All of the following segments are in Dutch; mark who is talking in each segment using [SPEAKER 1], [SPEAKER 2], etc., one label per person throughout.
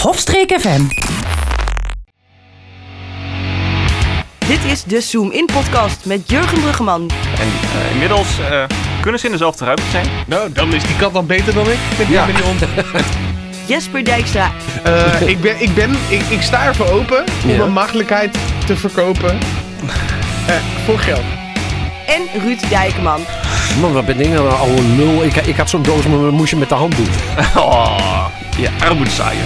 [SPEAKER 1] Hofstreek FM.
[SPEAKER 2] Dit is de Zoom In Podcast met Jurgen Bruggeman.
[SPEAKER 3] En eh, inmiddels eh, kunnen ze in dezelfde ruimte zijn.
[SPEAKER 4] Nou, dan is die kat dan beter dan ik. Met die,
[SPEAKER 3] Ja.
[SPEAKER 4] met die hond.
[SPEAKER 2] Jesper Dijkstra.
[SPEAKER 4] Eh, ik, ben, ik, ben, ik, ik sta ervoor open om
[SPEAKER 5] Ja.
[SPEAKER 4] een makkelijkheid te verkopen. Eh, voor geld.
[SPEAKER 2] En Ruud Dijkman.
[SPEAKER 5] Man, wat ben ik nou een oude lul. Ik, ik had zo'n doos, maar moest je met de hand doen.
[SPEAKER 3] Oh, ja, armoedzaaier.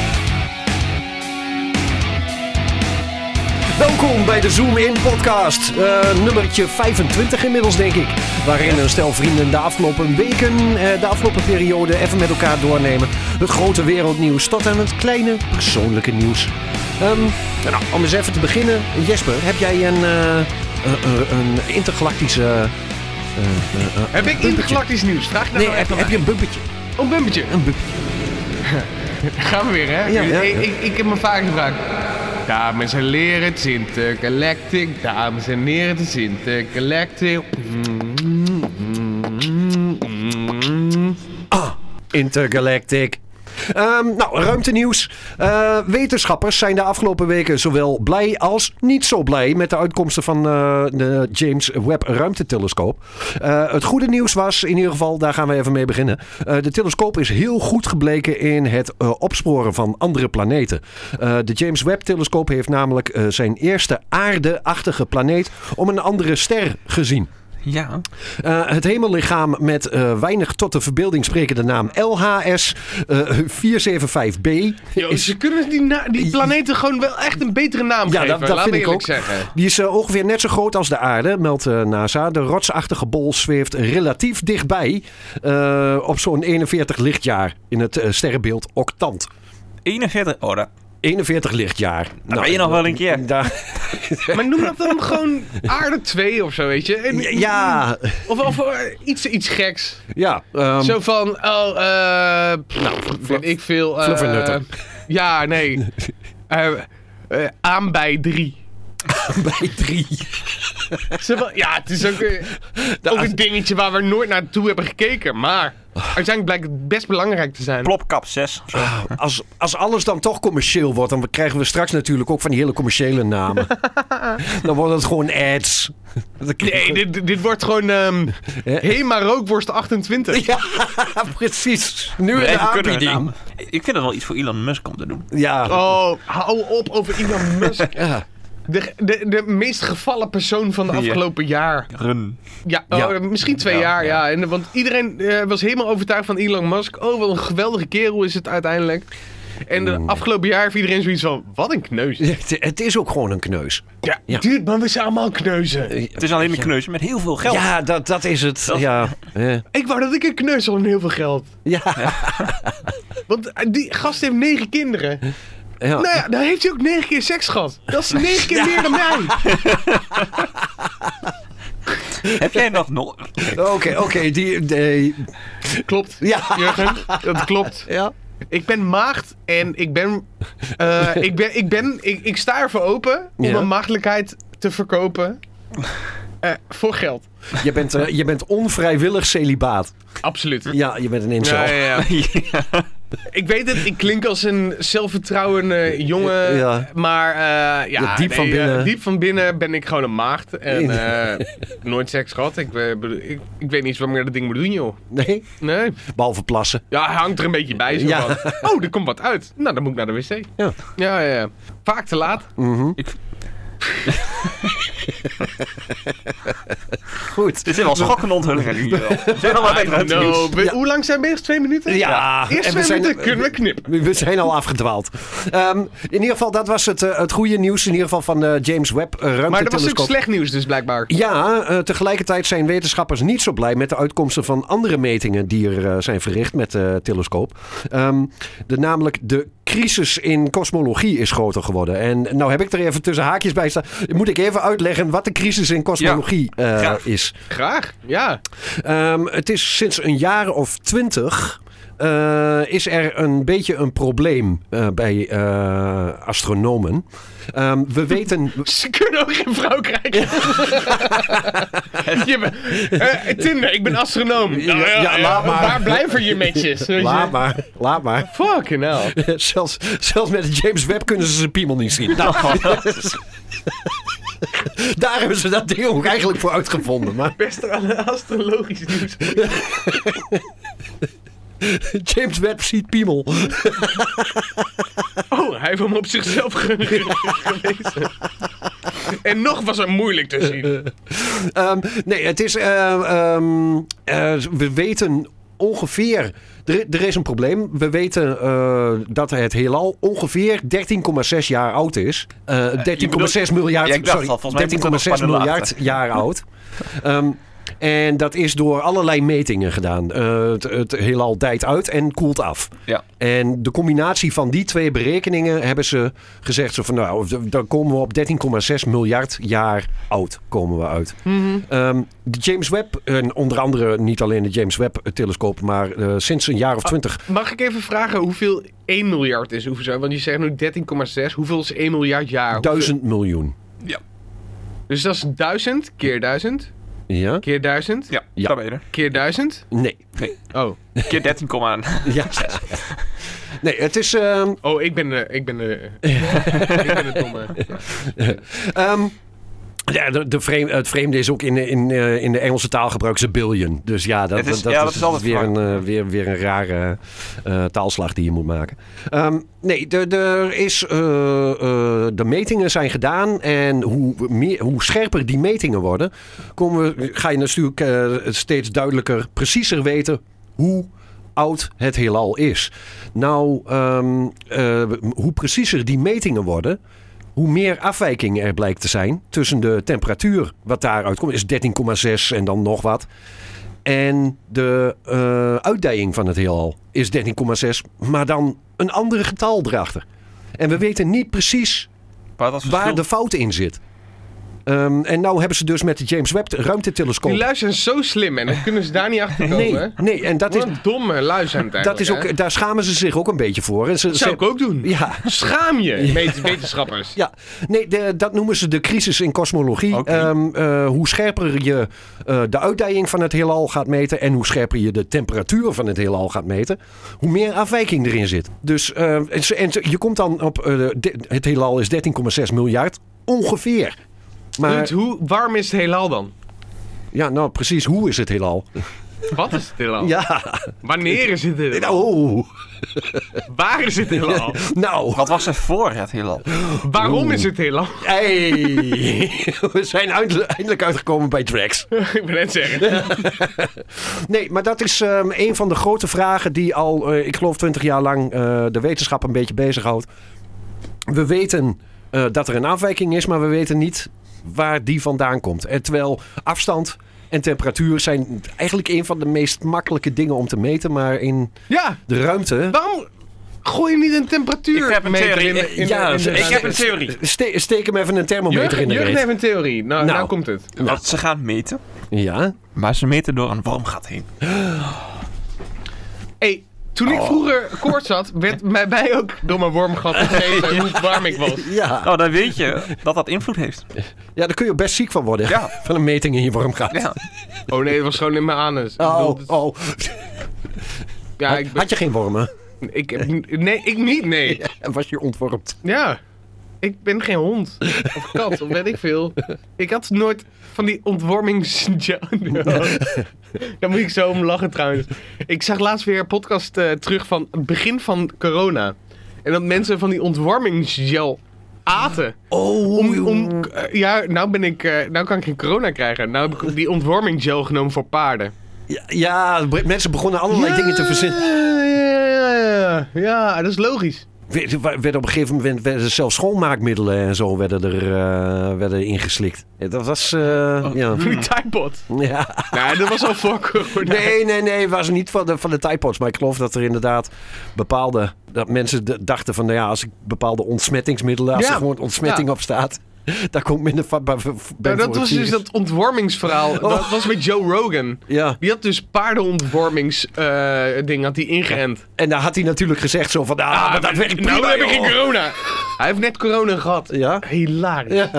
[SPEAKER 5] Welkom bij de Zoom In podcast. Eh nummertje 25 inmiddels, denk ik. Waarin een stel vrienden de afgelopen weken, eh, de afgelopen periode even met elkaar doornemen. Het grote wereldnieuws tot aan het kleine persoonlijke nieuws. Ehm, nou, om eens even te beginnen. Jesper, heb jij een, eh, een, een- een intergalactische... eh, eh, eh,
[SPEAKER 4] Heb ik intergalactisch nieuws? Vraag daar
[SPEAKER 5] Nee,
[SPEAKER 4] nou
[SPEAKER 5] heb,
[SPEAKER 4] even
[SPEAKER 5] heb je een bumpetje?
[SPEAKER 4] naar. Een bumpetje.
[SPEAKER 5] Een bumpetje.
[SPEAKER 4] Gaan we weer, hè?
[SPEAKER 5] Ja, ja, ja.
[SPEAKER 4] Ik, ik, ik heb me vaak gevraagd. Dames en heren, het is intergalactic. Dames en heren, het is intergalactic.
[SPEAKER 5] Intergalactic. Ehm, nou, ruimtenieuws. Eh, wetenschappers zijn de afgelopen weken zowel blij als niet zo blij met de uitkomsten van eh, de James Webb ruimtetelescoop. Eh, het goede nieuws was, in ieder geval, daar gaan we even mee beginnen. Eh, de telescoop is heel goed gebleken in het eh, opsporen van andere planeten. Eh, de James Webb telescoop heeft namelijk eh, zijn eerste aardeachtige planeet om een andere ster gezien.
[SPEAKER 3] Ja.
[SPEAKER 5] Eh, het hemellichaam met eh, weinig tot de verbeelding sprekende naam LHS eh, 475b.
[SPEAKER 4] Yo, ze kunnen die, na- die planeten gewoon wel echt een betere naam
[SPEAKER 5] Ja,
[SPEAKER 4] geven.
[SPEAKER 5] dat- dat
[SPEAKER 4] laat
[SPEAKER 5] vind
[SPEAKER 4] me
[SPEAKER 5] ik
[SPEAKER 4] eerlijk
[SPEAKER 5] ook.
[SPEAKER 4] zeggen.
[SPEAKER 5] Die is eh, ongeveer net zo groot als de aarde, meldt eh, NASA. De rotsachtige bol zweeft relatief dichtbij eh, op zo'n 41 lichtjaar in het eh, sterrenbeeld Octant.
[SPEAKER 3] 41, oh, dat
[SPEAKER 5] 41 lichtjaar. Nou,
[SPEAKER 3] ben je nog wel een keer.
[SPEAKER 5] daar-
[SPEAKER 4] Maar noem dat dan gewoon aarde 2 of zo, weet je? En-
[SPEAKER 5] ja,
[SPEAKER 4] Of, of eh, iets, iets geks.
[SPEAKER 5] ja. ehm,
[SPEAKER 4] Zo van, oh, eh... nou, vind ik veel... eh,
[SPEAKER 5] fluff en nutter.
[SPEAKER 4] Ja, nee. Eh, eh, aan bij drie.
[SPEAKER 5] bij drie.
[SPEAKER 4] Zo van, ja, het is ook, eh, ook een dingetje waar we nooit naartoe hebben gekeken. Maar
[SPEAKER 5] Ah.
[SPEAKER 4] uiteindelijk blijkt het best belangrijk te zijn.
[SPEAKER 3] plopkap 6.
[SPEAKER 5] Als, als alles dan toch commercieel wordt, dan krijgen we straks natuurlijk ook van die hele commerciële namen. dan wordt het gewoon ads. Dan krijg je
[SPEAKER 4] Nee, dit, dit wordt gewoon ehm Hema Rookworst 28.
[SPEAKER 5] Ja, precies. Nu in de aanbieding.
[SPEAKER 3] Nou, Ik vind dat wel iets voor Elon Musk om te doen.
[SPEAKER 5] Ja.
[SPEAKER 4] Oh, hou op over Elon Musk.
[SPEAKER 5] Ja.
[SPEAKER 4] De, de, de meest gevallen persoon van de afgelopen jaar.
[SPEAKER 3] Run.
[SPEAKER 4] Ja, oh,
[SPEAKER 5] Ja.
[SPEAKER 4] misschien twee
[SPEAKER 3] Ja,
[SPEAKER 4] jaar, ja. En, want iedereen eh, was helemaal overtuigd van Elon Musk. Oh, wat een geweldige kerel is het uiteindelijk. En de
[SPEAKER 5] Mm.
[SPEAKER 4] afgelopen jaar heeft iedereen zoiets van, wat een kneus. Ja,
[SPEAKER 5] Het, het is ook gewoon een kneus. Ja. Eh,
[SPEAKER 4] dude, maar we zijn allemaal kneuzen.
[SPEAKER 3] Het is alleen een kneusje met heel veel geld.
[SPEAKER 5] Ja, dat, dat is het.
[SPEAKER 3] Dat-
[SPEAKER 5] Ja. Eh.
[SPEAKER 4] Ik wou dat ik een kneus had om heel veel geld.
[SPEAKER 5] Ja.
[SPEAKER 4] Want eh, die gast heeft negen kinderen.
[SPEAKER 5] Oh. Ja.
[SPEAKER 4] Nou ja, dan heeft hij ook negen keer seks gehad. Dat is negen keer meer dan mij.
[SPEAKER 3] Heb jij nog nog?
[SPEAKER 5] Oké, oké. die, die-
[SPEAKER 4] Klopt,
[SPEAKER 5] Ja.
[SPEAKER 4] Jurgen. Dat klopt.
[SPEAKER 5] Ja.
[SPEAKER 4] Ik ben maagd en ik ben. eh, ik, ben, ik, ben ik, ik sta ervoor open om
[SPEAKER 5] Ja.
[SPEAKER 4] mijn maagdelijkheid te verkopen. eh, voor geld.
[SPEAKER 5] Je, bent, eh, je bent onvrijwillig celibaat.
[SPEAKER 4] Absoluut.
[SPEAKER 5] Ja, je bent een incel.
[SPEAKER 4] Ja, ja, ja. Ik weet het, ik klink als een zelfvertrouwende jongen.
[SPEAKER 5] Ja.
[SPEAKER 4] Maar eh, ja,
[SPEAKER 5] Ja, diep van
[SPEAKER 4] eh,
[SPEAKER 5] binnen.
[SPEAKER 4] diep van binnen ben ik gewoon een maagd. En
[SPEAKER 5] Nee.
[SPEAKER 4] eh, nooit seks gehad. Ik, eh, bedoel- ik, ik weet niet eens wat ik met dat ding moet doen, joh.
[SPEAKER 5] Nee?
[SPEAKER 4] Nee.
[SPEAKER 5] Behalve plassen.
[SPEAKER 4] Ja, hij hangt er een beetje bij. Zo
[SPEAKER 5] Ja.
[SPEAKER 4] van, Oh, er komt wat uit. Nou, dan moet ik naar de wc.
[SPEAKER 5] Ja.
[SPEAKER 4] Ja, ja, ja. Vaak te laat.
[SPEAKER 5] Goed.
[SPEAKER 3] Dit zijn wel schokkende onthullingen nu wel. We zijn allemaal bij het
[SPEAKER 4] Ah, No,
[SPEAKER 3] ruimtenieuws.
[SPEAKER 4] we- Hoe lang zijn we eerst? Twee minuten?
[SPEAKER 5] Ja.
[SPEAKER 4] Eerst
[SPEAKER 5] En
[SPEAKER 4] twee
[SPEAKER 5] we zijn-
[SPEAKER 4] minuten kunnen we knippen.
[SPEAKER 5] We zijn al afgedwaald. Ehm, in ieder geval, dat was het, eh, het goede nieuws in ieder geval van de James Webb eh, ruimtetelescoop.
[SPEAKER 4] Maar dat was ook slecht nieuws dus blijkbaar.
[SPEAKER 5] Ja, eh, tegelijkertijd zijn wetenschappers niet zo blij met de uitkomsten van andere metingen die er eh, zijn verricht met de telescoop. Ehm, de, namelijk de crisis in kosmologie is groter geworden. En nou heb ik er even tussen haakjes bij staan. Moet ik even uitleggen wat de crisis in kosmologie eh,
[SPEAKER 3] graag.
[SPEAKER 5] is.
[SPEAKER 4] Graag. Ja.
[SPEAKER 5] Ehm, het is sinds een jaar of twintig eh, is er een beetje een probleem eh, bij eh, astronomen. Ehm, we weten.
[SPEAKER 4] Ze kunnen ook geen vrouw krijgen. Je bent- eh, Tinder, ik ben astronoom. Nou
[SPEAKER 5] Ja, ja, laat maar.
[SPEAKER 4] Waar blijven je matches? Weet je?
[SPEAKER 5] Laat maar, laat maar.
[SPEAKER 4] Fucking hell.
[SPEAKER 5] Zelfs, zelfs met James Webb kunnen ze zijn piemel niet zien. Nou, daar hebben ze dat ding ook eigenlijk voor uitgevonden. Maar
[SPEAKER 4] Best astrologisch nieuws.
[SPEAKER 5] James Webb ziet piemel.
[SPEAKER 4] Oh, hij heeft hem op zichzelf ge- ge- gewezen. En nog was er moeilijk te zien.
[SPEAKER 5] Ehm, nee, het is. eh, ehm, eh, we weten ongeveer. Er, er is een probleem. We weten eh, dat het heelal ongeveer 13,6 jaar oud is. Eh, 13,6 miljard.
[SPEAKER 3] Ja, ik dacht
[SPEAKER 5] sorry,
[SPEAKER 3] al, volgens mij moeten we nog
[SPEAKER 5] 13,6
[SPEAKER 3] spannend
[SPEAKER 5] miljard jaar oud. Ehm, en dat is door allerlei metingen gedaan. Eh, het, het heelal dijt uit en koelt af.
[SPEAKER 3] Ja.
[SPEAKER 5] En de combinatie van die twee berekeningen hebben ze gezegd: zo van nou, d- dan komen we op 13,6 miljard jaar oud. Komen we uit. Ehm, de James Webb, en onder andere niet alleen de James Webb-telescoop, maar eh, sinds een
[SPEAKER 3] Ah,
[SPEAKER 5] jaar of twintig.
[SPEAKER 4] Mag ik even vragen hoeveel 1 miljard is? Hoeveel zijn? Want je zegt nu 13,6. Hoeveel is 1 miljard jaar?
[SPEAKER 3] oh,
[SPEAKER 4] Hoeveel-
[SPEAKER 5] duizend miljoen.
[SPEAKER 4] Dus dat is 1000 keer 1000
[SPEAKER 5] Ja?
[SPEAKER 4] keer 1000
[SPEAKER 3] Ja,
[SPEAKER 5] Ja.
[SPEAKER 3] daar ben je er.
[SPEAKER 4] keer 1000.
[SPEAKER 5] Nee.
[SPEAKER 4] Oh,
[SPEAKER 3] Keer 13, kom aan.
[SPEAKER 5] Ja. nee, het is. ehm,
[SPEAKER 4] oh ik ben de. Ik ben de. ik ben de domme.
[SPEAKER 5] Ehm, ja, de, de vreem- het vreemde is ook in, in, eh, in de Engelse taal gebruiken ze billion. Dus ja, dat,
[SPEAKER 3] Het is-
[SPEAKER 5] dat,
[SPEAKER 3] ja, dat
[SPEAKER 5] is,
[SPEAKER 3] is altijd
[SPEAKER 5] weer,
[SPEAKER 3] waar.
[SPEAKER 5] een, eh, weer, weer een rare eh, taalslag die je moet maken. Ehm, nee, de, de, is, eh, eh, de metingen zijn gedaan. En hoe, meer, hoe scherper die metingen worden, komen we, ga je natuurlijk eh, steeds duidelijker, preciezer weten hoe oud het heelal is. Nou, ehm, eh, hoe preciezer die metingen worden, hoe meer afwijking er blijkt te zijn tussen de temperatuur, wat daaruit komt, is 13,6 en dan nog wat. En de eh, uitdijing van het heelal is 13,6, maar dan een andere getal erachter. En we weten niet precies
[SPEAKER 3] Waar dat
[SPEAKER 5] waar
[SPEAKER 3] verschil?
[SPEAKER 5] de fout in zit. Ehm, en nou hebben ze dus met de James Webb
[SPEAKER 4] Die
[SPEAKER 5] ruimtetelescoop.
[SPEAKER 4] lui zijn zo slim en dan kunnen ze daar niet achter komen.
[SPEAKER 5] Nee, nee, en dat is,
[SPEAKER 4] Wat een domme lui zijn het
[SPEAKER 5] dat is
[SPEAKER 4] eigenlijk, hè?
[SPEAKER 5] ook, daar schamen ze zich ook een beetje voor. En ze,
[SPEAKER 4] Dat zou
[SPEAKER 5] ze-
[SPEAKER 4] ik ook doen.
[SPEAKER 5] Ja,
[SPEAKER 4] Schaam je, met- wetenschappers.
[SPEAKER 5] Ja, nee, de- dat noemen ze de crisis in kosmologie.
[SPEAKER 3] Oké.
[SPEAKER 5] Ehm, eh, hoe scherper je eh, de uitdijing van het heelal gaat meten en hoe scherper je de temperatuur van het heelal gaat meten, hoe meer afwijking erin zit. Dus eh, en, ze- en ze- je komt dan op, eh, de- het heelal is 13,6 miljard, ongeveer.
[SPEAKER 4] Dude,
[SPEAKER 5] Maar
[SPEAKER 4] hoe warm is het heelal dan?
[SPEAKER 5] ja, nou precies, hoe is het heelal?
[SPEAKER 4] Wat is het heelal?
[SPEAKER 5] Ja,
[SPEAKER 4] Wanneer is het heelal?
[SPEAKER 5] nou,
[SPEAKER 4] Waar is het heelal?
[SPEAKER 5] nou,
[SPEAKER 3] Wat was er voor het heelal?
[SPEAKER 4] Waarom is het heelal?
[SPEAKER 5] hey. we zijn eindelijk- eindelijk uitgekomen bij Drax.
[SPEAKER 4] ik ben net zeggen.
[SPEAKER 5] Nee, maar dat is ehm, een van de grote vragen die al, eh, ik geloof, twintig jaar lang eh, de wetenschap een beetje bezighoudt. We weten eh, dat er een afwijking is, maar we weten niet waar die vandaan komt. En terwijl afstand en temperatuur zijn eigenlijk een van de meest makkelijke dingen om te meten, maar in
[SPEAKER 4] Ja,
[SPEAKER 5] de ruimte.
[SPEAKER 4] waarom gooi je niet een temperatuur
[SPEAKER 3] Ik heb een theorie.
[SPEAKER 4] in, de- in, de-
[SPEAKER 5] Ja,
[SPEAKER 4] in de-
[SPEAKER 5] ik
[SPEAKER 3] Ik heb een theorie.
[SPEAKER 5] Ste- steek hem even een thermometer
[SPEAKER 4] Jurgen,
[SPEAKER 5] in de
[SPEAKER 4] Jurgen
[SPEAKER 5] reet.
[SPEAKER 4] heeft een theorie. Nou,
[SPEAKER 5] Nou.
[SPEAKER 4] nou komt het.
[SPEAKER 3] Dat ze gaan meten,
[SPEAKER 5] Ja,
[SPEAKER 3] maar ze meten door een warm gat heen.
[SPEAKER 4] Hey, toen ik vroeger koorts had, werd mij bij ook door mijn wormgat gegeven hoe warm ik was.
[SPEAKER 5] ja.
[SPEAKER 3] Nou, dan weet je dat dat invloed heeft.
[SPEAKER 5] ja, daar kun je best ziek van worden.
[SPEAKER 3] Ja.
[SPEAKER 5] Van een meting in je warmgaat.
[SPEAKER 3] Ja.
[SPEAKER 4] Oh nee, dat was gewoon in mijn anus. Ik
[SPEAKER 5] Oh,
[SPEAKER 4] bedoel,
[SPEAKER 5] oh.
[SPEAKER 4] ja, ik,
[SPEAKER 5] Had je geen wormen?
[SPEAKER 4] ik, nee, ik niet, nee.
[SPEAKER 5] Was je ontwormd?
[SPEAKER 4] Ja. Ik ben geen hond. Of kat, of weet ik veel. Ik had nooit van die ontwormings... Ja, nou. Daar moet ik zo om lachen trouwens. Ik zag laatst weer een podcast eh, terug van het begin van corona. En dat mensen van die ontwormingsgel aten.
[SPEAKER 5] Oh,
[SPEAKER 4] Om, om, eh, ja, nou, ben ik, eh, nou kan ik geen corona krijgen. Nou heb ik die ontwormingsgel genomen voor paarden.
[SPEAKER 5] ja, ja, be- mensen begonnen allerlei dingen te verzinnen.
[SPEAKER 4] Ja, ja, ja, ja. ja, dat is logisch.
[SPEAKER 5] Werd, werd op een gegeven moment werden zelfs schoonmaakmiddelen en zo werden er eh, werden ingeslikt. Ja, Dat was. eh,
[SPEAKER 4] Oh.
[SPEAKER 5] ja.
[SPEAKER 4] Die typebot.
[SPEAKER 5] Ja.
[SPEAKER 4] Nou, dat was al voor corona.
[SPEAKER 5] Nee, nee, nee, was niet van de, van de Tide Pods. Maar ik geloof dat er inderdaad bepaalde. dat mensen d- dachten van. Nou ja, als ik bepaalde ontsmettingsmiddelen. als
[SPEAKER 4] Ja.
[SPEAKER 5] er gewoon ontsmetting
[SPEAKER 4] Ja.
[SPEAKER 5] op staat. Daar komt minder vatbaar voor- bij
[SPEAKER 4] Nou,
[SPEAKER 5] voor
[SPEAKER 4] dat was
[SPEAKER 5] het
[SPEAKER 4] dus
[SPEAKER 5] virus. Oh.
[SPEAKER 4] dat ontwormingsverhaal. Dat was met Joe Rogan.
[SPEAKER 5] Ja,
[SPEAKER 4] Die had dus paardenontwormingsding ding had hij ingeënt.
[SPEAKER 5] en daar had hij natuurlijk gezegd zo van, ah, maar dat werkt prima,
[SPEAKER 4] Nou heb ik
[SPEAKER 5] joh.
[SPEAKER 4] geen corona. Hij heeft net corona gehad.
[SPEAKER 5] Ja?
[SPEAKER 4] Hilarisch. Ja,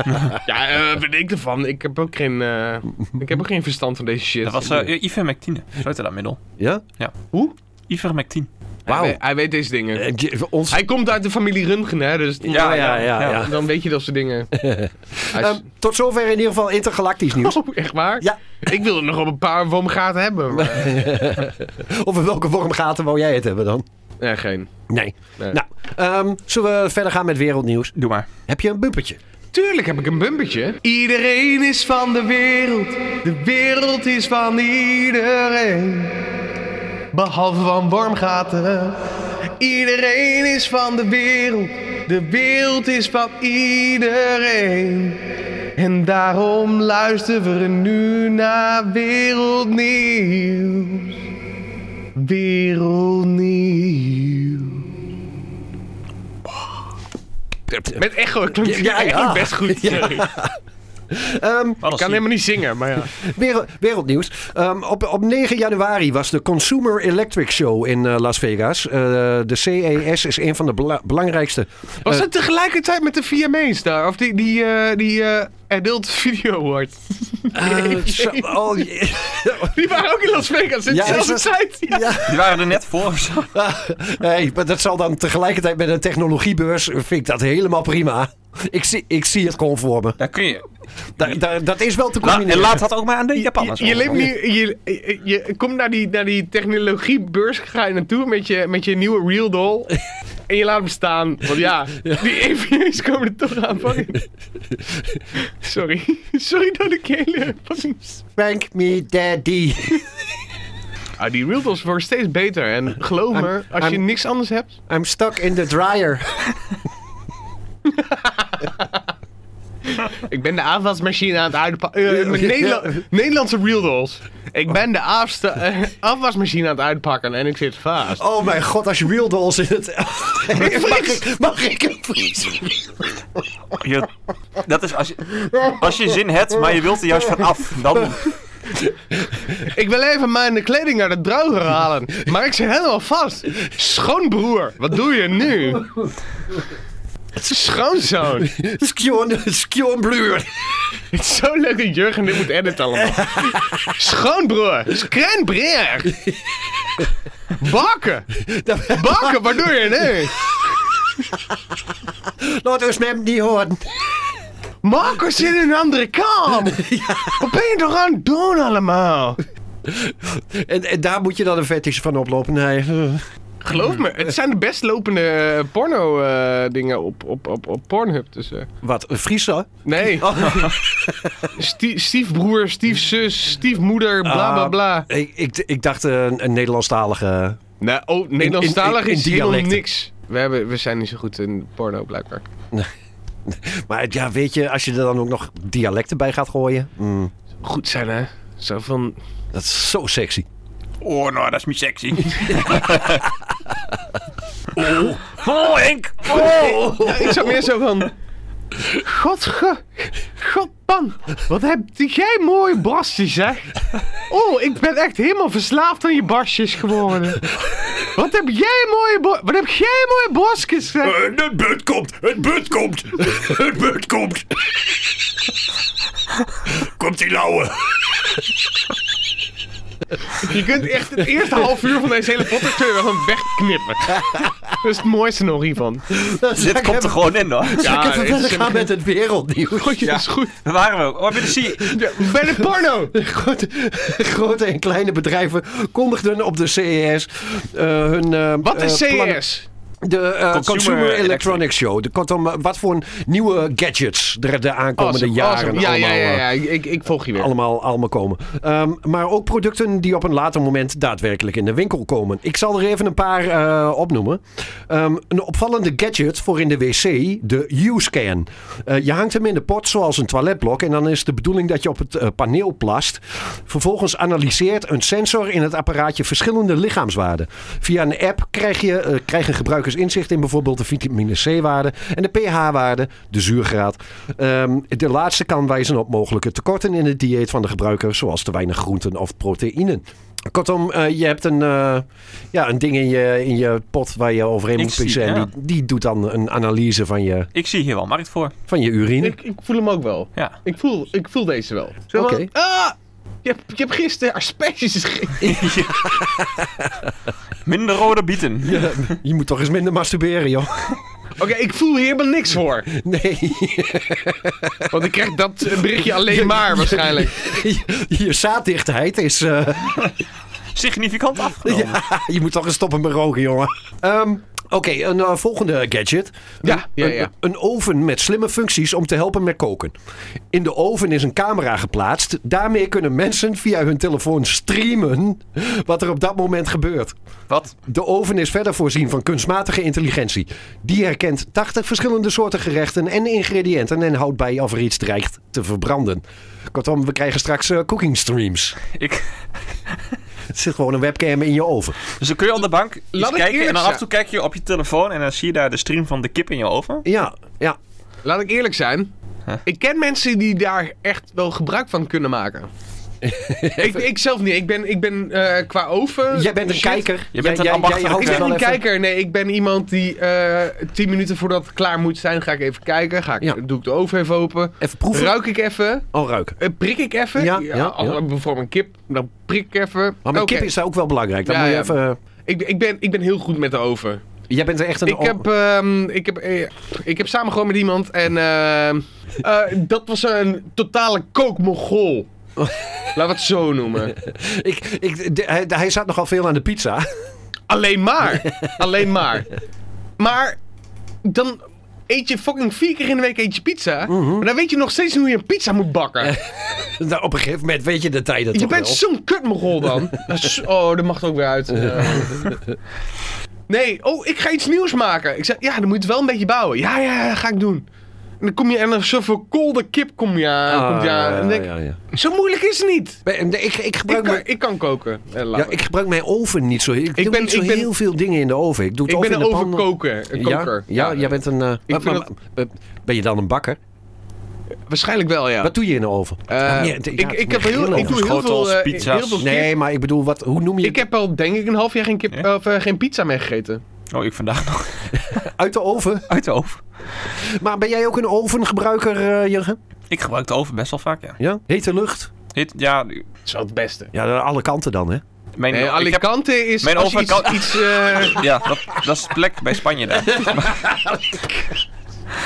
[SPEAKER 5] Ja.
[SPEAKER 4] eh, wat vind ik ervan. Ik heb ook geen, eh, ik heb ook geen verstand van deze shit.
[SPEAKER 3] Dat was eh ivermectine. Zo heette dat middel.
[SPEAKER 5] Ja?
[SPEAKER 3] Ivermectine.
[SPEAKER 4] hij,
[SPEAKER 5] Wauw.
[SPEAKER 4] weet, hij weet deze dingen.
[SPEAKER 5] Eh, je- Ons...
[SPEAKER 4] Hij komt uit de familie Röntgen, hè. Dus
[SPEAKER 5] Ja, ja, ja, ja.
[SPEAKER 4] Dan weet je dat soort dingen. Hij is-
[SPEAKER 5] Ehm, tot zover in ieder geval intergalactisch nieuws.
[SPEAKER 4] Oh, echt waar?
[SPEAKER 5] Ehm. Ja.
[SPEAKER 4] Ik wilde nog op een paar wormgaten hebben. Maar...
[SPEAKER 5] Of in welke wormgaten wou jij het hebben dan?
[SPEAKER 4] Nee, geen.
[SPEAKER 5] Nee.
[SPEAKER 4] Nee.
[SPEAKER 5] Nou, ehm, zullen we verder gaan met wereldnieuws?
[SPEAKER 3] Doe maar.
[SPEAKER 5] Heb je een bumpertje?
[SPEAKER 4] Tuurlijk heb ik een bumpertje. Iedereen is van de wereld. De wereld is van iedereen. Behalve van wormgaten. Iedereen is van de wereld. De wereld is van iedereen. En daarom luisteren we nu naar wereldnieuws. Wereldnieuws. Met echo klinkt
[SPEAKER 5] Ja, ja.
[SPEAKER 4] eigenlijk best goed. sorry.
[SPEAKER 5] Ehm,
[SPEAKER 3] Wat
[SPEAKER 4] Ik kan helemaal niet zingen, maar ja.
[SPEAKER 5] Werel- wereldnieuws. Ehm, op, op 9 januari was de Consumer Electric Show in eh, Las Vegas. Eh, de CES is een van de bela- belangrijkste.
[SPEAKER 4] Was
[SPEAKER 5] Eh,
[SPEAKER 4] het tegelijkertijd met de VMA's daar? Of die, die, eh, die eh, Adult Video Awards?
[SPEAKER 5] eh, zo- oh, je-
[SPEAKER 4] Die waren ook in Las Vegas in
[SPEAKER 5] Ja,
[SPEAKER 4] dezelfde
[SPEAKER 5] is dat-
[SPEAKER 4] tijd. Ja.
[SPEAKER 5] ja.
[SPEAKER 3] Die waren er net voor of zo.
[SPEAKER 5] Hey, maar dat zal dan tegelijkertijd met een technologiebeurs. eh, Vind ik dat helemaal prima. Ik zie, ik zie het gewoon voor me.
[SPEAKER 3] Daar kun je.
[SPEAKER 5] Da- da- dat is wel te
[SPEAKER 3] La- en
[SPEAKER 5] combineren.
[SPEAKER 3] laat dat ook maar aan de Japanners.
[SPEAKER 4] Je, je, leeft
[SPEAKER 3] over.
[SPEAKER 4] nu, je, je, je komt naar die, naar die technologiebeurs, ga je naartoe met je, met je nieuwe Real Doll. en je laat hem staan. Want ja, die EVA's komen er toch aan van. Sorry. Sorry dat ik hele...
[SPEAKER 5] Thank me, daddy.
[SPEAKER 4] Ah, die Real Dolls worden steeds beter. En geloof me, als je
[SPEAKER 5] I'm-
[SPEAKER 4] niks anders hebt...
[SPEAKER 5] I'm stuck in the dryer.
[SPEAKER 4] Ik ben de afwasmachine aan het uitpakken. Eh, Nederlandse Real Dolls. Ik ben de afsta- eh, afwasmachine aan het uitpakken en ik zit vast.
[SPEAKER 5] Oh mijn god, als je real dolls in het... mag, ik, mag ik een vries?
[SPEAKER 3] Je- dat is als je, als je zin hebt, maar je wilt er juist van af. Dan,
[SPEAKER 4] Ik wil even mijn kleding naar de droger halen, maar ik zit helemaal vast. Schoonbroer, wat doe je nu? Schoonzoon. Het
[SPEAKER 5] Skjon, skjonbluur.
[SPEAKER 4] is zo leuk dat Jurgen dit moet editen allemaal. Schoonbroer. Skreenbreer. Bakken. Bakken, wat doe je nu?
[SPEAKER 5] Laat ons mem niet horen.
[SPEAKER 4] Marco zit in een andere kamer. Wat ben je toch aan het doen allemaal?
[SPEAKER 5] En, en daar moet je dan een fetish van oplopen. Nee.
[SPEAKER 4] Geloof me, het zijn de best lopende porno eh, dingen op, op, op, op Pornhub. Dus, eh.
[SPEAKER 5] Wat, een Friese?
[SPEAKER 4] Nee.
[SPEAKER 5] Oh.
[SPEAKER 4] Stie- stiefbroer, stiefzus, stiefmoeder, bla
[SPEAKER 5] Ah.
[SPEAKER 4] bla bla.
[SPEAKER 5] Ik, ik, ik dacht eh, een, een Nederlandstalige...
[SPEAKER 4] Nou, oh, Nederlandstalig
[SPEAKER 5] in- in
[SPEAKER 4] is helemaal
[SPEAKER 5] dialecten.
[SPEAKER 4] niks. We, hebben, we zijn niet zo goed in porno, blijkbaar.
[SPEAKER 5] Maar ja, weet je, als je er dan ook nog dialecten bij gaat gooien... mm,
[SPEAKER 4] Goed zijn, hè? Zo van...
[SPEAKER 5] dat is zo sexy.
[SPEAKER 3] oh, nou, dat is niet sexy. Oh, oh Henk. Oh.
[SPEAKER 4] Ja, ik zou meer zo van... God, ge, God, man. Wat heb jij mooie borstjes, hè? Oh, ik ben echt helemaal verslaafd aan je borstjes geworden. Wat heb jij mooie bo- Wat heb jij mooie borstjes, hè?
[SPEAKER 5] Het beurt komt, het beurt komt, het beurt komt. Komt die lauwe.
[SPEAKER 4] Je kunt echt het eerste half uur van deze hele podcast kun je wel gewoon wegknippen. Dat is het mooiste nog hiervan.
[SPEAKER 3] Dit komt er gewoon in hoor.
[SPEAKER 4] Ja,
[SPEAKER 5] Ik heb
[SPEAKER 4] dit is
[SPEAKER 5] verder gaan
[SPEAKER 4] helemaal-
[SPEAKER 5] met het wereldnieuws.
[SPEAKER 4] Goed, ja. is goed.
[SPEAKER 3] Daar waren we ook. Oh, binnen zie je.
[SPEAKER 4] Ja, bij de porno!
[SPEAKER 5] Grote, grote en kleine bedrijven kondigden op de CES eh, hun... eh,
[SPEAKER 4] Wat is E
[SPEAKER 5] eh, plannen-
[SPEAKER 4] CES?
[SPEAKER 5] De eh, Consumer,
[SPEAKER 3] Consumer
[SPEAKER 5] Electronics
[SPEAKER 3] Electronics
[SPEAKER 5] Show. De, kortom, eh, wat voor nieuwe gadgets er de aankomende
[SPEAKER 4] Awesome,
[SPEAKER 5] jaren
[SPEAKER 4] awesome. Ja,
[SPEAKER 5] allemaal,
[SPEAKER 4] ja, ja,
[SPEAKER 5] eh,
[SPEAKER 4] ja. Ik, ik, ik volg je weer.
[SPEAKER 5] allemaal, allemaal komen. Ehm, maar ook producten die op een later moment daadwerkelijk in de winkel komen. Ik zal er even een paar eh, opnoemen. Ehm, een opvallende gadget voor in de wc, de U-scan. Eh, je hangt hem in de pot zoals een toiletblok en dan is de bedoeling dat je op het eh, paneel plast. Vervolgens analyseert een sensor in het apparaatje verschillende lichaamswaarden. Via een app krijg je, eh krijgen gebruikers wetenschappelijk dus inzicht in bijvoorbeeld de vitamine C-waarde en de pH-waarde, de zuurgraad. Ehm, de laatste kan wijzen op mogelijke tekorten in het dieet van de gebruiker, zoals te weinig groenten of proteïnen. Kortom, eh, je hebt een, eh, ja, een ding in je, in je pot waar je overheen
[SPEAKER 3] Ik
[SPEAKER 5] moet
[SPEAKER 3] zie,
[SPEAKER 5] pissen. En
[SPEAKER 3] ja.
[SPEAKER 5] die, die doet dan een analyse van je,
[SPEAKER 3] Ik zie hier wel markt voor.
[SPEAKER 5] van je urine.
[SPEAKER 6] Ik, ik voel hem ook wel.
[SPEAKER 3] Ja.
[SPEAKER 6] Ik voel, ik voel deze wel. Zo
[SPEAKER 5] Oké.
[SPEAKER 6] van, ah, je, hebt, je hebt gisteren asperges gegeten.
[SPEAKER 3] Minder rode bieten.
[SPEAKER 5] Je moet toch eens minder masturberen, joh.
[SPEAKER 6] Oké, ik voel hier helemaal niks voor.
[SPEAKER 5] Nee,
[SPEAKER 6] Want ik krijg dat eh, berichtje alleen maar waarschijnlijk.
[SPEAKER 5] je zaaddichtheid is... eh,
[SPEAKER 3] Significant afgenomen.
[SPEAKER 5] Ja, je moet toch eens stoppen met roken, jongen. Ehm, Oké, een eh, volgende gadget.
[SPEAKER 6] Ja, ja,
[SPEAKER 5] Een-
[SPEAKER 6] ja.
[SPEAKER 5] Een oven met slimme functies om te helpen met koken. In de oven is een camera geplaatst. Daarmee kunnen mensen via hun telefoon streamen wat er op dat moment gebeurt.
[SPEAKER 3] Wat?
[SPEAKER 5] De oven is verder voorzien van kunstmatige intelligentie. Die herkent 80 verschillende soorten gerechten en ingrediënten en houdt bij of er iets dreigt te verbranden. Kortom, we krijgen straks eh, cooking streams.
[SPEAKER 3] Ik...
[SPEAKER 5] Er zit gewoon een webcam in je oven.
[SPEAKER 3] Dus dan kun je op de bank iets
[SPEAKER 6] Laat ik
[SPEAKER 3] kijken.
[SPEAKER 6] eerlijk
[SPEAKER 3] En dan af en toe
[SPEAKER 6] zijn.
[SPEAKER 3] kijk je op je telefoon. En dan zie je daar de stream van de kip in je oven.
[SPEAKER 5] Ja, ja.
[SPEAKER 6] Laat ik eerlijk zijn. Ik ken mensen die daar echt wel gebruik van kunnen maken. ik, ik zelf niet. Ik ben, ik ben eh, qua oven...
[SPEAKER 5] Jij bent een
[SPEAKER 6] shit.
[SPEAKER 5] kijker.
[SPEAKER 3] Je bent
[SPEAKER 5] Jij-
[SPEAKER 3] een
[SPEAKER 5] jij- jij
[SPEAKER 3] ambachtelijke
[SPEAKER 5] houdt
[SPEAKER 6] Ik
[SPEAKER 5] wel
[SPEAKER 6] ben een
[SPEAKER 5] even-
[SPEAKER 6] kijker. Nee, ik ben iemand die eh tien minuten voordat het klaar moet zijn, ga ik even kijken. Ga ik, eh,
[SPEAKER 5] Ja.
[SPEAKER 6] Doe ik de oven even open.
[SPEAKER 5] Even proeven.
[SPEAKER 6] Ruik ik even.
[SPEAKER 5] Oh, ruiken.
[SPEAKER 6] Eh, Prik ik even.
[SPEAKER 5] Ja, ja,
[SPEAKER 6] al-
[SPEAKER 5] ja.
[SPEAKER 6] Bijvoorbeeld een kip. Dan prik ik even.
[SPEAKER 5] Maar met
[SPEAKER 6] Oké.
[SPEAKER 5] kip is daar ook wel belangrijk. Dan
[SPEAKER 6] Ja,
[SPEAKER 5] moet je
[SPEAKER 6] ja.
[SPEAKER 5] even... eh,
[SPEAKER 6] Ik, ik, ben, ik ben heel goed met de oven.
[SPEAKER 5] Jij bent echt een...
[SPEAKER 6] Ik heb, ehm, ik, heb, eh, ik heb samen gewoon met iemand en ehm, eh, dat was een totale kookmogol. Laten we het zo noemen.
[SPEAKER 5] ik, ik, de- hij, hij zat nogal veel aan de pizza.
[SPEAKER 6] Alleen maar. Alleen maar. Maar dan eet je fucking vier keer in de week eet je pizza.
[SPEAKER 5] Mhm.
[SPEAKER 6] Maar dan weet je nog steeds niet hoe je een pizza moet bakken.
[SPEAKER 5] Nou, op een gegeven moment weet je de tijden
[SPEAKER 6] Je
[SPEAKER 5] toch
[SPEAKER 6] bent
[SPEAKER 5] wel.
[SPEAKER 6] zo'n kutmogol dan. Dat is- Oh, dat mag er ook weer uit. Eh. Nee, oh, ik ga iets nieuws maken. Ik zeg, ja, dan moet je het wel een beetje bouwen. Ja, ja, ja, ga ik doen. En dan kom je en dan zo'n verkoolde kip kom je aan.
[SPEAKER 5] Ah,
[SPEAKER 6] komt je aan. En dan denk ik,
[SPEAKER 5] ja, ja.
[SPEAKER 6] Zo moeilijk is het niet.
[SPEAKER 5] Maar, eh, Ik, ik,
[SPEAKER 6] Ik
[SPEAKER 5] gebruik
[SPEAKER 6] kan,
[SPEAKER 5] mijn,
[SPEAKER 6] ik kan koken. Eh, laat
[SPEAKER 5] ja,
[SPEAKER 6] maar.
[SPEAKER 5] ik gebruik mijn oven niet zo... Ik, doe
[SPEAKER 6] ben-
[SPEAKER 5] niet zo
[SPEAKER 6] ik ben-
[SPEAKER 5] heel veel dingen in de oven. Ik doe het
[SPEAKER 6] ik
[SPEAKER 5] of
[SPEAKER 6] ben
[SPEAKER 5] in
[SPEAKER 6] een
[SPEAKER 5] de pan-
[SPEAKER 6] overkoker. Een koker.
[SPEAKER 5] Ja, ja,
[SPEAKER 6] Ja.
[SPEAKER 5] jij bent een... eh, maar-
[SPEAKER 6] vind
[SPEAKER 5] maar- eh, Ben je dan een bakker?
[SPEAKER 6] Waarschijnlijk wel, ja.
[SPEAKER 5] Wat doe je in de oven?
[SPEAKER 6] Eh,
[SPEAKER 5] Ja, nee,
[SPEAKER 6] ik,
[SPEAKER 5] ja, het
[SPEAKER 6] ik,
[SPEAKER 5] moet
[SPEAKER 6] heb heel,
[SPEAKER 5] grillen.
[SPEAKER 6] ik doe heel
[SPEAKER 3] Schotels,
[SPEAKER 6] veel, eh,
[SPEAKER 3] pizza's.
[SPEAKER 6] heel veel
[SPEAKER 5] Nee,
[SPEAKER 6] kip.
[SPEAKER 5] maar ik bedoel, wat, hoe noem je
[SPEAKER 6] Ik heb al denk ik een half jaar geen, kip,
[SPEAKER 3] Ja?
[SPEAKER 6] of, eh, geen pizza meer gegeten.
[SPEAKER 3] Oh, ik vandaag nog
[SPEAKER 5] Uit de oven?
[SPEAKER 3] uit de oven.
[SPEAKER 5] Maar ben jij ook een ovengebruiker, eh, Jurgen?
[SPEAKER 3] Ik gebruik de oven best wel vaak, ja.
[SPEAKER 5] Ja? Hete lucht?
[SPEAKER 3] Dit, ja
[SPEAKER 6] Dat is wel het beste.
[SPEAKER 5] Ja, alle kanten dan, hè?
[SPEAKER 3] mijn,
[SPEAKER 6] Nee,
[SPEAKER 3] ik heb-
[SPEAKER 6] Eh, Alicante is
[SPEAKER 3] mijn
[SPEAKER 6] als je iets...
[SPEAKER 3] overkant-
[SPEAKER 6] iets eh,
[SPEAKER 3] ja, dat, dat is de plek bij Spanje daar.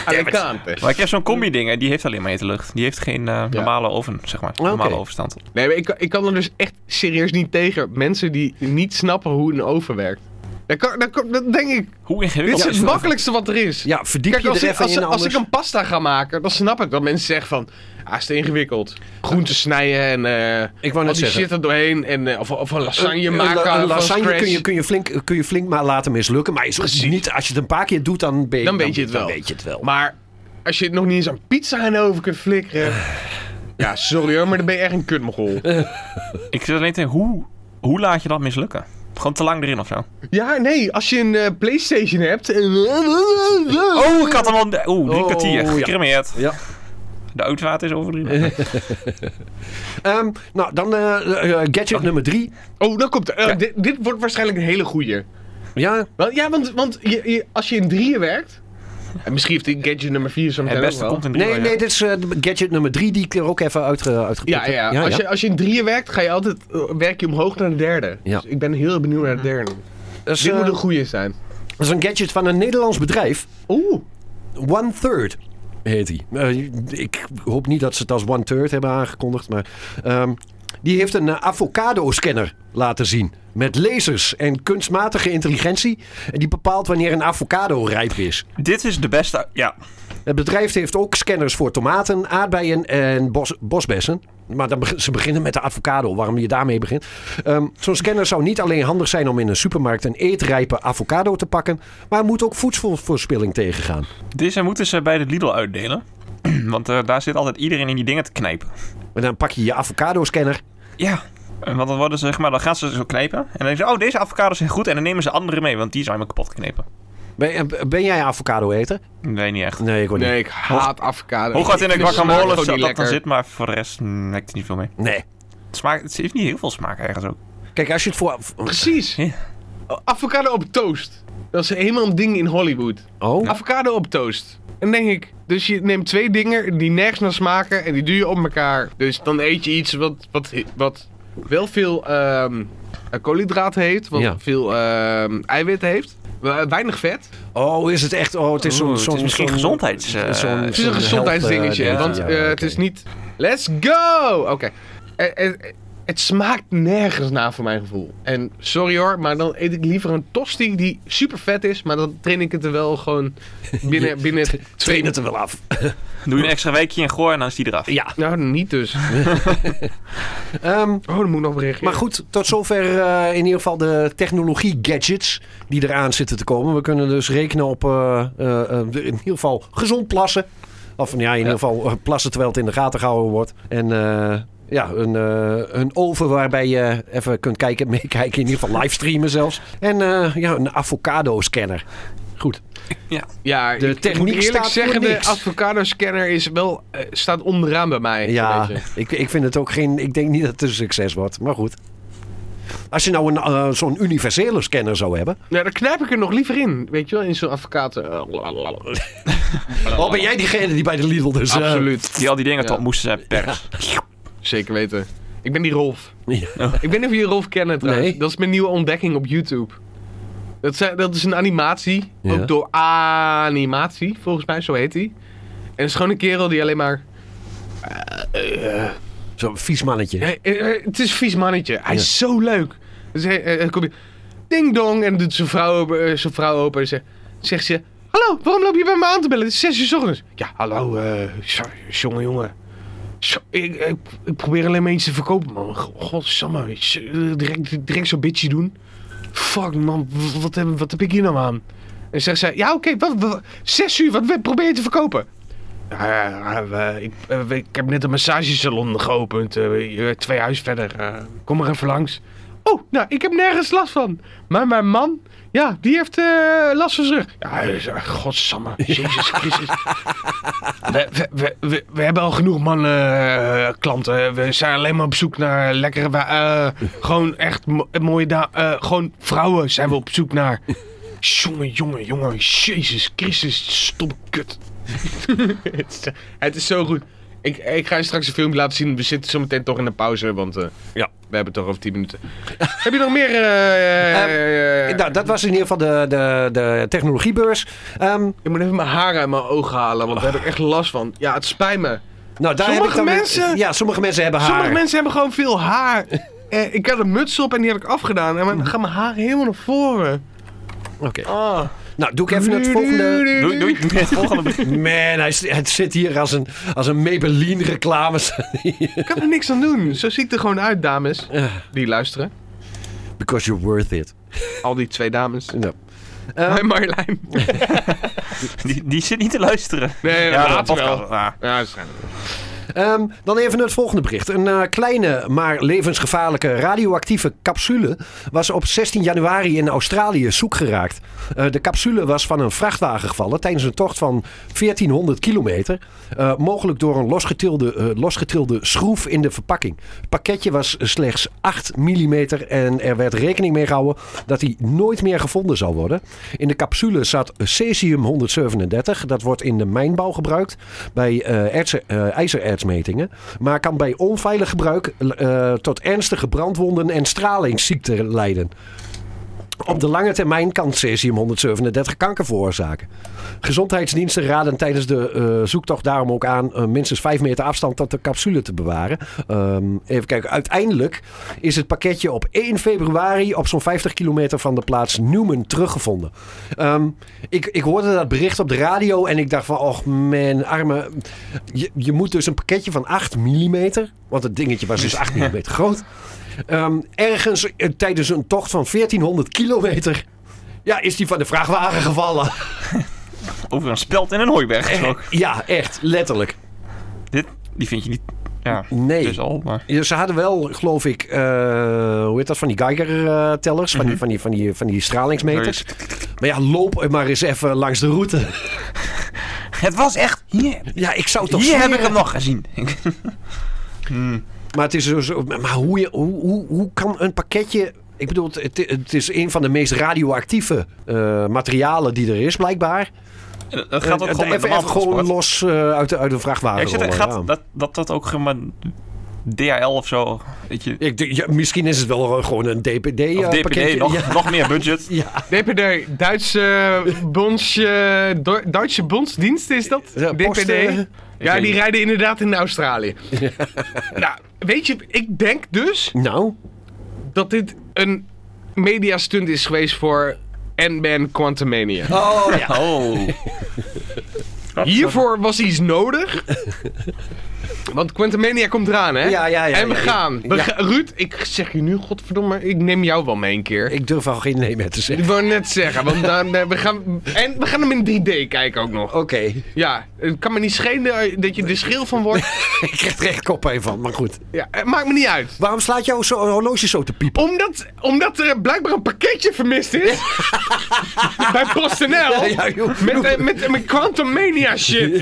[SPEAKER 6] Alicante.
[SPEAKER 3] Maar ik heb zo'n combi-ding en die heeft alleen maar hete lucht. Die heeft geen eh, normale oven, zeg maar. Normale
[SPEAKER 5] Oké.
[SPEAKER 3] overstand.
[SPEAKER 6] Nee, maar ik, ik kan er dus echt serieus niet tegen. Mensen die niet snappen hoe een oven werkt. Dat, kan, dat, kan- dat denk ik.
[SPEAKER 3] Hoe
[SPEAKER 6] Dit
[SPEAKER 3] ingewikkeld
[SPEAKER 6] is het
[SPEAKER 3] dat?
[SPEAKER 6] makkelijkste wat er is.
[SPEAKER 5] Ja, verdiep
[SPEAKER 6] Kijk,
[SPEAKER 5] je
[SPEAKER 6] als
[SPEAKER 5] er
[SPEAKER 6] ik,
[SPEAKER 5] even
[SPEAKER 6] als,
[SPEAKER 5] in
[SPEAKER 6] als
[SPEAKER 5] anders.
[SPEAKER 6] ik een pasta ga maken, dan snap ik dat mensen zeggen van... Ah, is te ingewikkeld. Groenten snijden en eh
[SPEAKER 5] Ik wou
[SPEAKER 6] al
[SPEAKER 5] net
[SPEAKER 6] die
[SPEAKER 5] zeggen.
[SPEAKER 6] shit er doorheen. En, eh, of, of een lasagne
[SPEAKER 5] Een-
[SPEAKER 6] maken
[SPEAKER 5] Een,
[SPEAKER 6] van
[SPEAKER 5] lasagne
[SPEAKER 6] scratch.
[SPEAKER 5] kun je, kun, je flink, kun je flink maar laten mislukken. Maar is
[SPEAKER 6] Precies.
[SPEAKER 5] niet, als je het een paar keer doet, dan, ben je,
[SPEAKER 6] Dan weet je het wel.
[SPEAKER 5] Dan weet je het wel.
[SPEAKER 6] Maar als je het nog niet eens aan pizza en over kunt flikkeren... ja, sorry hoor, maar dan ben je echt een kutmogol.
[SPEAKER 3] Ik zit alleen te denken, hoe, hoe laat je dat mislukken? Gewoon te lang erin of zo.
[SPEAKER 6] Ja, nee, als je een eh, Playstation hebt... En...
[SPEAKER 3] Oh, ik had hem al... Oeh, drie
[SPEAKER 5] Oh,
[SPEAKER 3] kwartier.
[SPEAKER 5] ja.
[SPEAKER 3] Gecremeerd.
[SPEAKER 5] Ja.
[SPEAKER 3] De uitwater is overdreven.
[SPEAKER 5] Ehm, nou, dan eh, eh, gadget nummer drie.
[SPEAKER 6] Oh, dan komt er. eh, dit, dit wordt waarschijnlijk een hele goeie.
[SPEAKER 5] Ja,
[SPEAKER 6] Want, ja, want, want je, je- als je in drieën werkt... En misschien heeft die gadget nummer vier zo
[SPEAKER 3] Het
[SPEAKER 6] meteen ook
[SPEAKER 3] beste
[SPEAKER 6] wel.
[SPEAKER 3] komt in drie
[SPEAKER 5] nee,
[SPEAKER 3] uur,
[SPEAKER 5] nee,
[SPEAKER 3] ja.
[SPEAKER 5] dit is eh, de gadget nummer drie die ik er ook even uit, uitgepikt
[SPEAKER 6] Ja,
[SPEAKER 5] heb.
[SPEAKER 6] ja. als, Je, als je in drieën werkt, ga je altijd, eh, werk je omhoog naar de derde.
[SPEAKER 5] Ja.
[SPEAKER 6] Dus ik ben heel benieuwd naar de derde.
[SPEAKER 5] Dat, is,
[SPEAKER 6] Dit
[SPEAKER 5] eh,
[SPEAKER 6] moet een goeie zijn.
[SPEAKER 5] dat is een gadget van een Nederlands bedrijf.
[SPEAKER 6] Oeh.
[SPEAKER 5] One Third heet hij. Eh, ik hoop niet dat ze het als One Third hebben aangekondigd, maar ehm, die heeft een eh, avocado-scanner laten zien met lasers en kunstmatige intelligentie en die bepaalt wanneer een avocado rijp is.
[SPEAKER 3] Dit is de beste... Ja,
[SPEAKER 5] Het bedrijf heeft ook scanners voor tomaten, aardbeien en bos, bosbessen. Maar dan beg- ze beginnen met de avocado, waarom je daarmee begint. Ehm, Zo'n scanner zou niet alleen handig zijn om in een supermarkt een eetrijpe avocado te pakken, maar moet ook voedselverspilling tegengaan.
[SPEAKER 3] Deze moeten ze bij de Lidl uitdelen. Want eh, daar zit altijd iedereen in die dingen te knijpen.
[SPEAKER 5] En dan pak je je avocado-scanner
[SPEAKER 3] Ja. En Want dan, worden ze, zeg maar, dan gaan ze zo knijpen. En dan denken ze, oh, deze avocados zijn goed. En dan nemen ze andere mee, want die zijn helemaal kapot geknepen.
[SPEAKER 5] Ben, eh, ben jij avocado-eter?
[SPEAKER 3] Nee, niet echt.
[SPEAKER 5] Nee, ik word
[SPEAKER 6] Nee, ik haat avocado.
[SPEAKER 3] Hoe gaat het in
[SPEAKER 6] Ik
[SPEAKER 3] de
[SPEAKER 6] vind smaak
[SPEAKER 3] guacamole
[SPEAKER 6] gewoon
[SPEAKER 3] of zo
[SPEAKER 6] niet
[SPEAKER 3] dat dan
[SPEAKER 6] lekker.
[SPEAKER 3] zit, maar voor de rest mm, merk ik er niet veel mee.
[SPEAKER 5] niet. Nee.
[SPEAKER 3] Het, smaakt, het heeft niet heel veel smaak ergens ook.
[SPEAKER 5] Kijk, als je het voor...
[SPEAKER 6] Precies.
[SPEAKER 3] Ja.
[SPEAKER 6] Avocado op toast. Dat is helemaal een ding in Hollywood.
[SPEAKER 5] Oh,
[SPEAKER 6] Avocado op toast. En denk ik, dus je neemt twee dingen die nergens naar smaken en die duw je op elkaar. Dus dan eet je iets wat, wat, wat wel veel ehm koolhydraten heeft, wat
[SPEAKER 5] Ja.
[SPEAKER 6] veel ehm, eiwit eiwitten heeft, we- weinig vet.
[SPEAKER 5] oh is het echt... Oh, het is zo'n...
[SPEAKER 3] Oeh, het
[SPEAKER 5] zo'n-
[SPEAKER 3] is misschien
[SPEAKER 5] zo'n-
[SPEAKER 3] gezondheids, eh,
[SPEAKER 5] zo'n-
[SPEAKER 3] Het
[SPEAKER 6] Het is een
[SPEAKER 5] zo'n
[SPEAKER 6] gezondheidsdingetje,
[SPEAKER 5] health, eh,
[SPEAKER 6] want
[SPEAKER 5] dingetje.
[SPEAKER 6] eh,
[SPEAKER 5] Ja,
[SPEAKER 6] het
[SPEAKER 5] oké.
[SPEAKER 6] is niet... Let's go! Oké. Eh, eh, eh, het smaakt nergens naar voor mijn gevoel. En sorry hoor, maar dan eet ik liever een tosti die super vet is, maar dan train ik het er wel gewoon binnen... binnen
[SPEAKER 5] Train het er wel af.
[SPEAKER 3] Doe je een extra weekje in goor en dan is die eraf.
[SPEAKER 5] Ja.
[SPEAKER 6] Nou, niet dus.
[SPEAKER 5] Ehm,
[SPEAKER 6] Oh, dan moet ik nog reageren.
[SPEAKER 5] maar goed, tot zover eh, in ieder geval de technologie-gadgets die eraan zitten te komen. We kunnen dus rekenen op eh, eh, eh, in ieder geval gezond plassen. Of ja, in ieder geval eh, plassen terwijl het in de gaten gehouden wordt. En eh, ja, een, eh, een oven waarbij je even kunt kijken, meekijken. In ieder geval livestreamen zelfs. En eh, ja, een avocado-scanner. Goed.
[SPEAKER 6] ja,
[SPEAKER 5] de
[SPEAKER 6] ik- ik,
[SPEAKER 5] techniek
[SPEAKER 6] moet eerlijk
[SPEAKER 5] staat voor
[SPEAKER 6] zeggen, de
[SPEAKER 5] niks.
[SPEAKER 6] avocado-scanner is wel, eh, staat onderaan bij mij.
[SPEAKER 5] Ja,
[SPEAKER 6] zo'n beetje.
[SPEAKER 5] ik, ik vind het ook geen. Ik denk niet dat het een succes wordt, maar goed. Als je nou een, eh, zo'n universele scanner zou hebben.
[SPEAKER 6] Nou, dan knijp ik er nog liever in. Weet je wel, in zo'n avocado.
[SPEAKER 5] Oh, ben jij diegene die bij de Lidl dus. eh,
[SPEAKER 6] Absoluut.
[SPEAKER 3] Die al die dingen
[SPEAKER 6] Ja.
[SPEAKER 3] tot moesten zijn pers.
[SPEAKER 6] Zeker weten. Ik ben die Rolf.
[SPEAKER 5] Ja.
[SPEAKER 6] Ik weet niet of jullie Rolf kennen trouwens.
[SPEAKER 5] Nee.
[SPEAKER 6] Dat is mijn nieuwe ontdekking op YouTube. Dat, zijn, dat is een animatie.
[SPEAKER 5] Ja.
[SPEAKER 6] Ook door animatie, volgens mij, zo heet hij. En het is gewoon een kerel die alleen maar...
[SPEAKER 5] Zo'n vies mannetje.
[SPEAKER 6] Hey, eh, eh, het is een vies mannetje. Hij is zo leuk. Dus hij, eh, kom je, ding dong. En dan doet zijn vrouw, open- eh, zijn vrouw open. En ze, zegt ze: Hallo, waarom loop je bij me aan te bellen? Het is 6 uur 's ochtends. Ja, hallo, eh, sorry, jongen, jongen. Zo, ik, ik, ik probeer alleen maar iets te verkopen, man. Godsamme, s- eh, direct, direct zo'n bitchy doen. Fuck, man, w- wat heb, wat heb ik hier nou aan? En zegt zij: Ja, oké, wat, wat, 6 uur, wat probeer je te verkopen? Ja, ja, ja, eh, ik, eh, ik heb net een massagesalon geopend. eh, eh, twee huis verder. eh, kom maar even langs. Oh, nou, ik heb nergens last van. Maar mijn man, ja, die heeft eh, last van zijn rug. Ja, hij is- eh, godsamme. Jezus Christus. We, we, we, we, we hebben al genoeg mannen eh, klanten. We zijn alleen maar op zoek naar lekkere... wa- eh, gewoon echt mo- mooie... da- eh, gewoon vrouwen zijn we op zoek naar. Jongen, jongen, jongen. Jezus Christus, stom kut. Het is- het is zo goed. Ik, ik ga je straks een filmpje laten zien. We zitten zo meteen toch in de pauze, want eh,
[SPEAKER 5] Ja.
[SPEAKER 6] we hebben toch over 10 minuten. Heb je nog meer? eh, eh,
[SPEAKER 5] Nou, dat was in ieder geval de, de, de technologiebeurs. Ehm,
[SPEAKER 6] ik moet even mijn haren uit mijn ogen halen, want daar heb ik echt last van. Ja, het spijt me.
[SPEAKER 5] nou, daar heb ik
[SPEAKER 6] Sommige
[SPEAKER 5] dan weer-
[SPEAKER 6] mensen-
[SPEAKER 5] ja, sommige mensen hebben haar.
[SPEAKER 6] Sommige mensen hebben gewoon veel haar. Eh, ik had een muts op en die heb ik afgedaan. En dan gaan mijn haren helemaal naar voren.
[SPEAKER 5] Oké.
[SPEAKER 6] Ah.
[SPEAKER 5] Nou, doe ik even het volgende.
[SPEAKER 3] Doei, doei. Het volgende begin.
[SPEAKER 5] Man, hij, zit- het zit hier als een, als een Maybelline-reclame.
[SPEAKER 6] Ik kan er niks aan doen. Zo zie ik er gewoon uit, dames. Die luisteren.
[SPEAKER 5] Because you're worth it.
[SPEAKER 6] Al die twee dames.
[SPEAKER 5] Nou.
[SPEAKER 6] Hoi Marjolein.
[SPEAKER 3] Die, die zit niet te luisteren.
[SPEAKER 6] Nee, later wel.
[SPEAKER 3] Ja, Ah,
[SPEAKER 6] Ja, waarschijnlijk.
[SPEAKER 5] Ehm, dan even het volgende bericht. Een eh, kleine, maar levensgevaarlijke radioactieve capsule was op 16 januari in Australië zoek geraakt. Eh, de capsule was van een vrachtwagen gevallen tijdens een tocht van 1400 kilometer. eh, mogelijk door een losgetilde, eh, losgetilde schroef in de verpakking. Het pakketje was slechts 8 mm en er werd rekening mee gehouden dat hij nooit meer gevonden zal worden. In de capsule zat cesium-137. Dat wordt in de mijnbouw gebruikt bij eh ertsen- eh, ijzerertsmetingen. Maar kan bij onveilig gebruik eh, tot ernstige brandwonden en stralingsziekten leiden. Op de lange termijn kan cesium-137 kanker veroorzaken. Gezondheidsdiensten raden tijdens de eh, zoektocht daarom ook aan... eh, minstens 5 meter afstand tot de capsule te bewaren. Ehm, even kijken, uiteindelijk is het pakketje op 1 februari... op zo'n 50 kilometer van de plaats Newman teruggevonden. Ehm, ik, ik hoorde dat bericht op de radio en ik dacht van... och man, arme... Je, je moet dus een pakketje van 8 millimeter... want het dingetje was dus 8 mm groot... Ehm, ergens eh, tijdens een tocht van 1400 kilometer... Ja, is die van de vrachtwagen gevallen.
[SPEAKER 3] Over een speld en een hooiberg gesproken.
[SPEAKER 5] Ja, echt, letterlijk.
[SPEAKER 3] Dit, die vind je niet Ja,
[SPEAKER 5] Nee.
[SPEAKER 3] dus al, maar...
[SPEAKER 5] Ja, ze hadden wel, geloof ik, eh, hoe heet dat, van die Geiger-tellers,
[SPEAKER 3] Mhm.
[SPEAKER 5] van, die, van, die, van, die, van die stralingsmeters. Maar ja, loop maar eens even langs de route.
[SPEAKER 3] Het was echt... Hier,
[SPEAKER 5] Ja, ik zou het toch
[SPEAKER 3] hier heb ik
[SPEAKER 5] zweren.
[SPEAKER 3] hem nog gezien.
[SPEAKER 5] Maar, het is zo, zo- maar hoe, je, hoe, hoe, hoe kan een pakketje... Ik bedoel, het, het is een van de meest radioactieve eh, materialen die er is, blijkbaar.
[SPEAKER 3] dat gaat ook
[SPEAKER 5] Eh,
[SPEAKER 3] gewoon met
[SPEAKER 5] even,
[SPEAKER 3] normaal
[SPEAKER 5] even gewoon
[SPEAKER 3] transport.
[SPEAKER 5] los eh, uit, de, uit de vrachtwagen
[SPEAKER 3] Ja, ik zit,
[SPEAKER 5] rollen,
[SPEAKER 3] gaat,
[SPEAKER 5] ja.
[SPEAKER 3] dat, dat dat ook gewoon DHL of zo, weet je.
[SPEAKER 5] Ik denk, ja, misschien is het wel eh, gewoon een
[SPEAKER 3] Of DPD,
[SPEAKER 5] DPD-pakketje.
[SPEAKER 3] nog, nog meer budget.
[SPEAKER 5] ja,
[SPEAKER 6] DPD, Duitse bonds, eh, Do- Duitse bondsdienst is dat?
[SPEAKER 5] Ja,
[SPEAKER 6] DPD.
[SPEAKER 5] posten.
[SPEAKER 6] Ja,
[SPEAKER 3] weet
[SPEAKER 6] die
[SPEAKER 3] niet.
[SPEAKER 6] rijden inderdaad in Australië. nou, weet je, ik denk dus
[SPEAKER 5] nou,
[SPEAKER 6] dat dit een mediastunt is geweest voor Ant-Man Quantumania.
[SPEAKER 3] Oh, ja. oh.
[SPEAKER 6] Hiervoor was iets nodig. Want Quantumania komt eraan, hè?
[SPEAKER 5] Ja, ja, ja,
[SPEAKER 6] En we
[SPEAKER 5] ja, ja.
[SPEAKER 6] gaan. We
[SPEAKER 5] Ja.
[SPEAKER 6] ga- Ruud, ik zeg je nu, godverdomme, ik neem jou wel mee een keer.
[SPEAKER 5] ik durf al geen nee meer te
[SPEAKER 6] Ik
[SPEAKER 5] zeggen.
[SPEAKER 6] wou net zeggen, want dan, eh, we, gaan, en we gaan hem in 3D kijken ook nog.
[SPEAKER 5] Oké,
[SPEAKER 6] Ja, het kan me niet schelen eh, dat je er schil van wordt.
[SPEAKER 5] ik krijg er echt kop van, maar goed.
[SPEAKER 6] Ja, het maakt me niet uit.
[SPEAKER 5] Waarom slaat jouw zo- horloge zo te piepen?
[SPEAKER 6] Omdat, omdat er blijkbaar een pakketje vermist is. bij PostNL.
[SPEAKER 5] Ja, joh.
[SPEAKER 6] Met, eh, met, met Quantum Mania shit.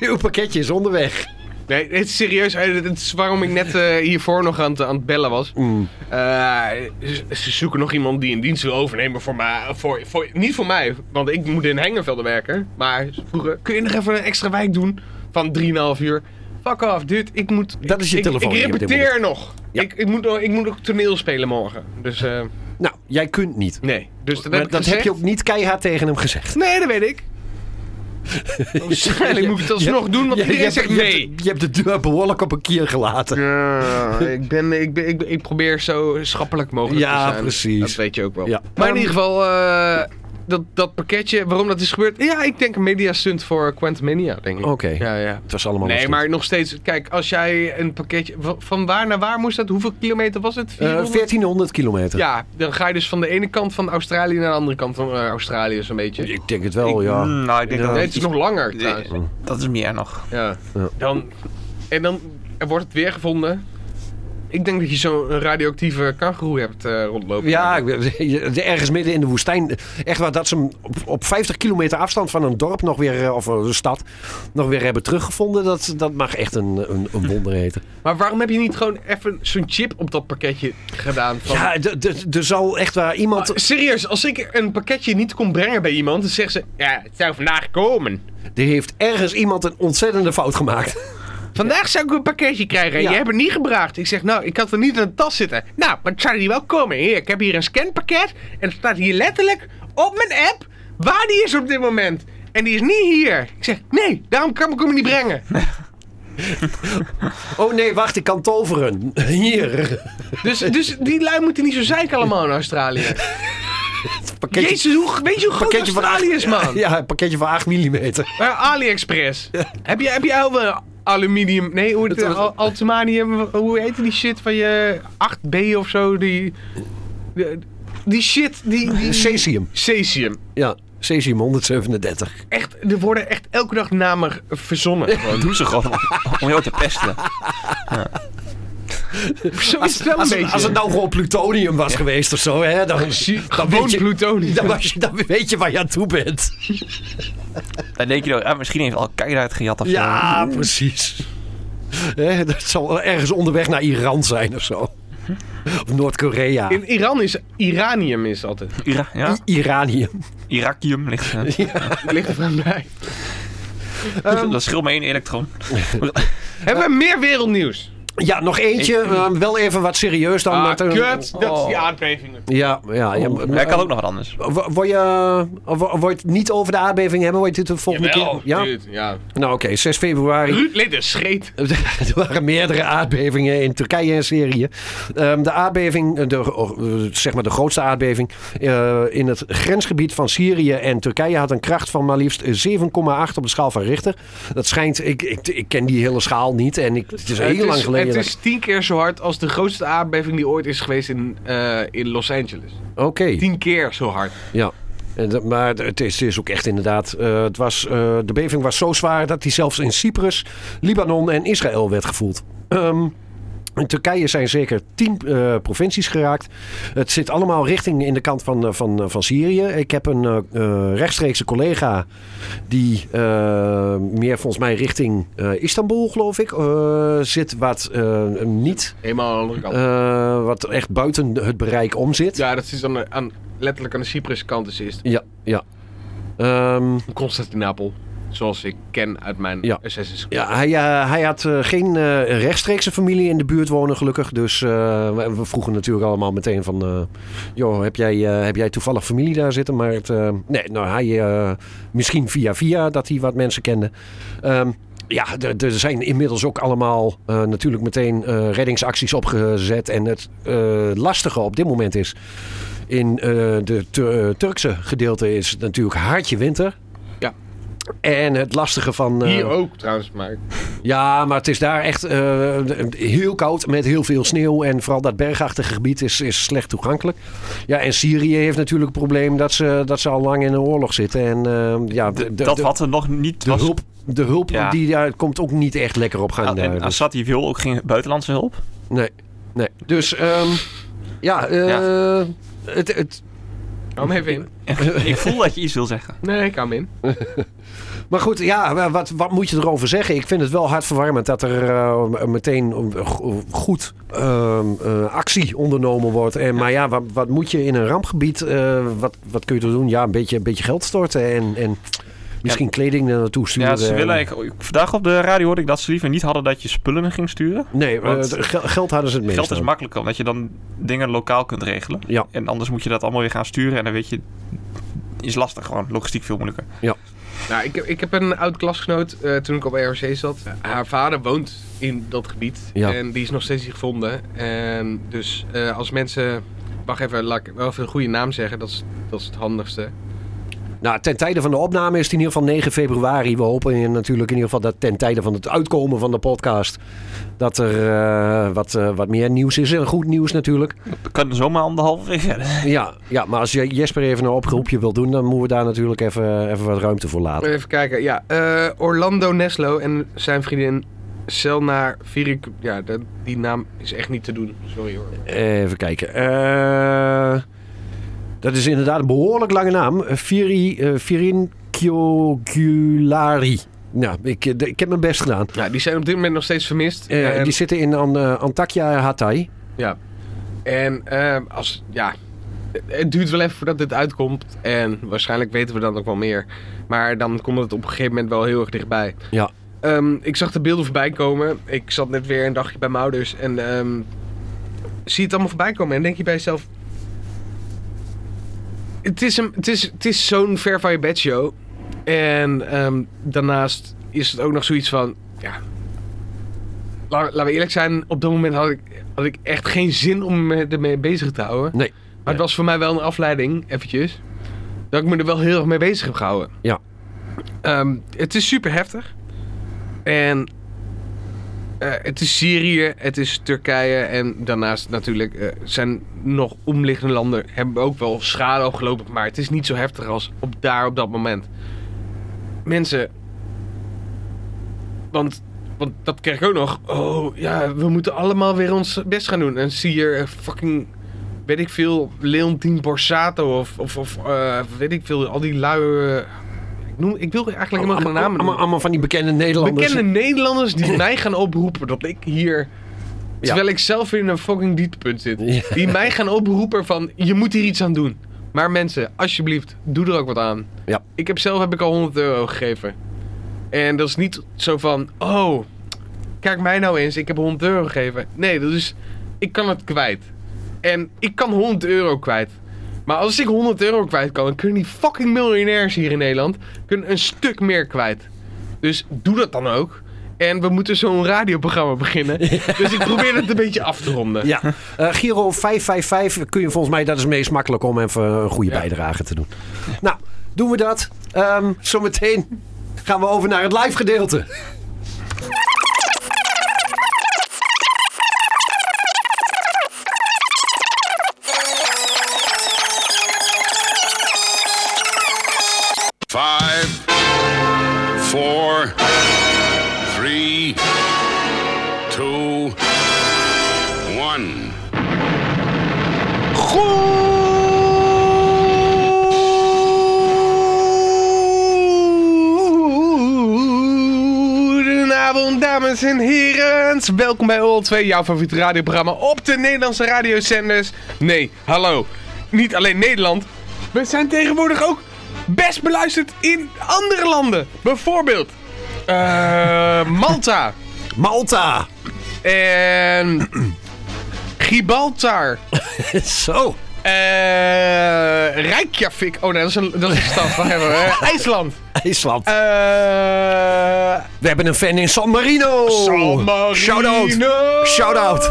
[SPEAKER 5] Uw pakketje is onderweg.
[SPEAKER 6] Nee, het is serieus. eh, Het is waarom ik net eh, hiervoor nog aan het, aan het bellen was.
[SPEAKER 5] Mm.
[SPEAKER 6] Eh, ze, ze zoeken nog iemand die een dienst wil overnemen voor mij. Voor, voor, niet voor mij, want ik moet in Hengenvelde werken. Maar ze vroegen, kun je nog even een extra wijk doen van 3,5 uur? Fuck off, dude. Ik moet...
[SPEAKER 5] Dat is je
[SPEAKER 6] ik,
[SPEAKER 5] telefoon
[SPEAKER 6] Ik
[SPEAKER 5] hier op dit
[SPEAKER 6] repeteer nog.
[SPEAKER 5] Ja.
[SPEAKER 6] Ik, ik, moet nog. ik moet ook toneel spelen morgen. Dus eh,
[SPEAKER 5] Nou, jij kunt niet.
[SPEAKER 6] nee. Dus dat heb,
[SPEAKER 5] Dat,
[SPEAKER 6] ik
[SPEAKER 5] heb
[SPEAKER 6] gezegd.
[SPEAKER 5] je ook niet keihard tegen hem gezegd.
[SPEAKER 6] Nee, dat weet ik. Waarschijnlijk moet ik het alsnog doen, want
[SPEAKER 5] Je- je
[SPEAKER 6] iedereen
[SPEAKER 5] hebt-
[SPEAKER 6] zegt
[SPEAKER 5] je hebt-
[SPEAKER 6] nee.
[SPEAKER 5] Je hebt de deur behoorlijk op een kier gelaten.
[SPEAKER 6] Ja, ik, ben, ik, ben, ik, ben- ik probeer zo schappelijk mogelijk
[SPEAKER 5] Ja,
[SPEAKER 6] te zijn.
[SPEAKER 5] precies.
[SPEAKER 6] Dat weet je ook wel.
[SPEAKER 5] Ja.
[SPEAKER 6] Maar in ieder geval, eh, dat, dat pakketje, waarom dat is gebeurd. Ja, ik denk een mediastunt voor Quantumania, denk ik.
[SPEAKER 5] Oké.
[SPEAKER 6] Ja, ja.
[SPEAKER 5] Het Oh, was allemaal
[SPEAKER 6] Nee,
[SPEAKER 5] lastig.
[SPEAKER 6] maar nog steeds, kijk, als jij een pakketje. va- Van waar naar waar moest dat? Hoeveel kilometer was het?
[SPEAKER 5] Eh, 1400 kilometer.
[SPEAKER 6] Ja, dan ga je dus van de ene kant van Australië naar de andere kant van eh, Australië, zo'n beetje.
[SPEAKER 5] Ik denk het wel,
[SPEAKER 3] Ik-
[SPEAKER 5] Oh, ja.
[SPEAKER 3] mm, nou, ik denk dat
[SPEAKER 6] Nee, het is nog langer trouwens.
[SPEAKER 3] Dat is meer nog.
[SPEAKER 6] Ja.
[SPEAKER 5] Ja.
[SPEAKER 6] Dan, en dan wordt het weer gevonden. Ik denk dat je zo'n radioactieve kangoeroe hebt eh, rondlopen.
[SPEAKER 5] Ja, ik ben- ergens midden in de woestijn. Echt waar dat ze hem op, op 50 kilometer afstand van een dorp nog weer, eh, of een stad, nog weer hebben teruggevonden. Dat, dat mag echt een, een, een wonder heten.
[SPEAKER 6] Maar waarom heb je niet gewoon even zo'n chip op dat pakketje gedaan? Van...
[SPEAKER 5] Ja, d- d- er zal echt waar iemand.
[SPEAKER 6] Serieus, als ik een pakketje niet kon brengen bij iemand, dan zeggen ze... Ja, het zou vandaag komen.
[SPEAKER 5] Er heeft ergens iemand een ontzettende fout gemaakt.
[SPEAKER 6] Vandaag zou ik een pakketje krijgen en
[SPEAKER 5] Ja.
[SPEAKER 6] je hebt het niet gebracht. Ik zeg, nou, ik had er niet in de tas zitten. Nou, maar het zou die wel komen. Hier, ik heb hier een scanpakket en het staat hier letterlijk op mijn app waar die is op dit moment. En die is niet hier. Ik zeg, nee, daarom kan ik hem niet brengen.
[SPEAKER 5] Oh nee, wacht, ik kan toveren. Hier.
[SPEAKER 6] Dus, dus die lui moeten niet zo zeiken allemaal in Australië.
[SPEAKER 5] Pakketje,
[SPEAKER 6] Jezus, hoe, weet je hoe groot
[SPEAKER 5] pakketje van
[SPEAKER 6] Australië is, man?
[SPEAKER 5] Ja, een pakketje van 8 mm.
[SPEAKER 6] Maar AliExpress. Heb je, heb je al wel aluminium? Nee, hoe heet het? Al- Altumanium? Hoe heet die shit van je 8B of zo? Die, die, die shit, die, die...
[SPEAKER 5] Cesium.
[SPEAKER 6] Cesium.
[SPEAKER 5] Ja, cesium 137.
[SPEAKER 6] Echt, er worden echt elke dag namen g- verzonnen.
[SPEAKER 3] Wat doen ze gewoon om jou te pesten?
[SPEAKER 6] Zo is het wel een
[SPEAKER 5] Als het,
[SPEAKER 6] beetje.
[SPEAKER 5] als het nou gewoon plutonium was geweest of zo, hè, dan, dan,
[SPEAKER 6] Gewoon
[SPEAKER 5] weet je,
[SPEAKER 6] plutonium.
[SPEAKER 5] dan, was je- dan weet je waar je aan toe bent.
[SPEAKER 3] Dan denk je, nou, ah, misschien heeft Al-Qaeda het gejat of zo.
[SPEAKER 5] Ja, precies. Hè, dat zal ergens onderweg naar Iran zijn of zo. Of Noord-Korea.
[SPEAKER 6] In Iran is Iranium is altijd.
[SPEAKER 3] Ira ja?
[SPEAKER 5] Iranium.
[SPEAKER 3] Irakium ligt eh,
[SPEAKER 6] Ligt er van bij.
[SPEAKER 3] Dat scheelt me één elektron.
[SPEAKER 6] Hebben we meer wereldnieuws?
[SPEAKER 5] Ja, nog eentje. eh, wel even wat serieus dan.
[SPEAKER 6] Ah,
[SPEAKER 5] met een-
[SPEAKER 6] kut. Dat is die
[SPEAKER 3] Oh.
[SPEAKER 6] aardbeving.
[SPEAKER 5] Ja, ja. ja maar-
[SPEAKER 3] Hij kan ook nog wat anders.
[SPEAKER 5] Wo- Word je, eh, wo- word je het niet over de aardbeving hebben? Word je het de volgende
[SPEAKER 6] Jawel,
[SPEAKER 5] keer? Ja?
[SPEAKER 6] dude, ja.
[SPEAKER 5] Nou oké, 6 februari.
[SPEAKER 6] Ruud Lidde scheet.
[SPEAKER 5] er waren meerdere aardbevingen in Turkije en Syrië. Ehm, de aardbeving, eh, de, eh, zeg maar de grootste aardbeving eh, in het grensgebied van Syrië en Turkije had een kracht van maar liefst 7,8 op de schaal van Richter. Dat schijnt, ik, ik, ik ken die hele schaal niet en ik, het is heel
[SPEAKER 6] het,
[SPEAKER 5] lang
[SPEAKER 6] is,
[SPEAKER 5] geleden.
[SPEAKER 6] het
[SPEAKER 5] dat
[SPEAKER 6] is tien keer zo hard als de grootste aardbeving die ooit is geweest in, eh, in Los Angeles.
[SPEAKER 5] ik- Oké,
[SPEAKER 6] Tien keer zo hard.
[SPEAKER 5] ja. En dat- maar het is, het is ook echt inderdaad. eh, het was, eh, de beving was zo zwaar dat die zelfs in Cyprus, Libanon en Israël werd gevoeld. Ehm, in Turkije zijn zeker tien eh, provincies geraakt. Het zit allemaal richting in de kant van, eh, van, eh, van Syrië. Ik heb een eh, eh, rechtstreekse collega die eh, meer volgens mij richting eh, Istanbul, geloof ik, eh, zit. Wat eh, niet,
[SPEAKER 6] Helemaal aan de andere kant.
[SPEAKER 5] eh, wat echt buiten het bereik om zit.
[SPEAKER 6] ja, dat is dan aan, letterlijk aan de Cyprus kant. Dus is
[SPEAKER 5] ja. ja. Ehm,
[SPEAKER 6] het Constantinopel. Zoals ik ken uit mijn
[SPEAKER 5] Ja.
[SPEAKER 6] Assassin's Creed.
[SPEAKER 5] Ja, hij, eh, hij had eh, geen eh, rechtstreekse familie in de buurt wonen, gelukkig. Dus eh, we- we vroegen natuurlijk allemaal meteen van... eh, joh, heb jij, eh, heb jij toevallig familie daar zitten? Maar het, eh, nee, nou, hij... eh, misschien via via dat hij wat mensen kende. Ehm, ja, er- er zijn inmiddels ook allemaal eh, natuurlijk meteen eh, reddingsacties opgezet. En het eh, lastige op dit moment is... In eh, de Tur- eh, Turkse gedeelte is het natuurlijk hartje winter.
[SPEAKER 6] Ja.
[SPEAKER 5] En het lastige van... eh,
[SPEAKER 6] Hier ook trouwens, maar
[SPEAKER 5] ja, maar het is daar echt eh, heel koud met heel veel sneeuw. En vooral dat bergachtige gebied is, is slecht toegankelijk. Ja, en Syrië heeft natuurlijk het probleem dat ze, dat ze al lang in een oorlog zitten. En eh, ja, de, de-
[SPEAKER 3] dat
[SPEAKER 5] de-
[SPEAKER 3] wat er nog niet
[SPEAKER 5] de
[SPEAKER 3] was.
[SPEAKER 5] hulp, de hulp
[SPEAKER 3] Ja.
[SPEAKER 5] die daar komt ook niet echt lekker op
[SPEAKER 3] Ah,
[SPEAKER 5] gaan. daar.
[SPEAKER 3] en
[SPEAKER 5] Dus-
[SPEAKER 3] Assad die wil ook geen buitenlandse hulp.
[SPEAKER 5] nee, nee. Dus ehm, ja, eh, Het, het,
[SPEAKER 6] hou hem even in.
[SPEAKER 3] ik voel dat je iets wil zeggen.
[SPEAKER 6] Nee, ik hou hem in.
[SPEAKER 5] Maar goed, ja, wa- wat, wat moet je erover zeggen? Ik vind het wel hartverwarmend dat er eh, meteen eh, go- goed ehm, eh, actie ondernomen wordt. En, Maar ja, wat, wat moet je in een rampgebied? eh, wat, wat kun je er doen? Ja, een beetje, een beetje geld storten en, en misschien kleding er naartoe sturen.
[SPEAKER 3] Ja, ze
[SPEAKER 5] En-
[SPEAKER 3] willen, ik, ik- vandaag op de radio hoorde ik dat ze liever niet hadden dat je spullen ging sturen.
[SPEAKER 5] Nee, eh,
[SPEAKER 3] want
[SPEAKER 5] het gel- geld hadden ze het meest.
[SPEAKER 3] Geld is
[SPEAKER 5] aan.
[SPEAKER 3] makkelijker, omdat je dan dingen lokaal kunt regelen.
[SPEAKER 5] Ja.
[SPEAKER 3] En anders moet je dat allemaal weer gaan sturen. En dan weet je, is lastig gewoon. Logistiek veel moeilijker.
[SPEAKER 6] Nou, ik, heb- ik heb een oud klasgenoot eh, toen ik op ROC zat. Haar vader woont in dat gebied.
[SPEAKER 5] Ja.
[SPEAKER 6] En die is nog steeds niet gevonden. En dus eh, als mensen. Wacht even, laat ik wel even een goede naam zeggen. Dat is, dat is het handigste.
[SPEAKER 5] Nou, ten tijde van de opname is het in ieder geval 9 februari. We hopen in, natuurlijk in ieder geval dat ten tijde van het uitkomen van de podcast... dat er eh, wat, eh, wat meer nieuws is. En goed nieuws natuurlijk.
[SPEAKER 3] We kunnen zomaar anderhalf week verder.
[SPEAKER 5] Ja, ja, maar als je Jesper even een oproepje wil doen, dan moeten we daar natuurlijk even, even wat ruimte voor laten.
[SPEAKER 6] Even kijken, ja. eh, Orlando Neslo en zijn vriendin Selna Virik. Ja, dat- die naam is echt niet te doen. Sorry hoor.
[SPEAKER 5] Even kijken. Eh, dat is inderdaad een behoorlijk lange naam. Viri, eh, Virin Kyogulari. Nou, ik, ik heb mijn best gedaan.
[SPEAKER 6] Ja, die zijn op dit moment nog steeds vermist.
[SPEAKER 5] Eh,
[SPEAKER 6] en,
[SPEAKER 5] die zitten in An- eh, Antakya Hatay.
[SPEAKER 6] ja. En eh, als. Ja. Het duurt wel even voordat dit uitkomt. En waarschijnlijk weten we dan ook wel meer. Maar dan komt het op een gegeven moment wel heel erg dichtbij.
[SPEAKER 5] Ja.
[SPEAKER 6] Ehm, ik zag de beelden voorbij komen. Ik zat net weer een dagje bij mijn ouders. En ehm, zie het allemaal voorbij komen. En denk je bij jezelf... Het is, een, het is, het is zo'n ver van je bed show. En ehm, daarnaast is het ook nog zoiets van... Ja, la- laten we eerlijk zijn. Op dat moment had ik, had ik echt geen zin om me ermee bezig te houden.
[SPEAKER 5] Nee.
[SPEAKER 6] Maar het was voor mij wel een afleiding, eventjes. Dat ik me er wel heel erg mee bezig heb gehouden.
[SPEAKER 5] Ja.
[SPEAKER 6] Ehm, het is super heftig. En eh, het is Syrië, het is Turkije en daarnaast natuurlijk eh, zijn nog omliggende landen hebben ook wel schade opgelopen, maar het is niet zo heftig als op daar op dat moment. Mensen, want, want dat kreeg ik ook nog. Oh ja, we moeten allemaal weer ons best gaan doen. En zie je eh, fucking, weet ik veel, Leontien Borsato of, of, of eh, weet ik veel, al die luie. ik, noem, ik wil eigenlijk helemaal geen namen noemen.
[SPEAKER 5] Allemaal, allemaal van die bekende Nederlanders.
[SPEAKER 6] Bekende Nederlanders die mij gaan oproepen dat ik hier. Terwijl ik zelf in een fucking dieptepunt zit.
[SPEAKER 5] Ja.
[SPEAKER 6] Die mij gaan oproepen van je moet hier iets aan doen. Maar mensen, alsjeblieft, doe er ook wat aan.
[SPEAKER 5] Ja.
[SPEAKER 6] Ik heb zelf heb ik al 100 euro gegeven. En dat is niet zo van, oh, kijk mij nou eens, ik heb 100 euro gegeven. Nee, dat is, ik kan het kwijt. En ik kan 100 euro kwijt. Maar als ik 100 euro kwijt kan, dan kunnen die fucking miljonairs hier in Nederland kunnen een stuk meer kwijt. Dus doe dat dan ook. En we moeten zo'n radioprogramma beginnen. Dus ik probeer het een beetje af te ronden.
[SPEAKER 5] Ja, Eh, Giro 555 kun je volgens mij, dat is het meest makkelijk om even een goede
[SPEAKER 6] Ja.
[SPEAKER 5] bijdrage te doen. Nou, doen we dat. Ehm, zometeen gaan we over naar het live gedeelte.
[SPEAKER 6] Goedenavond, dames en heren. Welkom bij OL2, jouw favoriete radioprogramma op de Nederlandse radiozenders. Nee, hallo. Niet alleen Nederland. We zijn tegenwoordig ook best beluisterd in andere landen. Bijvoorbeeld eh, Malta
[SPEAKER 5] Malta.
[SPEAKER 6] en Gibraltar.
[SPEAKER 5] Zo.
[SPEAKER 6] Eh Reykjavik. Oh nee, dat is een, dat is een stad. Wacht even. Eh, IJsland.
[SPEAKER 5] IJsland.
[SPEAKER 6] Eh
[SPEAKER 5] We hebben een fan in San Marino.
[SPEAKER 6] San Marino.
[SPEAKER 5] Shout-out.
[SPEAKER 6] Eh,
[SPEAKER 5] Shout-out.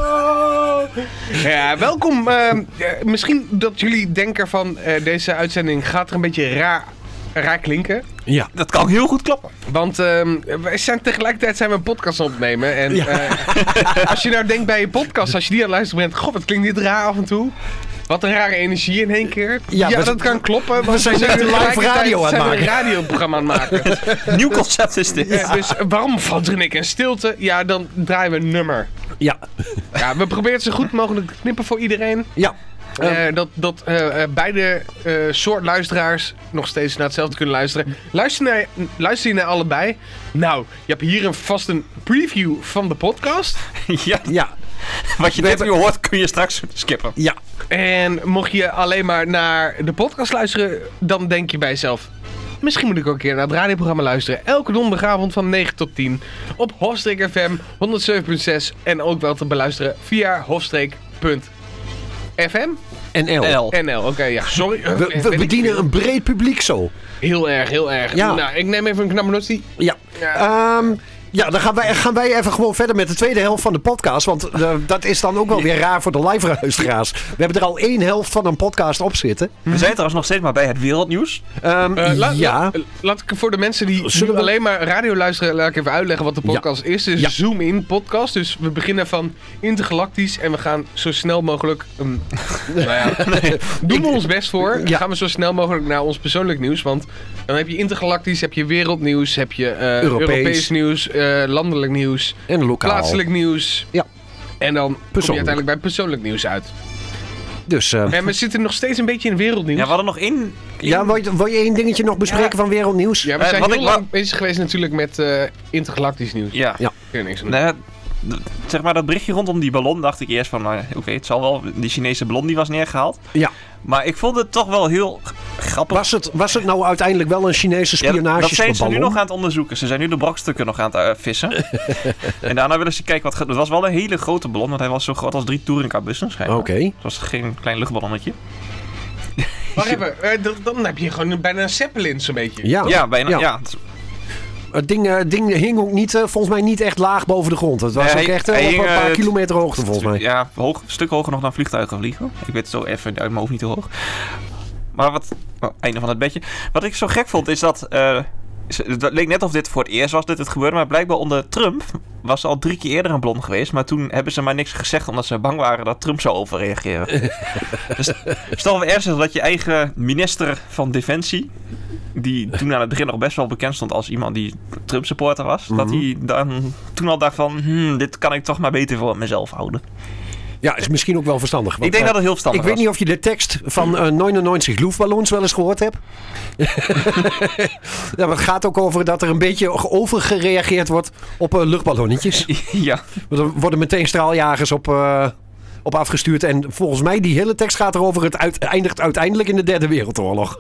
[SPEAKER 6] Ja, welkom. Eh, eh, misschien dat jullie denken van eh, deze uitzending gaat er een beetje raar, raar klinken.
[SPEAKER 5] Ja.
[SPEAKER 3] Dat kan heel goed kloppen.
[SPEAKER 6] Want ehm wij zijn tegelijkertijd zijn we een podcast aan het opnemen. En eh, als je nou denkt bij je podcast, als je die aan het luisteren bent, god, wat klinkt dit raar af en toe. Wat een rare energie in één keer.
[SPEAKER 5] Ja,
[SPEAKER 6] Ja,
[SPEAKER 5] we-
[SPEAKER 6] dat kan kloppen. want
[SPEAKER 5] zijn net een live
[SPEAKER 6] tegelijkertijd
[SPEAKER 5] radio aan het
[SPEAKER 6] zijn we
[SPEAKER 5] maken.
[SPEAKER 6] een radioprogramma aan het maken.
[SPEAKER 3] Nieuw concept is dit.
[SPEAKER 6] Eh, dus waarom valt er en stilte? Ja, dan draaien we een nummer.
[SPEAKER 5] Ja.
[SPEAKER 6] Ja, we proberen het zo goed mogelijk te knippen voor iedereen.
[SPEAKER 5] Ja.
[SPEAKER 6] Eh, dat dat eh, eh, beide eh, soort luisteraars nog steeds naar hetzelfde kunnen luisteren. Luister, naar, luister je naar allebei? Nou, je hebt hier een, vast een preview van de podcast.
[SPEAKER 3] Ja,
[SPEAKER 5] Ja.
[SPEAKER 3] wat je net nu hoort kun je straks skippen.
[SPEAKER 5] Ja.
[SPEAKER 6] En mocht je alleen maar naar de podcast luisteren, dan denk je bij jezelf... Misschien moet ik ook een keer naar het radioprogramma luisteren. Elke donderdagavond van 9 tot 10 op Hofstreek FM 107.6. En ook wel te beluisteren via hofstreek.fm.
[SPEAKER 5] NL.
[SPEAKER 3] L.
[SPEAKER 6] NL, oké, ja. Sorry. eh,
[SPEAKER 5] We,
[SPEAKER 6] weet
[SPEAKER 5] we
[SPEAKER 6] ik
[SPEAKER 5] bedienen
[SPEAKER 6] veel.
[SPEAKER 5] een breed publiek zo.
[SPEAKER 6] Heel erg, heel erg.
[SPEAKER 5] Ja.
[SPEAKER 6] Nou, ik neem even een knappe notie.
[SPEAKER 5] Ja. Ehm, ja, dan gaan wij, gaan wij even gewoon verder met de tweede helft van de podcast. Want eh, dat is dan ook wel weer raar voor de live luisteraars. We hebben er al één helft van een podcast op zitten.
[SPEAKER 3] We zijn trouwens nog steeds maar bij het wereldnieuws.
[SPEAKER 5] Ehm,
[SPEAKER 6] Eh, la-
[SPEAKER 5] ja.
[SPEAKER 6] la- laat ik voor de mensen die
[SPEAKER 5] Zullen
[SPEAKER 6] nu
[SPEAKER 5] we-
[SPEAKER 6] alleen maar radio luisteren, laat ik even uitleggen wat de podcast is. Dus
[SPEAKER 5] Ja.
[SPEAKER 6] Zoom In podcast. Dus we beginnen van intergalactisch en we gaan zo snel mogelijk... een- nou ja, doen we ons best voor.
[SPEAKER 5] Ja.
[SPEAKER 6] Gaan we zo snel mogelijk naar ons persoonlijk nieuws. Want dan heb je intergalactisch, heb je wereldnieuws, heb je eh,
[SPEAKER 5] Europees.
[SPEAKER 6] Europees. nieuws, eh, landelijk nieuws,
[SPEAKER 5] en lokaal.
[SPEAKER 6] plaatselijk nieuws.
[SPEAKER 5] Ja.
[SPEAKER 6] En dan kom je
[SPEAKER 5] Persoonlijk.
[SPEAKER 6] uiteindelijk bij persoonlijk nieuws uit.
[SPEAKER 5] Dus eh,
[SPEAKER 6] En we zitten nog steeds een beetje in wereldnieuws.
[SPEAKER 3] Ja, we hadden nog één.
[SPEAKER 5] ja, wil je, wil je één dingetje nog bespreken van wereldnieuws?
[SPEAKER 6] Ja, we
[SPEAKER 3] Eh,
[SPEAKER 6] zijn
[SPEAKER 3] wat
[SPEAKER 6] heel
[SPEAKER 3] ik
[SPEAKER 6] lang
[SPEAKER 3] wou-
[SPEAKER 6] bezig geweest natuurlijk met eh, intergalactisch nieuws.
[SPEAKER 3] Ja.
[SPEAKER 5] Ja.
[SPEAKER 6] Kun je niks aan doen.
[SPEAKER 3] Nou ja, d- zeg maar dat berichtje rondom die ballon dacht ik eerst van, nou, oké, het zal wel, die Chinese ballon die was neergehaald.
[SPEAKER 5] Ja.
[SPEAKER 3] Maar ik vond het toch wel heel g- grappig.
[SPEAKER 5] Was, het, was het nou uiteindelijk wel een Chinese
[SPEAKER 3] Ja, dat- dat zijn ze nu
[SPEAKER 5] spionageballon?
[SPEAKER 3] nog aan het onderzoeken. Ze zijn nu de brokstukken nog aan het eh, vissen. en daarna willen ze kijken, wat ge- het was wel een hele grote ballon, want hij was zo groot als drie touringcarbussen schijnbaar.
[SPEAKER 5] Oké.
[SPEAKER 3] Het was geen klein luchtballonnetje.
[SPEAKER 6] Wacht even, eh, dat- dan heb je gewoon een- bijna een Zeppelin zo'n beetje.
[SPEAKER 5] Ja.
[SPEAKER 3] Ja, bijna.
[SPEAKER 5] Oh. Ja.
[SPEAKER 3] Ja. het-
[SPEAKER 5] Het ding, eh, ding hing ook niet, eh, volgens mij niet echt laag boven de grond. Het was
[SPEAKER 3] Nee,
[SPEAKER 5] ook
[SPEAKER 3] hij-
[SPEAKER 5] echt eh,
[SPEAKER 3] hij
[SPEAKER 5] op
[SPEAKER 3] hing,
[SPEAKER 5] een paar
[SPEAKER 3] eh,
[SPEAKER 5] kilometer hoogte volgens mij.
[SPEAKER 3] Ja, hoog, een stuk hoger nog dan vliegtuigen vliegen. Ik weet het zo even uit mijn hoofd niet hoe hoog. Maar wat... oh, einde van het bedje. Wat ik zo gek vond is dat... eh, ze- het leek net of dit voor het eerst was dat het gebeurde. Maar blijkbaar onder Trump was er al drie keer eerder een blond geweest. Maar toen hebben ze maar niks gezegd omdat ze bang waren dat Trump zou overreageren. dus stel we ernstig dat je eigen minister van Defensie... Die toen aan het begin nog best wel bekend stond als iemand die Trump supporter was.
[SPEAKER 5] Mhm.
[SPEAKER 3] Dat hij dan toen al dacht van, hmm, dit kan ik toch maar beter voor mezelf houden.
[SPEAKER 5] Ja, is misschien ook wel verstandig. want,
[SPEAKER 3] Ik denk
[SPEAKER 5] eh,
[SPEAKER 3] dat het heel verstandig
[SPEAKER 5] Ik weet
[SPEAKER 3] was.
[SPEAKER 5] niet of je de tekst van eh 99 Luftballons wel eens gehoord hebt. ja, maar het gaat ook over dat er een beetje overgereageerd wordt op eh, luchtballonnetjes.
[SPEAKER 3] ja.
[SPEAKER 5] Want Er worden meteen straaljagers op, eh, op afgestuurd. En volgens mij, die hele tekst gaat erover. Het uit- eindigt uiteindelijk in de Derde Wereldoorlog.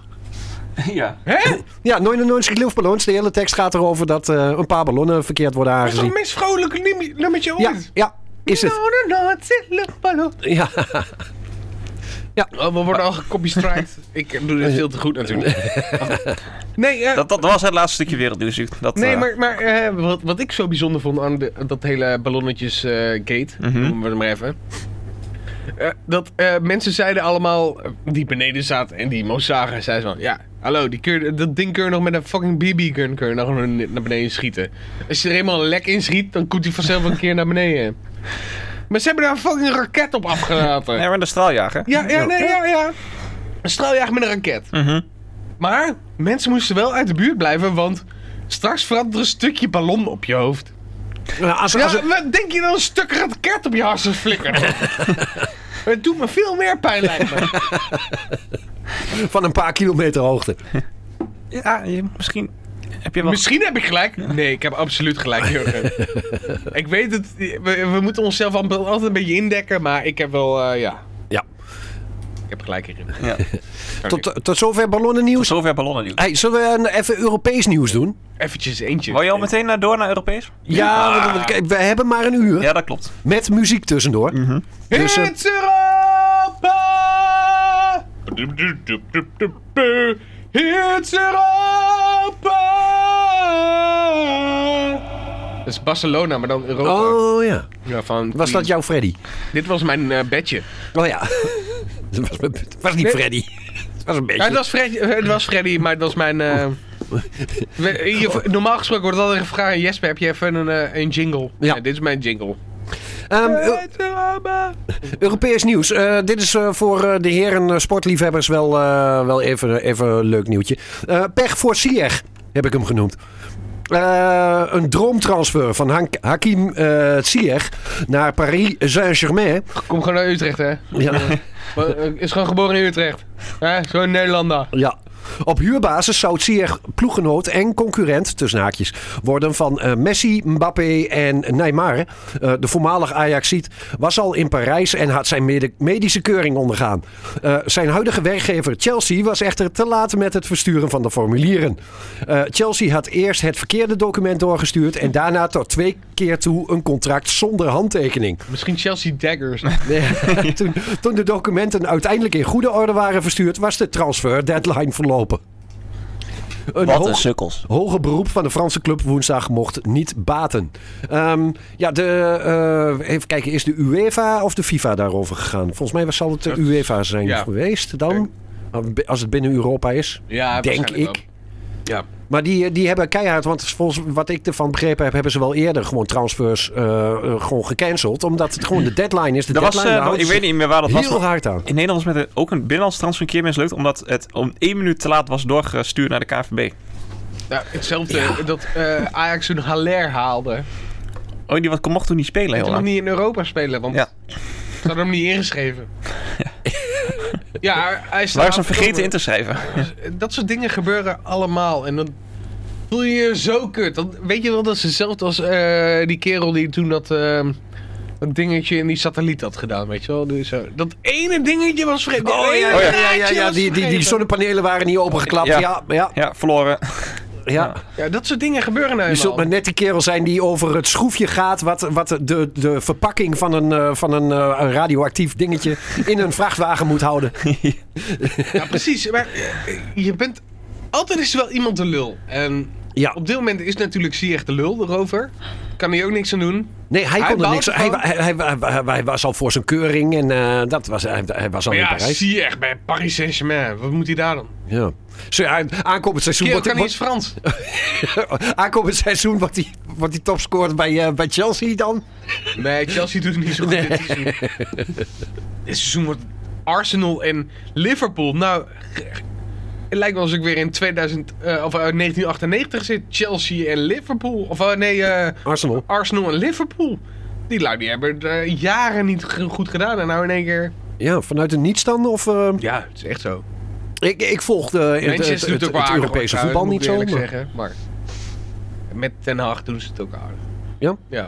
[SPEAKER 3] ja.
[SPEAKER 6] Hè?
[SPEAKER 5] Ja, 99 luchtballons. De hele tekst gaat erover dat eh, een paar ballonnen verkeerd worden
[SPEAKER 6] Dat is toch een
[SPEAKER 5] aangezien.
[SPEAKER 6] meest vrolijk nummer- nummertje
[SPEAKER 5] Ja,
[SPEAKER 6] ooit?
[SPEAKER 5] ja, is het.
[SPEAKER 6] No, no, no, it's a luchtballon.
[SPEAKER 5] Ja,
[SPEAKER 6] Oh, we worden al gecopystrijd. Ik doe dit veel te goed natuurlijk. Nee, eh,
[SPEAKER 3] Dat, dat was het laatste stukje wereldnieuws. Dat,
[SPEAKER 6] nee
[SPEAKER 3] eh,
[SPEAKER 6] maar, maar eh, wat, wat ik zo bijzonder vond aan de- dat hele ballonnetjes eh, gate,
[SPEAKER 3] Mhm.
[SPEAKER 6] noemen we het maar even. eh, dat eh, mensen zeiden allemaal, eh, die beneden zaten en die moest zagen, zeiden ze van, ja, hallo, die kun je- dat ding kun je nog met een fucking BB-gun kun je nog naar naar beneden schieten. Als je er eenmaal een lek in schiet, dan komt hij vanzelf een keer naar beneden. Maar ze hebben daar een fucking raket op afgelaten.
[SPEAKER 3] Nee, maar de straaljager.
[SPEAKER 6] Ja, ja, nee, ja, ja. Een straaljager met een raket.
[SPEAKER 3] Mhm.
[SPEAKER 6] Maar mensen moesten wel uit de buurt blijven, want straks verandert er een stukje ballon op je hoofd.
[SPEAKER 5] Nou, als,
[SPEAKER 6] Ja,
[SPEAKER 5] als,
[SPEAKER 6] wat denk je dan een stuk raket op je hartstikke flikkeren? Het doet me veel meer pijn, lijkt me.
[SPEAKER 5] van een paar kilometer hoogte.
[SPEAKER 3] Ja, je- misschien... Heb je wel...
[SPEAKER 6] Misschien heb ik gelijk. Nee, ik heb absoluut gelijk, Jurgen. ik weet het. We, we moeten onszelf al- altijd een beetje indekken, maar ik heb wel, eh, ja.
[SPEAKER 5] Ja.
[SPEAKER 6] Ik heb gelijk hierin.
[SPEAKER 3] Ja.
[SPEAKER 5] Tot, eh, tot zover
[SPEAKER 3] Tot
[SPEAKER 5] ballonnennieuws.
[SPEAKER 3] zover ballonnen nieuws.
[SPEAKER 5] Hey, zullen we een- even Europees nieuws doen?
[SPEAKER 6] Eventjes eentje.
[SPEAKER 3] Wou je al meteen naar, door naar Europees?
[SPEAKER 5] Ja, want we- we hebben maar een uur.
[SPEAKER 3] Ja, dat klopt.
[SPEAKER 5] Met muziek tussendoor. Dus, eh,
[SPEAKER 6] Hits Europa! Hits Europa! Dat is Barcelona, maar dan Europa.
[SPEAKER 5] oh ja.
[SPEAKER 6] Ja, van
[SPEAKER 5] Was dat jouw Freddy?
[SPEAKER 6] Dit was mijn eh, bedje.
[SPEAKER 5] Oh ja. Het was, het was niet
[SPEAKER 6] Nee.
[SPEAKER 5] Freddy. Het was een
[SPEAKER 6] Ja, het,
[SPEAKER 5] beetje.
[SPEAKER 6] was Freddy, het was Freddy, maar dat was mijn... eh, we- je- normaal gesproken wordt altijd gevraagd aan Jesper, heb je even een, eh, een jingle?
[SPEAKER 5] Ja.
[SPEAKER 6] dit is mijn jingle.
[SPEAKER 5] Ehm, Eu- Europees nieuws. Eh, dit is eh, voor eh, de heren eh, sportliefhebbers wel, eh, wel even, even een leuk nieuwtje. Eh, pech voor Sieg, heb ik hem genoemd. Eh, een droomtransfer van Hank- Hakim eh Ziyech naar Paris Saint-Germain.
[SPEAKER 6] Kom gewoon naar Utrecht, hè.
[SPEAKER 5] Ja,
[SPEAKER 6] Maar, eh, Is gewoon geboren in Utrecht. Hè, Zo'n Nederlander.
[SPEAKER 5] ja. Op huurbasis zou Ziyech ploeggenoot en concurrent, tussen haakjes, worden van eh, Messi, Mbappé en Neymar. Eh, de voormalig Ajaxiet was al in Parijs en had zijn mede- medische keuring ondergaan. Eh, zijn huidige werkgever Chelsea was echter te laat met het versturen van de formulieren. Eh, Chelsea had eerst het verkeerde document doorgestuurd en daarna tot twee keer toe een contract zonder handtekening.
[SPEAKER 6] Misschien Chelsea Daggers.
[SPEAKER 5] Nee, toen, toen de documenten uiteindelijk in goede orde waren verstuurd, was de transfer deadline verlopen. Een
[SPEAKER 3] Wat een
[SPEAKER 5] hoog,
[SPEAKER 3] sukkels.
[SPEAKER 5] hoger beroep van de Franse club woensdag mocht niet baten. Ehm, ja, de, eh, even kijken, is de UEFA of de FIFA daarover gegaan? Volgens mij was- zal het de UEFA zijn
[SPEAKER 6] ja.
[SPEAKER 5] geweest dan. Als het binnen Europa is.
[SPEAKER 6] Ja,
[SPEAKER 5] Denk
[SPEAKER 6] waarschijnlijk
[SPEAKER 5] ik.
[SPEAKER 6] wel. Ja.
[SPEAKER 5] Maar die, die hebben keihard, want volgens wat ik ervan begrepen heb, hebben ze wel eerder gewoon transfers eh, eh, gewoon gecanceld. Omdat het gewoon de deadline is. De
[SPEAKER 3] Dat was,
[SPEAKER 5] deadline
[SPEAKER 3] eh,
[SPEAKER 5] daar houden
[SPEAKER 3] ik
[SPEAKER 5] ze
[SPEAKER 3] weet niet meer waar dat was.
[SPEAKER 5] heel
[SPEAKER 3] maar-
[SPEAKER 5] hard aan.
[SPEAKER 3] In Nederland was met een- ook een binnenlands transfer een keer mislukt, omdat het om één minuut te laat was doorgestuurd naar de KNVB.
[SPEAKER 6] Ja, hetzelfde dat eh, Ajax toen Haller haalde.
[SPEAKER 3] Oh, die wat, mocht toen niet spelen heel
[SPEAKER 6] Hij mag
[SPEAKER 3] lang.
[SPEAKER 6] niet in Europa spelen, want
[SPEAKER 3] Ja.
[SPEAKER 6] ze hadden hem niet ingeschreven. Ja, hij is
[SPEAKER 3] Waar ze hem vergeten in te schrijven.
[SPEAKER 6] Dat soort dingen gebeuren allemaal en dan voel je je zo kut. Dan weet je wel, dat is hetzelfde als eh, die kerel die toen dat, eh, dat dingetje in die satelliet had gedaan, weet je wel. Die zo, dat ene dingetje was vergeten.
[SPEAKER 5] Oh ja,
[SPEAKER 6] Dat
[SPEAKER 5] ja,
[SPEAKER 6] ene
[SPEAKER 5] ja, ja,
[SPEAKER 6] draadje was
[SPEAKER 5] Die, die, die
[SPEAKER 6] vergeten.
[SPEAKER 5] zonnepanelen waren niet opengeklapt. Ja,
[SPEAKER 3] Ja.
[SPEAKER 5] ja, ja.
[SPEAKER 3] Ja, verloren.
[SPEAKER 6] Ja, dat soort dingen gebeuren nou
[SPEAKER 5] Je zult
[SPEAKER 6] eenmaal.
[SPEAKER 5] maar net die kerel zijn die over het schroefje gaat. wat, wat de, de verpakking van een, eh, van een eh, een radioactief dingetje. in een vrachtwagen moet houden.
[SPEAKER 6] Ja, precies. Maar eh, je bent... Altijd is er wel iemand de lul. En
[SPEAKER 5] Ja,
[SPEAKER 6] op dit moment is natuurlijk Ziyech de lul erover. Kan hij ook niks aan doen.
[SPEAKER 5] nee, hij
[SPEAKER 6] Hij
[SPEAKER 5] kon er
[SPEAKER 6] bouwt
[SPEAKER 5] niks.
[SPEAKER 6] het
[SPEAKER 5] Hij,
[SPEAKER 6] gewoon.
[SPEAKER 5] hij, hij, hij- hij was al voor zijn keuring en eh, dat was, hij, hij was al
[SPEAKER 6] Maar
[SPEAKER 5] in
[SPEAKER 6] ja,
[SPEAKER 5] Parijs.
[SPEAKER 6] Ziyech bij Paris Saint-Germain. Wat moet hij daar dan?
[SPEAKER 5] Ja. Zo, ja, aankomend seizoen
[SPEAKER 6] Kerel kan
[SPEAKER 5] wordt,
[SPEAKER 6] niet eens
[SPEAKER 5] wordt,
[SPEAKER 6] Frans.
[SPEAKER 5] aankomend seizoen wordt hij, wordt hij topscorer bij, eh, bij Chelsea dan.
[SPEAKER 6] Nee, Chelsea doet het niet zo goed dit seizoen. Dit seizoen wordt Arsenal en Liverpool. Nou, het lijkt wel alsof ik weer in 2000, eh, of, eh, 1998 zit. Chelsea en Liverpool. Of eh, nee, eh,
[SPEAKER 5] Arsenal.
[SPEAKER 6] Arsenal en Liverpool. Die lui die hebben het eh, jaren niet g- goed gedaan. En nou in één keer...
[SPEAKER 5] Ja, vanuit een niets dan? Of, eh,
[SPEAKER 6] Ja, het is echt zo.
[SPEAKER 5] ik, ik volg de, het, het,
[SPEAKER 6] Manchester
[SPEAKER 5] het-
[SPEAKER 6] doet ook wel
[SPEAKER 5] het
[SPEAKER 6] aardig,
[SPEAKER 5] Europese
[SPEAKER 6] hoor,
[SPEAKER 5] voetbal
[SPEAKER 6] trouwens,
[SPEAKER 5] niet zo.
[SPEAKER 6] moet ik
[SPEAKER 5] maar-
[SPEAKER 6] eerlijk zeggen, maar met Ten Hag doen ze het ook aardig.
[SPEAKER 5] Ja?
[SPEAKER 6] Ja.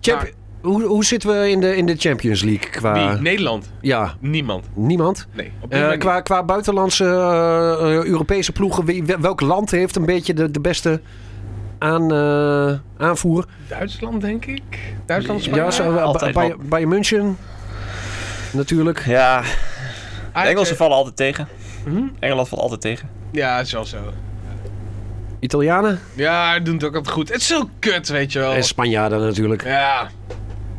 [SPEAKER 5] Champ-
[SPEAKER 6] Maar-
[SPEAKER 5] hoe, hoe zitten we in de, in de Champions League qua...
[SPEAKER 6] Wie? Nederland?
[SPEAKER 5] Ja,
[SPEAKER 6] Niemand.
[SPEAKER 5] niemand.
[SPEAKER 6] Nee. Op dit
[SPEAKER 5] Eh,
[SPEAKER 6] moment
[SPEAKER 5] qua, qua buitenlandse eh, eh, Europese ploegen, wie, wel- welk land heeft een beetje de, de beste aan, eh, aanvoer?
[SPEAKER 6] niet. Duitsland, denk ik. Duitsland, Spanje.
[SPEAKER 5] Ja, zo, eh,
[SPEAKER 3] altijd
[SPEAKER 5] bij,
[SPEAKER 3] wel.
[SPEAKER 5] bij München natuurlijk.
[SPEAKER 3] Ja, de
[SPEAKER 6] Ajax-
[SPEAKER 3] Engelsen vallen altijd tegen.
[SPEAKER 6] Mhm.
[SPEAKER 3] Engeland valt altijd tegen.
[SPEAKER 6] Ja, is wel zo.
[SPEAKER 5] Italianen
[SPEAKER 6] Ja, doen het ook altijd goed. Het is zo kut, weet je wel.
[SPEAKER 5] en Spanjaarden natuurlijk.
[SPEAKER 6] Ja.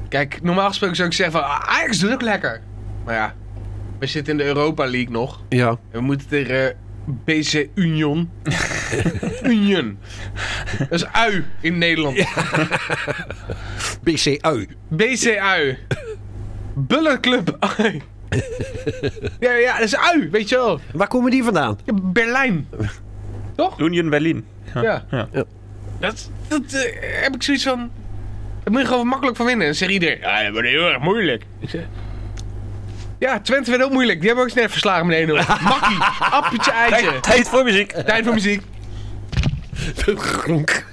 [SPEAKER 6] Kijk, normaal gesproken zou ik zeggen van... ah, Ajax doet ook lekker. Maar ja, we zitten in de Europa League nog.
[SPEAKER 5] Ja.
[SPEAKER 6] En we moeten tegen BC Union. Union. Dat is ui in Nederland.
[SPEAKER 5] BCU.
[SPEAKER 6] BC ui. Bullenclub ui. Ja, ja, dat is ui, weet je wel.
[SPEAKER 5] Waar komen die vandaan?
[SPEAKER 6] Ja, Berlijn. Toch?
[SPEAKER 3] Union Berlin.
[SPEAKER 6] Ja.
[SPEAKER 3] Ja.
[SPEAKER 6] Dat, dat eh, heb ik zoiets van. Daar moet je gewoon makkelijk van winnen. En dan zegt iedereen: Ja, dat wordt heel erg moeilijk. Ik zeg, Ja, Twente werd ook moeilijk. Die hebben we ook eens net verslagen met 1-0. Makkie, appeltje, eitje.
[SPEAKER 3] Tijd voor muziek.
[SPEAKER 6] Tijd voor muziek.
[SPEAKER 5] Gronk.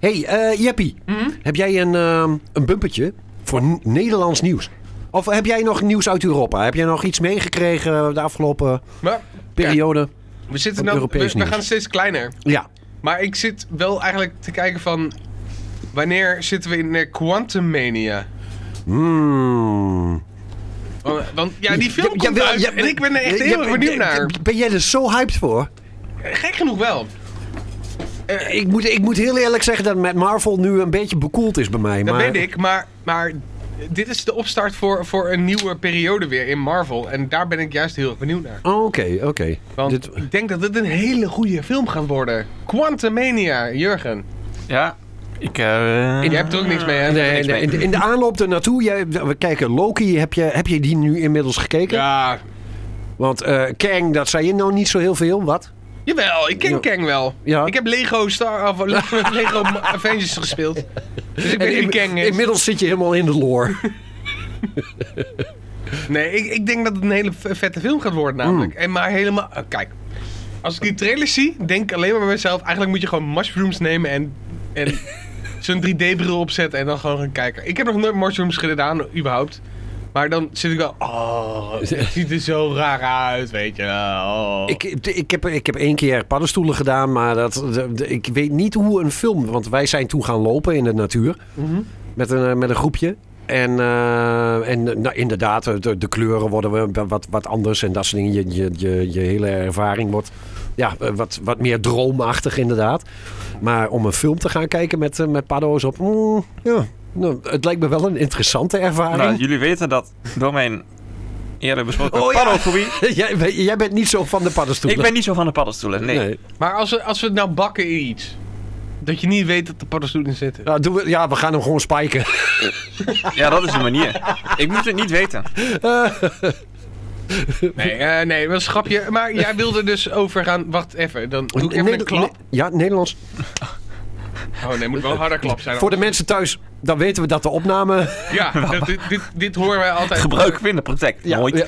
[SPEAKER 5] Hey, eh Jeppie.
[SPEAKER 6] Hmm?
[SPEAKER 5] Heb jij een, ehm, een bumpertje voor N- Nederlands nieuws? Of heb jij nog nieuws uit Europa? Heb jij nog iets meegekregen de afgelopen
[SPEAKER 6] Maar
[SPEAKER 5] periode?
[SPEAKER 6] we zitten
[SPEAKER 5] Ook
[SPEAKER 6] nou, we,
[SPEAKER 5] Europees
[SPEAKER 6] we
[SPEAKER 5] nieuws.
[SPEAKER 6] gaan steeds kleiner.
[SPEAKER 5] Ja.
[SPEAKER 6] Maar ik zit wel eigenlijk te kijken van... Wanneer zitten we in de Quantum Mania?
[SPEAKER 5] Hmm.
[SPEAKER 6] Want, want ja, die film komt
[SPEAKER 5] wil-
[SPEAKER 6] uit
[SPEAKER 5] ja,
[SPEAKER 6] en ik ben er echt
[SPEAKER 5] ja,
[SPEAKER 6] heel
[SPEAKER 5] ja,
[SPEAKER 6] erg benieuwd
[SPEAKER 5] ja,
[SPEAKER 6] naar.
[SPEAKER 5] Ben jij er zo hyped voor?
[SPEAKER 6] Gek genoeg wel.
[SPEAKER 5] Ik moet, ik moet heel eerlijk zeggen dat met Marvel nu een beetje bekoeld is bij mij.
[SPEAKER 6] Dat
[SPEAKER 5] maar...
[SPEAKER 6] weet ik, maar, maar dit is de opstart voor, voor een nieuwe periode weer in Marvel. En daar ben ik juist heel erg benieuwd naar.
[SPEAKER 5] Oh, Oké, oké.
[SPEAKER 6] Want
[SPEAKER 5] Dit-
[SPEAKER 6] ik denk dat dit een hele goede film gaat worden. Quantumania, Jurgen.
[SPEAKER 3] Ja, ik... eh,
[SPEAKER 6] Jij hebt er ook niks mee, hè?
[SPEAKER 5] Nee,
[SPEAKER 6] Niks
[SPEAKER 5] nee,
[SPEAKER 6] mee.
[SPEAKER 5] in, de, in de aanloop ernaartoe, jij, we kijken, Loki, heb je, heb je die nu inmiddels gekeken?
[SPEAKER 6] Ja,
[SPEAKER 5] Want eh Kang, dat zei je nou niet zo heel veel, wat?
[SPEAKER 6] jawel, ik ken
[SPEAKER 5] Ja.
[SPEAKER 6] Kang wel.
[SPEAKER 5] Ja.
[SPEAKER 6] Ik heb Lego Star of Lego Avengers gespeeld. Dus ik weet wie
[SPEAKER 5] In-
[SPEAKER 6] Kang is.
[SPEAKER 5] Inmiddels zit je helemaal in de lore.
[SPEAKER 6] Nee, ik, ik denk dat het een hele v- vette film gaat worden
[SPEAKER 5] Mm.
[SPEAKER 6] namelijk. En maar helemaal... eh, kijk, als ik die trailers zie, denk ik alleen maar bij mezelf... Eigenlijk moet je gewoon mushrooms nemen en, en zo'n 3D-bril opzetten en dan gewoon gaan kijken. Ik heb nog nooit mushrooms gedaan, überhaupt. Maar dan zit ik wel... Oh, het ziet er zo raar uit, weet je. wel. Oh.
[SPEAKER 5] Ik, ik, heb, ik heb één keer paddenstoelen gedaan, maar dat, de- de- ik weet niet hoe een film... Want wij zijn toen gaan lopen in de natuur met, een, eh, met een groepje. En, eh, en eh, nou, inderdaad, eh, de, de kleuren worden we wat, wat anders en dat soort dingen. Je, je, je, je hele ervaring wordt ja, eh, wat, wat meer droomachtig inderdaad. Maar om een film te gaan kijken met, eh, met paddo's op... mm, ja, nou, het lijkt me wel een interessante
[SPEAKER 3] nou,
[SPEAKER 5] ervaring.
[SPEAKER 3] jullie weten dat door mijn eerder besproken
[SPEAKER 5] Oh, ja.
[SPEAKER 3] paddofobie...
[SPEAKER 5] jij, bent- jij bent niet zo van de paddenstoelen.
[SPEAKER 3] Ik ben niet zo van de paddenstoelen, nee.
[SPEAKER 5] Nee.
[SPEAKER 6] Maar als we, als we het nou bakken in iets... Dat je niet weet dat de paddenstoelen zitten.
[SPEAKER 5] Ja, Nou, doen we, ja, we gaan hem gewoon spijken.
[SPEAKER 3] Ja, dat is een manier. Ik moet het niet weten.
[SPEAKER 6] Nee, eh, nee, dat is een grapje. Maar jij wilde dus over gaan... Wacht even, dan doe ik even een
[SPEAKER 5] Neder-
[SPEAKER 6] klap.
[SPEAKER 5] Ne- Ja, Nederlands.
[SPEAKER 6] Oh nee, moet wel een harder klap zijn.
[SPEAKER 5] Voor de mensen thuis, dan weten we dat de opname...
[SPEAKER 6] Ja, dat- dit, dit, dit horen wij altijd.
[SPEAKER 3] Gebruiken we in de praktijk. Nooit.
[SPEAKER 5] Ja.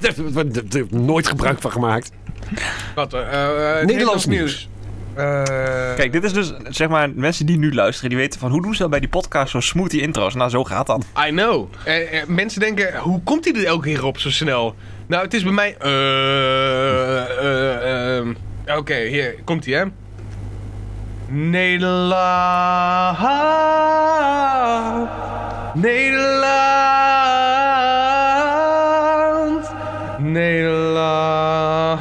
[SPEAKER 5] Daar hebben we nooit gebruik van gemaakt.
[SPEAKER 6] Wat, eh, eh, Nederlands,
[SPEAKER 5] nieuws.
[SPEAKER 6] Eh,
[SPEAKER 3] Kijk, dit is dus, zeg maar, mensen die nu luisteren, die weten van hoe doen ze dat bij die podcast zo smooth die intro's? Nou, zo gaat dat.
[SPEAKER 6] I know. Eh, eh, mensen denken, hoe komt hij er elke keer op zo snel? Nou, het is bij mij... eh, eh, ehm. Oké, hier, komt hij hè. Nederland. Nederland.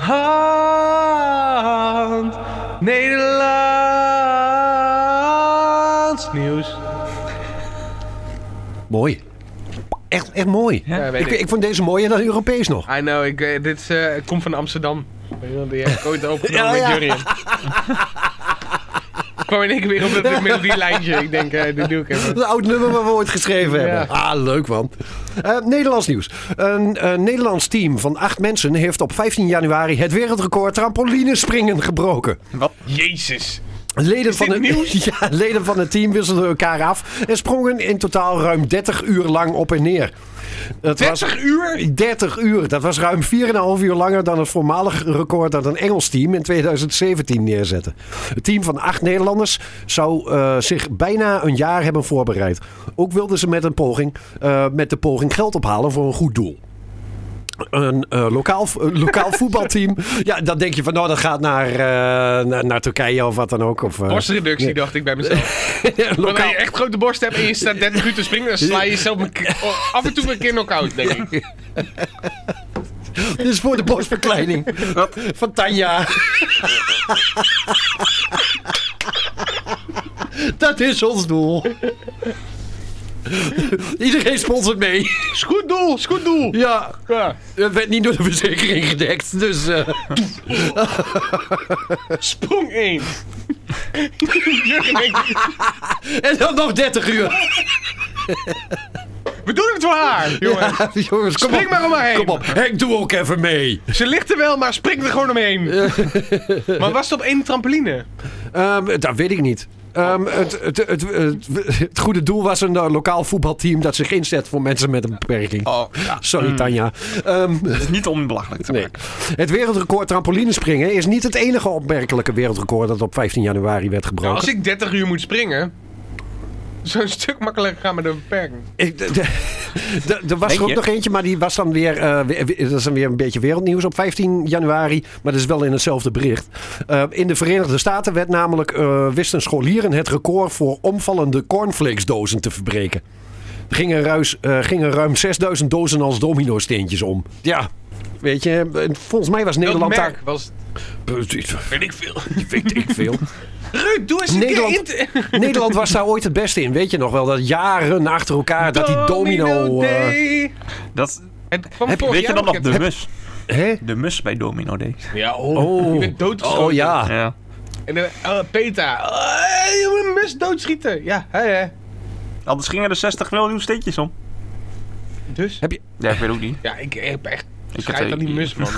[SPEAKER 6] Nederland. Nederlands nieuws.
[SPEAKER 5] Mooi. Echt, echt mooi.
[SPEAKER 6] Ja, weet
[SPEAKER 5] Ik, ik vond deze mooier dan Europees nog.
[SPEAKER 6] I know, ik, eh, dit eh, ik kom van Amsterdam. Weet je wel, Die heb ik ooit opgenomen
[SPEAKER 5] Ja, ja.
[SPEAKER 6] met Jurien. ik kwam in één keer weer op dat melodielijntje. Ik denk, eh, dit doe ik even.
[SPEAKER 5] Een oud nummer waar we ooit geschreven
[SPEAKER 6] Ja.
[SPEAKER 5] hebben. Ah, leuk man. Eh, Nederlands nieuws. Een eh, Nederlands team van acht mensen heeft op 15 januari het wereldrecord trampolinespringen gebroken.
[SPEAKER 6] Jezus.
[SPEAKER 5] Leden van,
[SPEAKER 6] dit
[SPEAKER 5] het, ja, leden van het team wisselden elkaar af en sprongen in totaal ruim 30 uur lang op en neer. Het
[SPEAKER 6] 30 uur?
[SPEAKER 5] 30 uur. Dat was ruim 4,5 uur langer dan het voormalig record dat een Engels team in 2017 neerzette. Het team van acht Nederlanders zou eh, zich bijna een jaar hebben voorbereid. Ook wilden ze met, een poging, eh, met de poging geld ophalen voor een goed doel. Een eh, lokaal, een lokaal voetbalteam. Ja, dan denk je van, nou, dat gaat naar, eh, naar, naar Turkije of wat dan ook. Of, eh,
[SPEAKER 6] Borstreductie, dacht ik bij mezelf. Wanneer
[SPEAKER 5] lokaal,
[SPEAKER 6] je echt grote borst hebt en je staat 30 uur te springen, dan sla je jezelf een ke- oh, af en toe een keer knock-out, denk ik.
[SPEAKER 5] dit is voor de borstverkleining
[SPEAKER 3] Wat?
[SPEAKER 5] van Tanja. dat is ons doel. Iedereen sponsort mee.
[SPEAKER 6] Is goed doel, is goed doel.
[SPEAKER 5] Ja,
[SPEAKER 6] Ja.
[SPEAKER 5] het werd niet door de verzekering gedekt. Dus eh,
[SPEAKER 6] Sprong 1. Jurgen denkt,
[SPEAKER 5] en dan nog 30 uur.
[SPEAKER 6] we doen het voor haar, jongen.
[SPEAKER 5] Jongens, kom
[SPEAKER 6] Spring
[SPEAKER 5] op.
[SPEAKER 6] maar om haar heen.
[SPEAKER 5] Kom op, Henk, doe ook even mee.
[SPEAKER 6] Ze ligt er wel, maar spring er gewoon omheen. maar was het op één trampoline?
[SPEAKER 5] Ehm, dat weet ik niet. Ehm, het, het, het, het, het goede doel was een eh, lokaal voetbalteam dat zich inzet voor mensen met een beperking.
[SPEAKER 3] Oh, ja.
[SPEAKER 5] Sorry, Tanja. Ehm,
[SPEAKER 3] Het is niet onbelachelijk te
[SPEAKER 5] nee.
[SPEAKER 3] maken.
[SPEAKER 5] Het wereldrecord trampolinespringen is niet het enige opmerkelijke wereldrecord dat op 15 januari werd
[SPEAKER 6] Nou, als
[SPEAKER 5] gebroken.
[SPEAKER 6] ik 30 uur moet springen, zou een stuk makkelijker gaan met een beperking.
[SPEAKER 5] Ik- de- de- de- Er was
[SPEAKER 3] Denk
[SPEAKER 5] er ook
[SPEAKER 3] je?
[SPEAKER 5] nog eentje, maar die was dan weer, eh, we- we- dat is dan weer een beetje wereldnieuws op 15 januari. Maar dat is wel in hetzelfde bericht. Eh, in de Verenigde Staten werd namelijk, eh, wisten scholieren het record voor omvallende cornflakesdozen te verbreken. Er gingen, ruis, eh, gingen ruim 6000 dozen als domino-steentjes om. Ja, weet je, eh, volgens mij was
[SPEAKER 6] Welk
[SPEAKER 5] Nederland
[SPEAKER 6] merk
[SPEAKER 5] daar...
[SPEAKER 6] was het?
[SPEAKER 3] Weet ik veel.
[SPEAKER 5] Weet ik veel.
[SPEAKER 6] Ruud, doe eens een
[SPEAKER 5] Nederland-
[SPEAKER 6] keer in te-
[SPEAKER 5] Nederland was daar ooit het beste in. Weet je nog wel, dat jaren achter elkaar dat die domino... eh,
[SPEAKER 6] Day.
[SPEAKER 3] Dat,
[SPEAKER 6] Het kwam
[SPEAKER 5] Heb-
[SPEAKER 6] vorig
[SPEAKER 3] weet je
[SPEAKER 6] jaar
[SPEAKER 3] dan nog
[SPEAKER 6] bekend.
[SPEAKER 3] de mus?
[SPEAKER 5] hè?
[SPEAKER 3] De mus bij Domino deed.
[SPEAKER 6] Ja, oh.
[SPEAKER 5] Oh.
[SPEAKER 6] Je bent doodgeschoten.
[SPEAKER 5] Oh ja.
[SPEAKER 3] Ja.
[SPEAKER 6] En dan, eh, PETA. Oh, je moet een mes doodschieten. Ja, hè, hè.
[SPEAKER 3] Anders gingen er 60 miljoen steentjes om.
[SPEAKER 6] Dus?
[SPEAKER 5] Heb je,
[SPEAKER 3] Ja, ik weet ook niet.
[SPEAKER 6] Ja, ik heb echt
[SPEAKER 3] Ik
[SPEAKER 6] schijt
[SPEAKER 3] had-
[SPEAKER 6] aan die mus, man.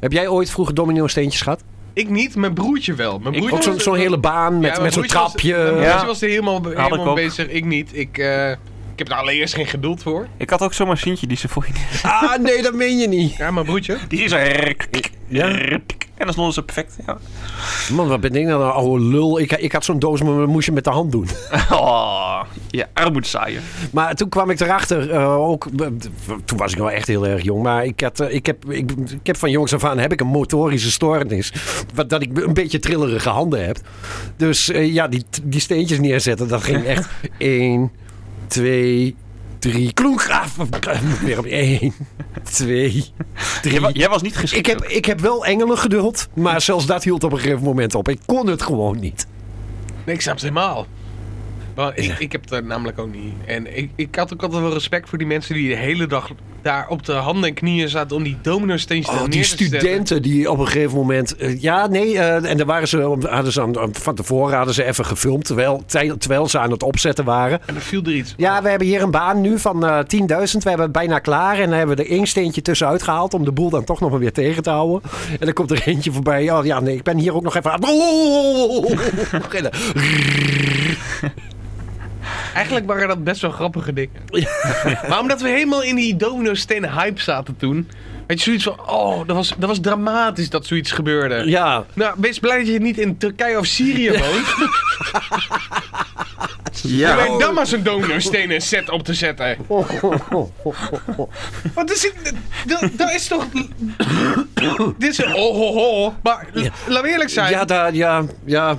[SPEAKER 5] heb jij ooit vroeger domino steentjes gehad?
[SPEAKER 6] ik niet, mijn broertje wel. Mijn broertje
[SPEAKER 5] Ook zo'n
[SPEAKER 6] was-
[SPEAKER 5] zo'n hele baan met,
[SPEAKER 6] Ja, mijn
[SPEAKER 5] met zo'n
[SPEAKER 6] broertje was-
[SPEAKER 5] trapje.
[SPEAKER 6] mijn broertje
[SPEAKER 3] Ja.
[SPEAKER 6] was er helemaal, helemaal
[SPEAKER 3] ook.
[SPEAKER 6] bezig, ik niet. Ik, eh, ik heb daar allereerst geen geduld voor.
[SPEAKER 3] Ik had ook zo'n machientje die ze voor je...
[SPEAKER 5] Ah, nee, dat meen je niet.
[SPEAKER 6] Ja, mijn broertje.
[SPEAKER 3] Die is er...
[SPEAKER 5] Ja.
[SPEAKER 3] En dan stonden ze perfect. Ja.
[SPEAKER 5] Man, wat ben ik nou een oude lul. Ik, ik had zo'n doos, maar dat moest je met de hand doen.
[SPEAKER 3] Oh, je armoedzaaien.
[SPEAKER 5] Maar toen kwam ik erachter, eh, ook, eh, toen was ik wel echt heel erg jong, maar ik, had, eh, ik, heb, ik, ik heb van jongs af aan heb ik een motorische stoornis. Wat, dat ik een beetje trillerige handen heb. Dus eh, ja, die, die steentjes neerzetten, dat ging echt 1, 2, 3, kloek. Ah, weer op 1, 2, 3.
[SPEAKER 3] Jij, wa- jij was niet geschikt.
[SPEAKER 5] Ik heb, ik heb wel engelen geduld, maar zelfs dat hield op een gegeven moment op. Ik kon het gewoon niet.
[SPEAKER 6] Nee, ik snap het helemaal. Maar ik, ik heb het namelijk ook niet. En ik, ik had ook altijd wel respect voor die mensen die de hele dag daar op de handen en knieën zaten om die domino-steentjes
[SPEAKER 5] Oh,
[SPEAKER 6] daar
[SPEAKER 5] die
[SPEAKER 6] neer te zetten.
[SPEAKER 5] studenten die op een gegeven moment... eh, ja, nee, eh, en daar waren ze, hadden ze aan- van tevoren hadden ze even gefilmd... Terwijl, tij- terwijl ze aan het opzetten waren.
[SPEAKER 6] En dan viel er iets.
[SPEAKER 5] Ja, we hebben hier een baan nu van eh 10.000. We hebben het bijna klaar. En dan hebben we er één steentje tussenuit gehaald... om de boel dan toch nog maar weer tegen te houden. En dan komt er eentje voorbij. Oh ja, nee, ik ben hier ook nog even... aan- Gillen.
[SPEAKER 6] Eigenlijk waren dat best wel grappige dingen. maar omdat we helemaal in die domino-stenen hype zaten toen. Weet je, zoiets van, oh, dat was, dat was dramatisch dat zoiets gebeurde.
[SPEAKER 5] ja,
[SPEAKER 6] Nou, wees blij dat je niet in Turkije of Syrië woont.
[SPEAKER 3] Ja.
[SPEAKER 6] Probeer dan maar zo'n domino-stenen set op te zetten. Wat is dit? Dat- Dat is toch... Dit is een oh ho ho. Maar l-
[SPEAKER 5] Ja.
[SPEAKER 6] laten we eerlijk zijn.
[SPEAKER 5] ja, daar, ja, ja.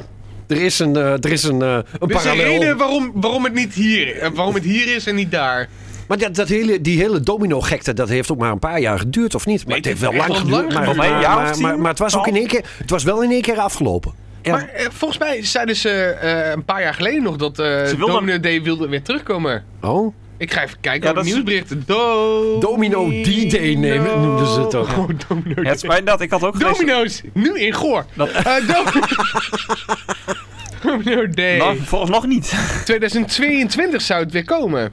[SPEAKER 5] Er is een, eh, er is een, eh, een
[SPEAKER 6] er is een
[SPEAKER 5] parallel.
[SPEAKER 6] reden waarom, waarom, het niet hier, eh, waarom het hier is en niet daar.
[SPEAKER 5] Maar dat, dat hele, die hele domino-gekte, dat heeft ook maar een paar jaar geduurd, of niet? Maar het heeft wel
[SPEAKER 6] heeft
[SPEAKER 5] lang
[SPEAKER 6] wel
[SPEAKER 5] geduurd.
[SPEAKER 6] lang
[SPEAKER 5] maar, maar,
[SPEAKER 6] geduurd.
[SPEAKER 3] Volgens mij een jaar of
[SPEAKER 5] maar-
[SPEAKER 3] tien,
[SPEAKER 5] maar- maar het was ook in
[SPEAKER 3] twaalf.
[SPEAKER 5] één keer, het was wel in één keer afgelopen. En-
[SPEAKER 6] Maar eh, volgens mij zeiden ze eh, een paar jaar geleden nog dat eh
[SPEAKER 3] Ze wilden-
[SPEAKER 6] Domino D wilde weer terugkomen.
[SPEAKER 5] oh,
[SPEAKER 6] Ik ga even kijken
[SPEAKER 3] Ja,
[SPEAKER 6] naar
[SPEAKER 3] dat
[SPEAKER 6] de
[SPEAKER 3] is-
[SPEAKER 6] nieuwsberichten. Do
[SPEAKER 5] Domino D-Day nemen- noemden ze het ook.
[SPEAKER 6] Oh, Domino
[SPEAKER 3] Ja,
[SPEAKER 6] D.
[SPEAKER 3] het spijt me dat. Ik had ook gelezen-
[SPEAKER 6] Domino's, nu in Goor. Eh, Dom- Domino
[SPEAKER 3] Nou,
[SPEAKER 6] D.
[SPEAKER 3] volgens nog niet.
[SPEAKER 6] 2022 zou het weer komen.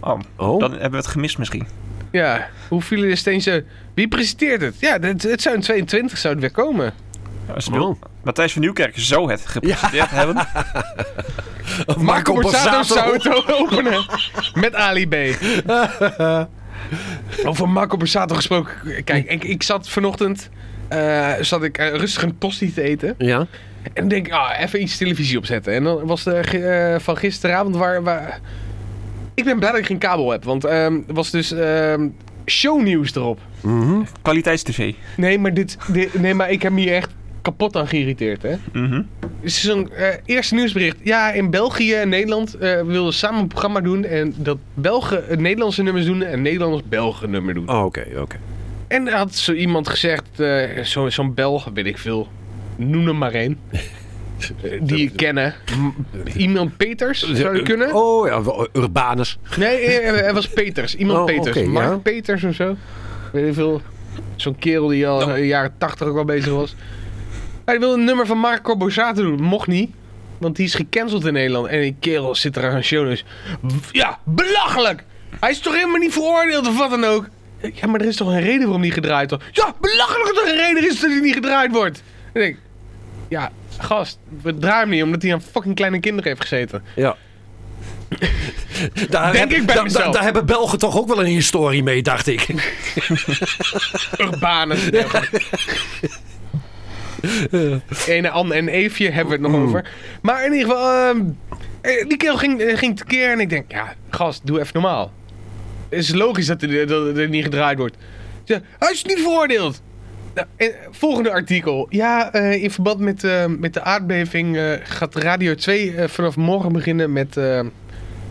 [SPEAKER 3] Oh,
[SPEAKER 5] oh.
[SPEAKER 3] dan hebben we het gemist misschien.
[SPEAKER 6] Ja, hoe vielen de steentjes... Wie presenteert het? Ja, het, het zou in 22 zou het weer komen.
[SPEAKER 3] Als je
[SPEAKER 5] Oh.
[SPEAKER 3] wil. Matthijs van Nieuwkerk zou het gepresenteerd hebben.
[SPEAKER 5] Marco
[SPEAKER 6] Borsato
[SPEAKER 5] Borsato.
[SPEAKER 6] zou het openen. Met Ali B. Over Marco Borsato gesproken. Kijk, ik, ik zat vanochtend... eh, zat ik eh, rustig een tosti te eten.
[SPEAKER 5] Ja,
[SPEAKER 6] En denk ik, ah, even iets televisie opzetten. En dan was de, gi- eh, van gisteravond waar, waar... Ik ben blij dat ik geen kabel heb. Want ehm, er was dus ehm, shownieuws erop.
[SPEAKER 3] Kwaliteitstv.
[SPEAKER 6] Nee maar, dit, dit- nee, maar ik heb me hier echt kapot aan geïrriteerd, hè.
[SPEAKER 3] Mhm.
[SPEAKER 6] Het is een eh, eerste nieuwsbericht. Ja, in België en Nederland eh wilden ze samen een programma doen. En dat Belgen eh, Nederlandse nummers doen en Nederlanders Belgen nummer doen.
[SPEAKER 5] Oh, oké, oké.
[SPEAKER 6] En er had zo iemand gezegd, eh, zo- zo'n Belg, weet ik veel. Noem hem maar één. Eh, Die je kennen. M- Iemand Peters zou dat kunnen?
[SPEAKER 5] Oh ja, wel, Urbanus.
[SPEAKER 6] Nee, eh, er was Peters. Iemand
[SPEAKER 5] Oh,
[SPEAKER 6] Peters.
[SPEAKER 5] oké,
[SPEAKER 6] Mark
[SPEAKER 5] ja.
[SPEAKER 6] Peters of zo. Weet ik veel. Zo'n kerel die al in de jaren tachtig ook al bezig was. Hij wilde een nummer van Marco Borsato doen. Mocht niet. Want die is gecanceld in Nederland. En die kerel zit er aan een show. Dus ja, belachelijk. Hij is toch helemaal niet veroordeeld of wat dan ook. Ja, maar er is toch een reden waarom die gedraaid wordt. Ja, belachelijk dat er een reden is dat hij niet gedraaid wordt. En ik denk, ja, Gast, we draaien hem niet omdat hij aan fucking kleine kinderen heeft gezeten.
[SPEAKER 5] Ja. Daar
[SPEAKER 6] Denk ik bij
[SPEAKER 5] daar-
[SPEAKER 6] mezelf.
[SPEAKER 5] daar- daar hebben Belgen toch ook wel een historie mee, dacht ik.
[SPEAKER 6] Urbanus. Ene Anne en Eefje hebben we het nog over. Maar in ieder geval, ehm, eh, die kerel ging, eh, ging tekeer en ik denk, ja, gast, doe even normaal. Het is logisch dat er, dat er niet gedraaid wordt. Ja, hij is niet veroordeeld. Nou, en, volgende artikel. Ja, eh, in verband met, eh, met de aardbeving eh, gaat Radio 2 eh, vanaf morgen beginnen met, eh,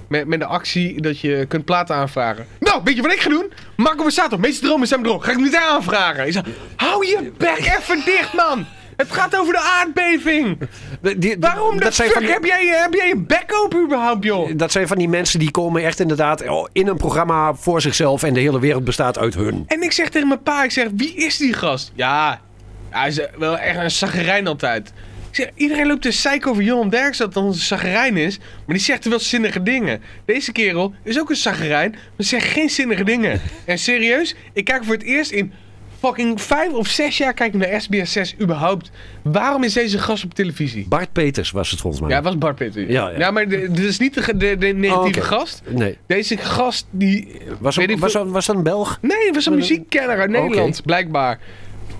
[SPEAKER 6] met, met de actie dat je kunt platen aanvragen. Nou, weet je wat ik ga doen? Marco Borsato, meeste dromen zijn bedrog. Ga ik meteen aanvragen. Ik zeg, hou je bek even dicht, man. Het gaat over de aardbeving.
[SPEAKER 5] Die- die-
[SPEAKER 6] Waarom de
[SPEAKER 5] dat zijn
[SPEAKER 6] fuck
[SPEAKER 5] van die,
[SPEAKER 6] heb, jij, heb jij een bek open überhaupt, joh?
[SPEAKER 5] Dat zijn van die mensen die komen echt inderdaad eh, in een programma voor zichzelf en de hele wereld bestaat uit hun.
[SPEAKER 6] En ik zeg tegen mijn pa, ik zeg, wie is die gast? Ja, hij is eh, wel echt een zagrijn altijd. Ik zeg, iedereen loopt te zeiken over Johan Derks dat het onze zagrijn is. Maar die zegt wel zinnige dingen. Deze kerel is ook een zagrijn, maar zegt geen zinnige dingen. En serieus, ik kijk voor het eerst in fucking vijf of zes jaar kijk ik naar SBS 6 überhaupt. Waarom is deze gast op televisie?
[SPEAKER 5] Bart Peters was het volgens mij.
[SPEAKER 6] Ja, het was Bart Pitter.
[SPEAKER 5] Ja, ja.
[SPEAKER 6] maar de- dit is niet de, ge- de, de negatieve
[SPEAKER 5] Oh, oké.
[SPEAKER 6] gast.
[SPEAKER 5] Nee.
[SPEAKER 6] Deze gast die...
[SPEAKER 5] Was,
[SPEAKER 6] weet
[SPEAKER 5] ook,
[SPEAKER 6] ik
[SPEAKER 5] was,
[SPEAKER 6] veel-
[SPEAKER 5] dat- was dat een Belg?
[SPEAKER 6] Nee, het was een muziekkenner uit
[SPEAKER 5] Oké.
[SPEAKER 6] Nederland, blijkbaar.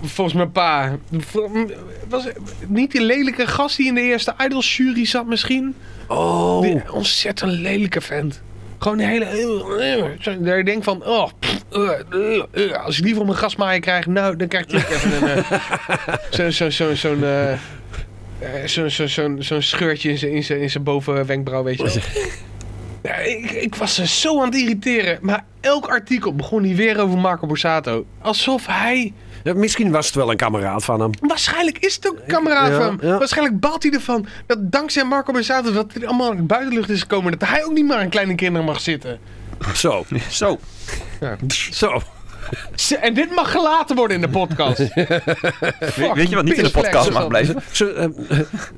[SPEAKER 6] Volgens mijn pa. Vol- Was het niet die lelijke gast die in de eerste Idol-jury zat misschien?
[SPEAKER 5] Oh.
[SPEAKER 6] Die ontzettend lelijke vent. Gewoon een hele... eh, Daar je denkt van... Oh, pff, eh, eh, eh. als ik die van mijn gasmaaier krijg, nou, dan krijg ik ook even een... eh, Zo'n... Zo, zo, zo'n eh, eh, Zo'n zo, zo, zo'n scheurtje in zijn- in zijn- in zijn bovenwenkbrauw, weet je wel. Ja, ik, ik was ze zo aan het irriteren. Maar elk artikel begon hier weer over Marco Borsato. Alsof hij...
[SPEAKER 5] Ja, Misschien was het wel een kameraad van hem.
[SPEAKER 6] Waarschijnlijk is het ook een kameraad
[SPEAKER 5] ja,
[SPEAKER 6] van hem.
[SPEAKER 5] ja.
[SPEAKER 6] Waarschijnlijk baalt hij ervan dat dankzij Marco Borsato... dat dit allemaal in de buitenlucht is gekomen. Dat hij ook niet meer aan kleine kinderen mag zitten.
[SPEAKER 5] Zo.
[SPEAKER 3] Zo.
[SPEAKER 5] Zo.
[SPEAKER 6] Ze- En dit mag gelaten worden in de podcast.
[SPEAKER 3] We- weet je wat niet in de podcast mag blijven?
[SPEAKER 5] Zo, eh,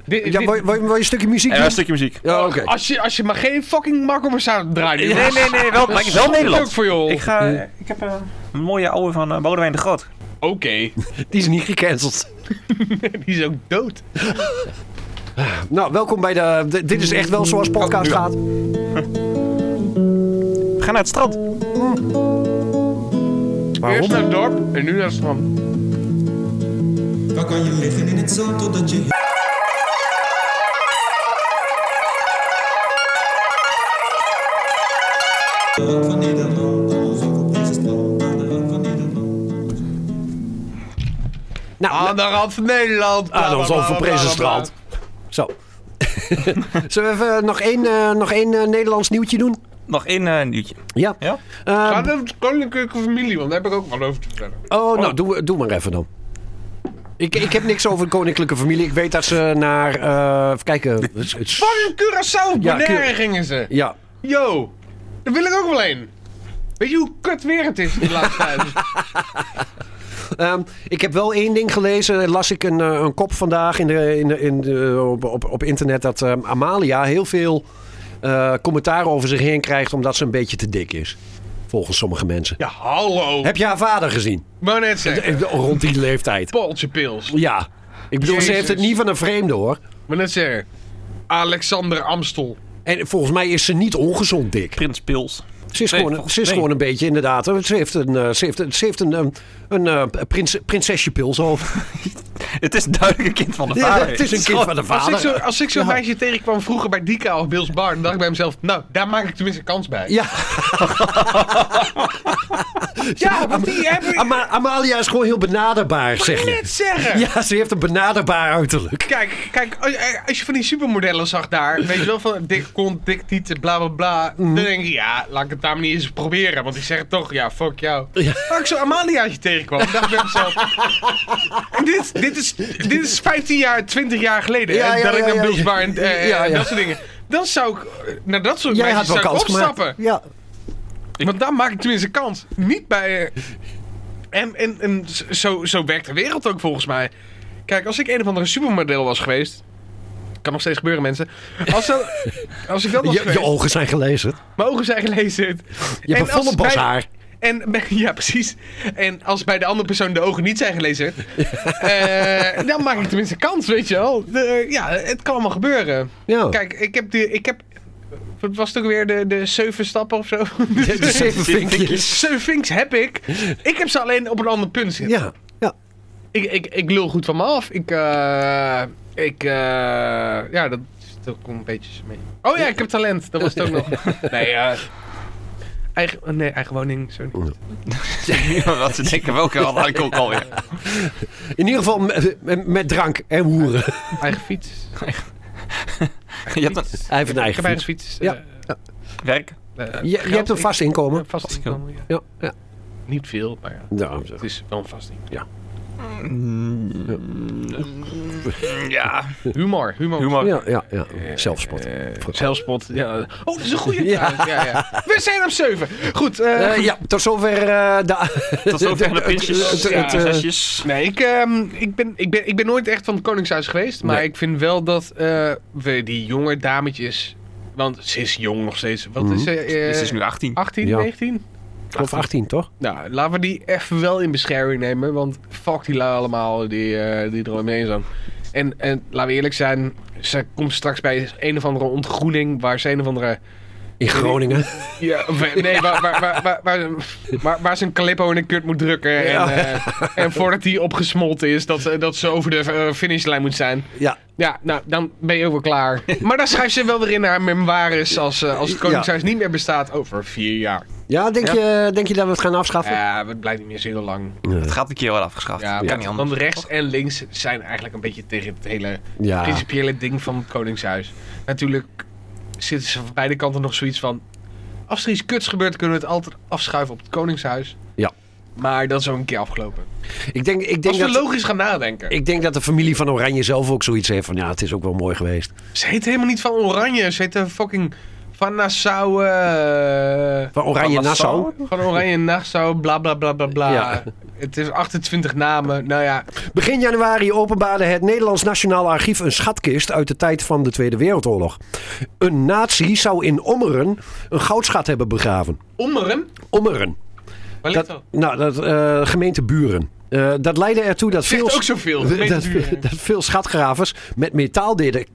[SPEAKER 6] Dit-
[SPEAKER 5] ja,
[SPEAKER 6] dit-
[SPEAKER 5] wil, je- wil je wil je een stukje muziek?
[SPEAKER 3] En
[SPEAKER 5] doen?
[SPEAKER 3] een stukje muziek.
[SPEAKER 5] Ja, oké.
[SPEAKER 6] als, je, als je maar geen fucking Marco Borsato draait. dit
[SPEAKER 3] Nee,
[SPEAKER 6] was-
[SPEAKER 3] nee, nee. Wel, maar ik wel
[SPEAKER 6] Sorry
[SPEAKER 3] Nederland.
[SPEAKER 6] ook voor jou.
[SPEAKER 3] Ik, ga, ik heb eh, een mooie oude van eh, Boudewijn de Groot.
[SPEAKER 6] Oké,
[SPEAKER 5] Die is niet gecanceld.
[SPEAKER 6] die is ook dood.
[SPEAKER 5] Nou, welkom bij de... de- dit is echt wel zoals podcast gaat.
[SPEAKER 3] We gaan naar het strand.
[SPEAKER 5] Waarom?
[SPEAKER 6] Eerst naar het dorp en nu naar het strand.
[SPEAKER 7] Dan kan je liggen in het zand totdat je... De Rand van Nederland, onze Europese strand, aan de rand van Nederland.
[SPEAKER 5] Nou, ah,
[SPEAKER 6] Aan de rand van Nederland.
[SPEAKER 3] Ah,
[SPEAKER 5] Aan ons overprezen strand. Zo. Zullen we even nog één, eh, nog één eh, Nederlands nieuwtje doen?
[SPEAKER 3] Nog één eh, nieuwtje.
[SPEAKER 5] Ja.
[SPEAKER 3] Ja?
[SPEAKER 5] Eh,
[SPEAKER 6] Gaat over de koninklijke familie, want daar heb ik ook wat over te vertellen.
[SPEAKER 5] oh, nou, doe, doe maar even dan. Ik, ik heb niks over de koninklijke familie. Ik weet dat ze naar... eh even kijken. Het is- het is-
[SPEAKER 6] Fucking Curaçao,
[SPEAKER 5] Ja,
[SPEAKER 6] Bonaire
[SPEAKER 5] Cura-
[SPEAKER 6] gingen ze.
[SPEAKER 5] Ja.
[SPEAKER 6] Yo, daar wil ik ook wel een. Weet je hoe kut weer het is de laatste tijd?
[SPEAKER 5] Ehm, ik heb wel één ding gelezen. Las ik een, eh, een kop vandaag in de, in de, in de, op, op, op internet dat ehm, Amalia heel veel eh, commentaar over zich heen krijgt omdat ze een beetje te dik is. Volgens sommige mensen.
[SPEAKER 6] Ja, hallo.
[SPEAKER 5] Heb je haar vader gezien?
[SPEAKER 6] Maar net zeggen.
[SPEAKER 5] Eh, Rond die leeftijd.
[SPEAKER 6] Poltje pils.
[SPEAKER 5] Ja. Ik bedoel, ze
[SPEAKER 6] Jezus.
[SPEAKER 5] heeft het niet van een vreemde hoor.
[SPEAKER 6] Maar net zeggen. Alexander Amstel.
[SPEAKER 5] En volgens mij is ze niet ongezond dik.
[SPEAKER 3] Prins Pils.
[SPEAKER 5] Ze is,
[SPEAKER 3] Nee,
[SPEAKER 5] gewoon,
[SPEAKER 3] volgens-
[SPEAKER 5] ze is
[SPEAKER 3] nee.
[SPEAKER 5] gewoon een beetje inderdaad. eh, Ze heeft een, eh, ze heeft, een- ze heeft een, een, een eh, prins, prinsesjepils over.
[SPEAKER 3] Het is duidelijk een kind van de
[SPEAKER 5] Ja,
[SPEAKER 3] vader.
[SPEAKER 5] het is een kind van de
[SPEAKER 6] Als ik zo-
[SPEAKER 5] vader.
[SPEAKER 6] als ik zo'n meisje tegenkwam vroeger bij Dika of Bill's Bar, dan dacht ik bij mezelf, nou, daar maak ik tenminste kans bij.
[SPEAKER 5] Ja.
[SPEAKER 6] Ja, want die hebben...
[SPEAKER 5] Ama- Amalia is gewoon heel benaderbaar, zeg je.
[SPEAKER 6] Net zeggen.
[SPEAKER 5] Ah, Ja, ze heeft een benaderbaar uiterlijk.
[SPEAKER 6] Kijk, kijk, als- als je van die supermodellen zag daar, weet je wel, van dik kont, dik tieten, bla bla bla.
[SPEAKER 5] Mhm.
[SPEAKER 6] Dan denk ik, ja, laat ik het daar maar niet eens proberen, want ik zeg het toch, ja, fuck jou. Maar ik zo'n Amaliaatje tegenkwam, dacht ik bij mezelf. en dit, dit, is, dit is 15 jaar, 20 jaar geleden,
[SPEAKER 5] Ja,
[SPEAKER 6] hè,
[SPEAKER 5] ja,
[SPEAKER 6] dat ik
[SPEAKER 5] ja,
[SPEAKER 6] naar
[SPEAKER 5] ja.
[SPEAKER 6] Bill's Bar en, eh,
[SPEAKER 5] Ja,
[SPEAKER 6] en
[SPEAKER 5] ja.
[SPEAKER 6] dat soort dingen. Dan zou ik, eh, naar dat soort
[SPEAKER 5] Jij
[SPEAKER 6] meisjes
[SPEAKER 5] had wel
[SPEAKER 6] zou ik
[SPEAKER 5] kans gemaakt.
[SPEAKER 6] opstappen.
[SPEAKER 5] Ja.
[SPEAKER 6] Want daar maak ik tenminste kans. Niet bij. eh, En, en, en zo, zo werkt de wereld ook volgens mij. Kijk, als ik een of andere supermodel was geweest. Kan nog steeds gebeuren, mensen. Als, dat- als ik dat was
[SPEAKER 5] Je,
[SPEAKER 6] geweest.
[SPEAKER 5] je ogen zijn gelezen.
[SPEAKER 6] Mijn ogen zijn gelezen.
[SPEAKER 5] Je hebt een volle bos haar.
[SPEAKER 6] En bij- ja, precies. En als bij de andere persoon de ogen niet zijn gelezen, eh, dan maak ik tenminste kans, weet je wel. De- ja, het kan allemaal gebeuren.
[SPEAKER 5] Ja.
[SPEAKER 6] Kijk, ik heb, die, ik heb. Wat was het ook weer? De, de zeven stappen of zo?
[SPEAKER 5] De, de zeven vinkjes.
[SPEAKER 6] Zeven vinks heb ik. Ik heb ze alleen op een ander punt zitten.
[SPEAKER 5] Ja. ja.
[SPEAKER 6] Ik, ik, ik lul goed van me af. Ik, eh, ik, eh, ja, dat, dat komt een beetje mee. Oh ja, ik heb talent. Dat was het ook nog. Nee, ja. eigen, oh, nee, eigen woning. Zo.
[SPEAKER 3] Wat ze denken, welke al aankomt alweer.
[SPEAKER 5] In ieder geval met, met- met drank en hoeren.
[SPEAKER 6] Eigen fiets.
[SPEAKER 3] Je hebt een
[SPEAKER 5] Hij heeft een
[SPEAKER 6] Ik
[SPEAKER 5] eigen
[SPEAKER 6] heb eigen
[SPEAKER 5] fiets.
[SPEAKER 6] fiets.
[SPEAKER 5] Ja.
[SPEAKER 6] eh,
[SPEAKER 3] werk.
[SPEAKER 6] eh,
[SPEAKER 5] Je, je
[SPEAKER 6] geld.
[SPEAKER 5] hebt een vast inkomen.
[SPEAKER 6] Ik- Vast
[SPEAKER 3] Vast
[SPEAKER 6] inkomen, ja.
[SPEAKER 5] Ja. ja.
[SPEAKER 6] Niet veel, maar ja.
[SPEAKER 5] Nou,
[SPEAKER 6] Het is wel een vast inkomen. Mm.
[SPEAKER 3] Ja,
[SPEAKER 6] Humor, humor.
[SPEAKER 3] humor.
[SPEAKER 5] ja, ja, ja. Zelfspot.
[SPEAKER 6] Eh, zelfspot. Ja. Oh, dat is een goede ja. Ja, ja. We zijn op 7. Goed. eh,
[SPEAKER 5] Eh, ja, tot zover eh, de...
[SPEAKER 3] Tot zover de
[SPEAKER 5] Het-
[SPEAKER 3] pintjes.
[SPEAKER 5] het-
[SPEAKER 3] Ja,
[SPEAKER 5] het, eh,
[SPEAKER 3] zesjes.
[SPEAKER 6] Nee, ik, ehm, ik, ben, ik, ben, ik ben nooit echt van het Koningshuis geweest. Maar
[SPEAKER 5] Nee.
[SPEAKER 6] ik vind wel dat eh, we die jonge dametjes. Want ze is jong nog steeds. Wat is ze? eh,
[SPEAKER 3] Ze is dus nu 18.
[SPEAKER 6] 18,
[SPEAKER 5] Ja.
[SPEAKER 6] 19?
[SPEAKER 5] Of 18, toch?
[SPEAKER 6] Nou, laten we die even wel in bescherming nemen. Want fuck die lui allemaal die, eh, die er omheen zijn. En, en laten we eerlijk zijn. Ze komt straks bij een of andere ontgroening. Waar ze een of andere.
[SPEAKER 5] In Groningen.
[SPEAKER 6] Ja, of, eh, nee, waar, waar, waar, waar, waar, waar, waar ze een calippo in een kut moet drukken. En, eh, en voordat die opgesmolten is, dat, ze- dat ze over de eh, finishlijn moet zijn.
[SPEAKER 5] Ja.
[SPEAKER 6] Ja, nou, dan ben je ook wel klaar. Maar dan schrijft ze wel weer in haar memoires als, eh, als het Koningshuis niet meer bestaat over vier jaar.
[SPEAKER 5] Ja, denk,
[SPEAKER 3] Ja.
[SPEAKER 5] Je, denk je dat we het gaan afschaffen?
[SPEAKER 6] Ja, het blijft niet meer zo heel lang.
[SPEAKER 3] Het gaat een keer wel afgeschaft.
[SPEAKER 6] Ja,
[SPEAKER 3] Ja, kan niet
[SPEAKER 6] want
[SPEAKER 3] anders.
[SPEAKER 6] rechts en links zijn eigenlijk een beetje tegen het hele
[SPEAKER 5] Ja.
[SPEAKER 6] principiële ding van het Koningshuis. Natuurlijk zitten ze van beide kanten nog zoiets van... Als er iets kuts gebeurt, kunnen we het altijd afschuiven op het Koningshuis.
[SPEAKER 5] Ja.
[SPEAKER 6] Maar dat is ook een keer afgelopen.
[SPEAKER 5] Ik denk, ik denk
[SPEAKER 6] Als we
[SPEAKER 5] dat...
[SPEAKER 6] logisch gaan nadenken.
[SPEAKER 5] Ik denk dat de familie van Oranje zelf ook zoiets heeft van... Ja, het is ook wel mooi geweest.
[SPEAKER 6] Ze heet helemaal niet van Oranje. Ze heet eh, fucking van Nassau... eh,
[SPEAKER 5] Van Oranje
[SPEAKER 3] Van Nassau?
[SPEAKER 5] Nassau.
[SPEAKER 6] van Oranje Nassau, bla bla bla bla bla.
[SPEAKER 5] Ja.
[SPEAKER 6] Het is 28 namen. Nou ja,
[SPEAKER 5] Begin januari openbaarde het Nederlands Nationaal Archief een schatkist uit de tijd van de Tweede Wereldoorlog. Een nazi zou in Ommeren een goudschat hebben begraven.
[SPEAKER 6] Ommeren.
[SPEAKER 5] Ommeren.
[SPEAKER 6] Waar
[SPEAKER 5] Dat,
[SPEAKER 6] ligt dat?
[SPEAKER 5] nou, dat eh, gemeente Buren. Eh, dat leidde ertoe dat veel...
[SPEAKER 6] Zegt ook zoveel. eh.
[SPEAKER 5] Dat, dat,
[SPEAKER 6] Buren.
[SPEAKER 5] dat veel schatgravers met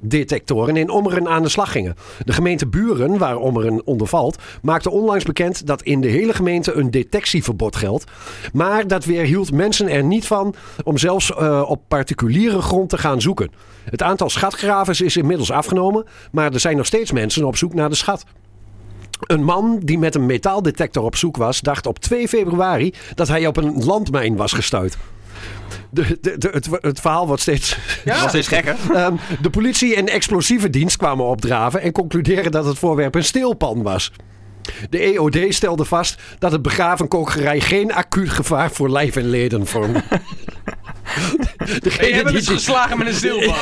[SPEAKER 5] metaaldetectoren in Ommeren aan de slag gingen. De gemeente Buren, waar Ommeren onder valt, maakte onlangs bekend dat in de hele gemeente een detectieverbod geldt. Maar dat weerhield mensen er niet van om zelfs eh, op particuliere grond te gaan zoeken. Het aantal schatgravers is inmiddels afgenomen, maar er zijn nog steeds mensen op zoek naar de schat. Een man die met een metaaldetector op zoek was, dacht op 2 februari dat hij op een landmijn was gestuurd. De, de, de- het, het verhaal wordt steeds.
[SPEAKER 3] Ja. Nog steeds gekker.
[SPEAKER 5] Ehm, de politie en de explosieve dienst kwamen opdraven en concluderen dat het voorwerp een steelpan was. De EOD stelde vast dat het begraven kokerij geen acuut gevaar voor lijf en leden vormde.
[SPEAKER 6] Hey,
[SPEAKER 5] Degene
[SPEAKER 6] jij bent
[SPEAKER 5] die
[SPEAKER 6] dus
[SPEAKER 5] die-
[SPEAKER 6] geslagen met een stilbal.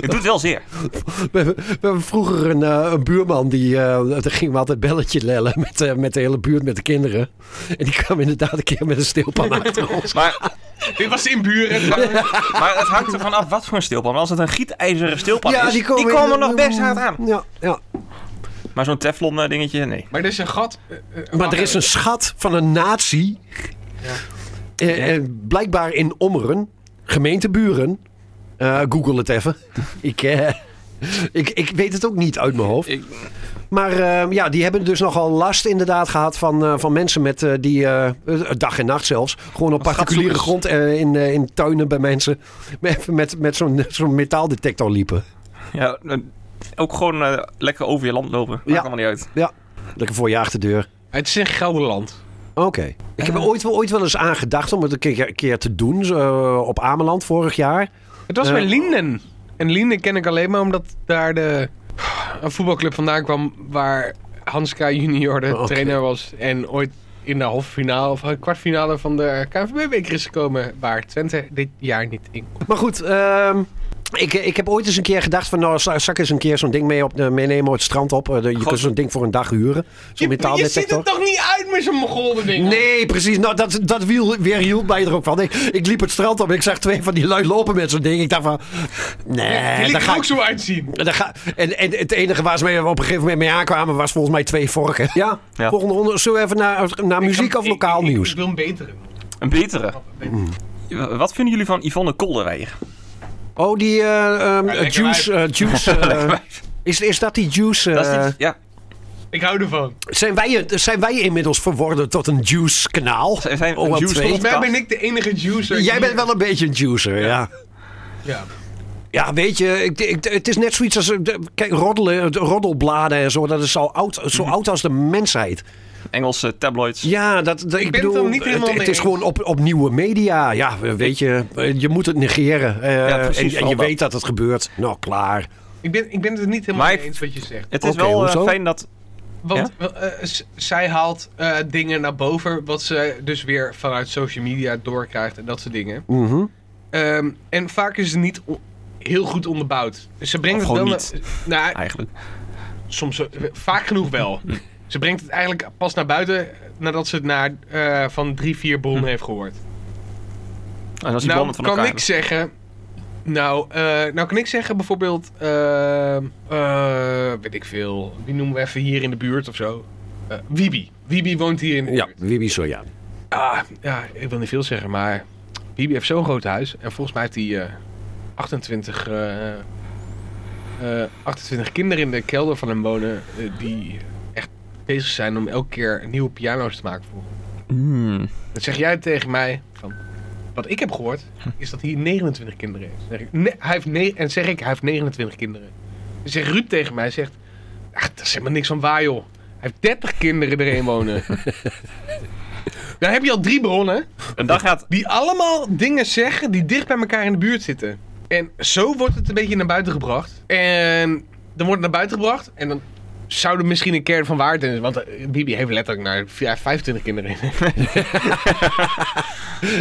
[SPEAKER 3] Het doet wel zeer.
[SPEAKER 5] We hebben, we hebben vroeger een, eh, een buurman die. eh daar gingen we altijd belletje lellen met, eh, met de hele buurt, met de kinderen. En die kwam inderdaad een keer met een steelpan achter ons.
[SPEAKER 3] Maar,
[SPEAKER 6] Dit was in buren.
[SPEAKER 3] maar het hangt ervan af wat voor een stilpan. Want Als het een gietijzeren stilpan is, die komen,
[SPEAKER 5] in-
[SPEAKER 3] nog best hard aan.
[SPEAKER 5] Ja, ja.
[SPEAKER 3] Maar zo'n teflon eh, dingetje, nee.
[SPEAKER 6] Maar er is een gat. eh, eh,
[SPEAKER 5] Maar
[SPEAKER 6] wacht
[SPEAKER 5] er is
[SPEAKER 6] even.
[SPEAKER 5] een schat van een natie. Eh, eh, blijkbaar in Ommeren, gemeenteburen. Eh, Google het even. ik, eh, ik, ik weet het ook niet uit mijn hoofd.
[SPEAKER 3] Ik-
[SPEAKER 5] Maar eh, ja, die hebben dus nogal last inderdaad gehad van, eh, van mensen met eh, die, eh, eh, dag en nacht zelfs, gewoon op
[SPEAKER 3] Wat
[SPEAKER 5] particuliere grond
[SPEAKER 3] schatzoekers.
[SPEAKER 5] eh, in, eh, in tuinen bij mensen met, met, met zo'n zo'n metaaldetector liepen.
[SPEAKER 3] Ja, eh, ook gewoon eh, lekker over je land lopen. Maakt
[SPEAKER 5] Ja.
[SPEAKER 3] allemaal niet uit.
[SPEAKER 5] Lekker voor je achterdeur.
[SPEAKER 6] Het is in Gelderland.
[SPEAKER 5] Oké. Ik
[SPEAKER 6] Eh.
[SPEAKER 5] heb er ooit, wel- ooit wel eens aan gedacht om het een keer, een keer te doen zo, eh, op Ameland vorig jaar.
[SPEAKER 6] Het was
[SPEAKER 5] Eh.
[SPEAKER 6] bij Linden. En Linden ken ik alleen maar omdat daar de, een voetbalclub vandaan kwam waar Hanska junior de
[SPEAKER 5] Oké.
[SPEAKER 6] trainer was. En ooit in de halve finale of kwartfinale van de KNVB-beker is gekomen. Waar Twente dit jaar niet in komt.
[SPEAKER 5] Maar goed, ehm, Ik, ik heb ooit eens een keer gedacht van nou, zou zou ik eens een keer zo'n ding mee op, eh, meenemen het strand op. Eh, de- je
[SPEAKER 3] Goh.
[SPEAKER 5] kunt zo'n ding voor een dag huren. Zo'n
[SPEAKER 6] Je, je ziet
[SPEAKER 5] metaaldetector.
[SPEAKER 6] er toch niet uit met zo'n mogolde ding?
[SPEAKER 5] Nee, precies. Nou, dat, dat wiel weer hield mij er ook van. Ik, ik liep het strand op en ik zag twee van die lui lopen met zo'n ding. Ik dacht van,
[SPEAKER 6] Die
[SPEAKER 5] nee,
[SPEAKER 6] liet
[SPEAKER 5] daar
[SPEAKER 6] er
[SPEAKER 5] ga
[SPEAKER 6] ook
[SPEAKER 5] ik...
[SPEAKER 6] zo uitzien.
[SPEAKER 5] daar ga, en, en het enige waar ze mee op een gegeven moment mee aankwamen was volgens mij twee vorken. Ja,
[SPEAKER 3] Ja.
[SPEAKER 5] volgende ronde. Zullen we even naar, naar muziek of
[SPEAKER 6] Ik-
[SPEAKER 5] lokaal
[SPEAKER 6] ik- ik-
[SPEAKER 5] nieuws?
[SPEAKER 6] Ik wil een betere.
[SPEAKER 3] Een betere. Wat vinden jullie van Yvonne Kolderweijer?
[SPEAKER 5] Oh, die eh, ehm,
[SPEAKER 6] lekker
[SPEAKER 5] juice. eh, juice eh, is, is dat die juice?
[SPEAKER 3] Dat is
[SPEAKER 5] eh,
[SPEAKER 3] niet- ja,
[SPEAKER 6] Ik hou ervan.
[SPEAKER 5] zijn, wij, het- zijn wij inmiddels verworden tot een juice-kanaal?
[SPEAKER 3] Zijn- zijn we
[SPEAKER 5] OL2?
[SPEAKER 3] een juice-
[SPEAKER 6] Volgens mij ben ik de enige juicer.
[SPEAKER 5] Jij
[SPEAKER 6] hier.
[SPEAKER 5] bent wel een beetje een juicer, ja.
[SPEAKER 6] Ja.
[SPEAKER 5] Ja, weet je, ik, ik- het is net zoiets als. eh, de- Kijk, roddelen, de roddelbladen en zo, dat is al oud, zo oud als de mensheid.
[SPEAKER 3] Engelse tabloids.
[SPEAKER 5] Ja, dat, dat- ik,
[SPEAKER 6] ben het
[SPEAKER 5] bedoel,
[SPEAKER 6] er niet helemaal
[SPEAKER 5] het,
[SPEAKER 6] mee
[SPEAKER 5] het is
[SPEAKER 6] eens.
[SPEAKER 5] gewoon op, op nieuwe media. Ja, weet je, eh, je moet het negeren. eh,
[SPEAKER 3] Ja, precies,
[SPEAKER 5] en, en je
[SPEAKER 3] vooral dat.
[SPEAKER 5] weet dat het gebeurt. Nou, klaar.
[SPEAKER 6] Ik ben, ik ben het niet helemaal
[SPEAKER 3] Maar-
[SPEAKER 6] mee eens wat je zegt.
[SPEAKER 3] Het is
[SPEAKER 5] Oké,
[SPEAKER 3] wel eh,
[SPEAKER 5] hoezo?
[SPEAKER 3] fijn dat...
[SPEAKER 6] Want eh, s- zij haalt eh, dingen naar boven, wat ze dus weer vanuit social media doorkrijgt en dat soort dingen.
[SPEAKER 5] Mhm.
[SPEAKER 6] Ehm, en vaak is het niet o- heel goed onderbouwd. Ze brengt
[SPEAKER 3] Of
[SPEAKER 6] het wel
[SPEAKER 3] gewoon Ah,
[SPEAKER 6] naar- Nou,
[SPEAKER 3] Eigenlijk.
[SPEAKER 6] soms eh, vaak genoeg wel. ze brengt het eigenlijk pas naar buiten eh, nadat ze het naar, eh, van drie, vier
[SPEAKER 3] Hm.
[SPEAKER 6] bronnen heeft gehoord.
[SPEAKER 3] En als die
[SPEAKER 6] nou,
[SPEAKER 3] bronnen van
[SPEAKER 6] kan
[SPEAKER 3] elkaar
[SPEAKER 6] ik zeggen. Nou, eh, nou kan ik zeggen bijvoorbeeld, eh, eh, weet ik veel, wie noemen we even hier in de buurt of zo? Eh, Wiebe. Wiebe woont hier in de
[SPEAKER 5] Ja,
[SPEAKER 6] buurt.
[SPEAKER 5] Wibi Sojan.
[SPEAKER 6] Ah, ja, ik wil niet veel zeggen, maar Wiebe heeft zo'n groot huis. En volgens mij heeft hij eh, 28, eh, eh, 28 kinderen in de kelder van hem wonen. eh, die echt bezig zijn om elke keer nieuwe piano's te maken voor hem.
[SPEAKER 3] hebben. Hmm.
[SPEAKER 6] Dan zeg jij tegen mij van. Wat ik heb gehoord, is dat hij 29 kinderen heeft. Dan Zeg ik, "Nee, hij heeft ne- en zeg ik, hij heeft 29 kinderen. Dan zegt Ruud tegen mij, zegt... Ach, dat is helemaal niks van waar, joh. Hij heeft 30 kinderen erin wonen. Dan heb je al drie bronnen
[SPEAKER 3] En dan gaat...
[SPEAKER 5] Dus-
[SPEAKER 6] die allemaal dingen zeggen die dicht bij elkaar in de buurt zitten. En zo wordt het een beetje naar buiten gebracht. En dan wordt het naar buiten gebracht en dan zou er misschien een kern van waarde in zijn. Want eh, Bibi heeft letterlijk naar ja, 25 kinderen in.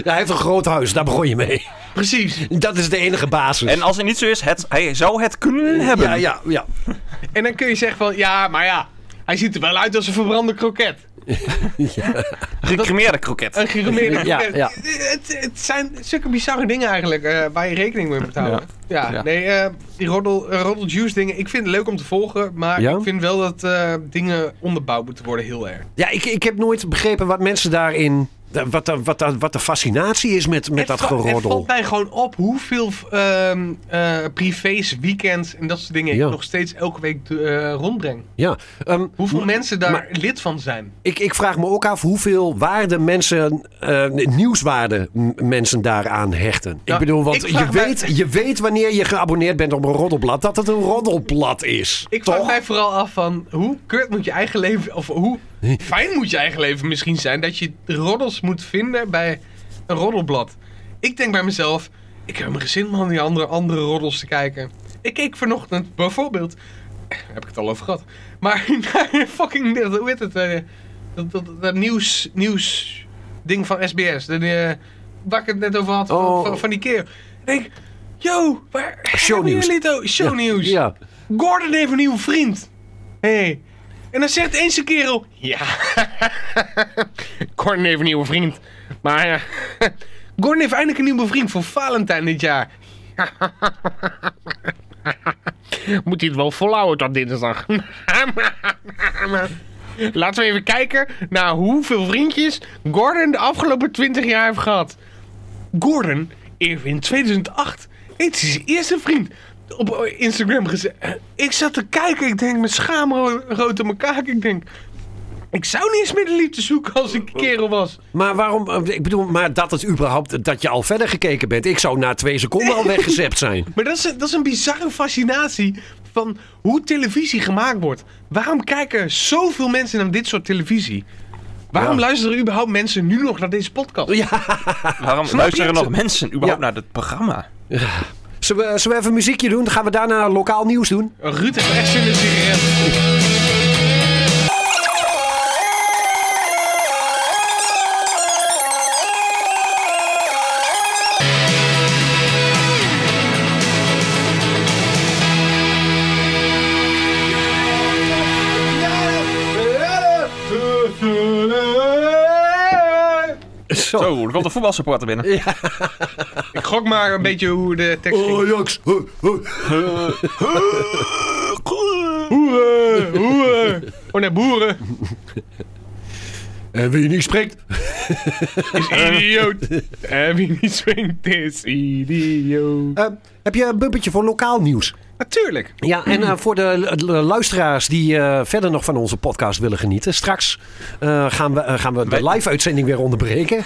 [SPEAKER 5] hij heeft een groot huis, daar begon je mee.
[SPEAKER 6] Precies.
[SPEAKER 5] Dat is de enige basis.
[SPEAKER 3] En als het niet zo is, het, hij zou het kunnen hebben.
[SPEAKER 5] ja, ja, ja.
[SPEAKER 6] En dan kun je zeggen van, ja, maar ja, hij ziet er wel uit als een verbrande kroket.
[SPEAKER 3] Gecremeerde kroket.
[SPEAKER 6] Een gerumeerde
[SPEAKER 5] Ja,
[SPEAKER 6] kroket.
[SPEAKER 5] ja.
[SPEAKER 6] Het, het zijn zulke bizarre dingen eigenlijk eh, waar je rekening mee moet houden. Ja,
[SPEAKER 3] Ja.
[SPEAKER 6] nee, eh, die roddel, eh, roddel juice dingen, ik vind het leuk om te volgen, maar
[SPEAKER 5] Ja?
[SPEAKER 6] ik vind wel dat eh, dingen onderbouwd moeten worden heel erg.
[SPEAKER 5] Ja, ik, ik heb nooit begrepen wat mensen daarin. Wat de, wat de, wat de fascinatie is met, met
[SPEAKER 6] Het
[SPEAKER 5] dat
[SPEAKER 6] va- Het
[SPEAKER 5] geroddel.
[SPEAKER 6] valt mij gewoon op hoeveel ehm eh, privés, weekends en dat soort dingen
[SPEAKER 5] Ja.
[SPEAKER 6] ik nog steeds elke week eh, rondbreng.
[SPEAKER 5] Ja. ehm,
[SPEAKER 6] Hoeveel
[SPEAKER 5] m-
[SPEAKER 6] mensen daar
[SPEAKER 5] maar-
[SPEAKER 6] lid van zijn.
[SPEAKER 5] ik, ik vraag me ook af hoeveel waarde mensen, eh, nieuwswaarde m- mensen daaraan hechten.
[SPEAKER 6] Nou,
[SPEAKER 5] ik bedoel, want
[SPEAKER 6] ik
[SPEAKER 5] je,
[SPEAKER 6] vraag mij-
[SPEAKER 5] weet, je weet wanneer je geabonneerd bent op een roddelblad dat het een roddelblad is.
[SPEAKER 6] Ik
[SPEAKER 5] toch?
[SPEAKER 6] vraag mij vooral af van hoe kut moet je eigen leven, of hoe fijn moet je eigen leven misschien zijn dat je roddels moet vinden bij een roddelblad. Ik denk bij mezelf, ik heb mijn gezin om aan die andere, andere roddels te kijken. Ik keek vanochtend bijvoorbeeld, eh, heb ik het al over gehad, maar naar fucking, dat- hoe heet het, eh, dat, dat, dat, nieuws, nieuws ding van SBS, dat, eh, waar ik het net over had,
[SPEAKER 5] Oh.
[SPEAKER 6] van, van, van die keer. Ik denk, yo, waar hebben
[SPEAKER 5] Shownieuws.
[SPEAKER 6] jullie het over? Shownieuws.
[SPEAKER 5] Ja.
[SPEAKER 6] Gordon heeft een nieuwe vriend. Hé. Hey. En dan zegt eens een kerel... Ja. Gordon heeft een nieuwe vriend. Maar eh, ja. Gordon heeft eindelijk een nieuwe vriend voor Valentijn dit jaar. Moet hij het wel volhouden tot dinsdag? Laten we even kijken naar hoeveel vriendjes Gordon de afgelopen 20 jaar heeft gehad. Gordon heeft in 2008 heeft hij zijn eerste vriend op Instagram gezet. Ik zat te kijken, ik denk met schaamrood op mijn kaak. Ik denk, ik zou niet eens meer de liefde zoeken als ik een kerel was.
[SPEAKER 5] Maar waarom? eh, Ik bedoel, maar dat het überhaupt dat je al verder gekeken bent. Ik zou na twee seconden al weggezept zijn.
[SPEAKER 6] Maar dat is, een- dat is een bizarre fascinatie van hoe televisie gemaakt wordt. Waarom kijken zoveel mensen naar dit soort televisie? Waarom
[SPEAKER 5] Ja.
[SPEAKER 6] luisteren überhaupt mensen nu nog naar deze podcast?
[SPEAKER 3] Waarom luisteren nog mensen überhaupt
[SPEAKER 5] Ja.
[SPEAKER 3] naar dit programma?
[SPEAKER 5] Zullen we, zullen we even muziekje doen? Dan gaan we daarna lokaal nieuws doen.
[SPEAKER 6] Ruud heeft echt zin in een sigaret.
[SPEAKER 5] Zo.
[SPEAKER 3] Zo, er komt een voetbalsupporter binnen.
[SPEAKER 6] Ik gok maar een beetje hoe de tekst ging.
[SPEAKER 5] Ajax. Oh, huh, huh.
[SPEAKER 6] Boeren, boeren. Oh nee, boeren.
[SPEAKER 5] En wie niet spreekt.
[SPEAKER 6] Is idioot. En wie niet swingt is idioot.
[SPEAKER 5] Eh, heb je een bumpertje voor lokaal nieuws?
[SPEAKER 6] Natuurlijk.
[SPEAKER 5] Ja, en eh, voor de l- l- luisteraars die eh, verder nog van onze podcast willen genieten. Straks eh, gaan, we, eh, gaan we de
[SPEAKER 3] Wij-
[SPEAKER 5] live-uitzending weer onderbreken.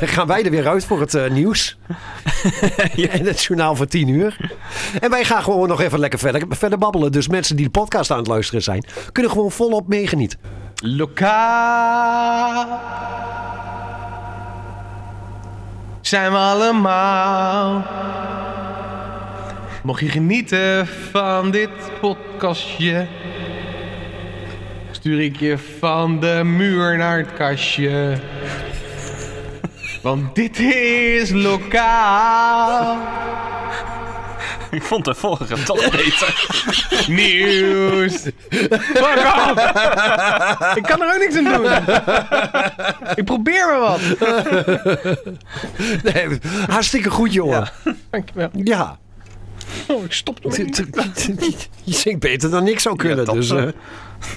[SPEAKER 5] gaan wij er weer uit voor het eh, nieuws. En het journaal van 10 uur. En wij gaan gewoon nog even lekker verder, verder babbelen. Dus mensen die de podcast aan het luisteren zijn, kunnen gewoon volop meegenieten.
[SPEAKER 6] Lokaal. Zijn we allemaal. Mocht je genieten van dit podcastje. Stuur ik je van de muur naar het kastje. Want dit is lokaal
[SPEAKER 3] Ik vond de vorige toch beter.
[SPEAKER 6] nieuws. Fuck off. Ik kan er ook niks aan doen. Ik probeer maar wat.
[SPEAKER 5] Nee, hartstikke goed, jongen.
[SPEAKER 6] Dankjewel.
[SPEAKER 5] Ja.
[SPEAKER 6] Oh, ik stop ermee.
[SPEAKER 5] Je zingt beter dan ik zou kunnen.
[SPEAKER 3] dat,
[SPEAKER 5] dus,
[SPEAKER 3] eh,
[SPEAKER 5] eh.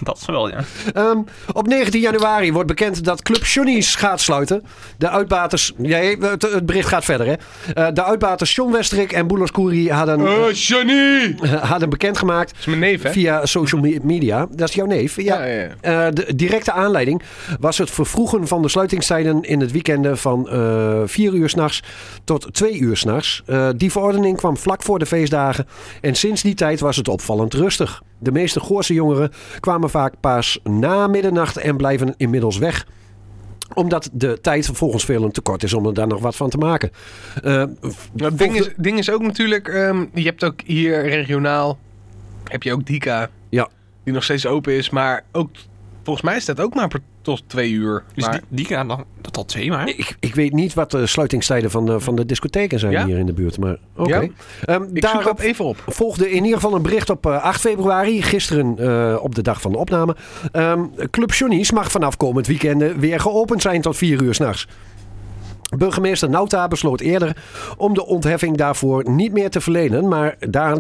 [SPEAKER 3] Dat is wel, ja.
[SPEAKER 5] Ehm, op 19 januari wordt bekend dat Club Johnny's gaat sluiten. De uitbaters. Nee, het, het bericht gaat verder, hè? Eh, de uitbaters John Westrik en Boulos Kouri hadden,
[SPEAKER 3] Oh,
[SPEAKER 6] Eh, Johnny! Dat
[SPEAKER 5] Eh, hadden bekendgemaakt
[SPEAKER 6] is mijn neef, hè?
[SPEAKER 5] via social me- media. Dat is jouw neef. Ja.
[SPEAKER 6] Ja, ja, ja.
[SPEAKER 5] Eh, de directe aanleiding was het vervroegen van de sluitingstijden in het weekenden van eh 4 uur s'nachts tot 2 uur s'nachts. Eh die verordening kwam vlak voor de feestdagen en sinds die tijd was het opvallend rustig. De meeste Goorse jongeren kwamen vaak pas na middernacht en blijven inmiddels weg omdat de tijd volgens velen te kort is om er daar nog wat van te maken. Eh,
[SPEAKER 6] Maar Het ding is, ding is ook natuurlijk, ehm, je hebt ook hier regionaal, heb je ook Dika.
[SPEAKER 5] Ja.
[SPEAKER 6] Die nog steeds open is, maar ook, volgens mij staat ook maar per- tot twee uur.
[SPEAKER 3] Dus
[SPEAKER 6] Maar-
[SPEAKER 3] die, die gaan dan tot twee maar.
[SPEAKER 5] Ik, ik weet niet wat de sluitingstijden van de, van de discotheken zijn
[SPEAKER 6] Ja?
[SPEAKER 5] hier in de buurt. Maar oké.
[SPEAKER 6] Ja.
[SPEAKER 5] Ehm,
[SPEAKER 6] ik zoek
[SPEAKER 5] daarop
[SPEAKER 6] dat even op.
[SPEAKER 5] volgde in ieder geval een bericht op eh, 8 februari. Gisteren eh, op de dag van de opname. Ehm, Club Johnny's mag vanaf komend weekend weer geopend zijn tot 4 uur s'nachts. Burgemeester Nauta besloot eerder om de ontheffing daarvoor niet meer te verlenen. Maar daar,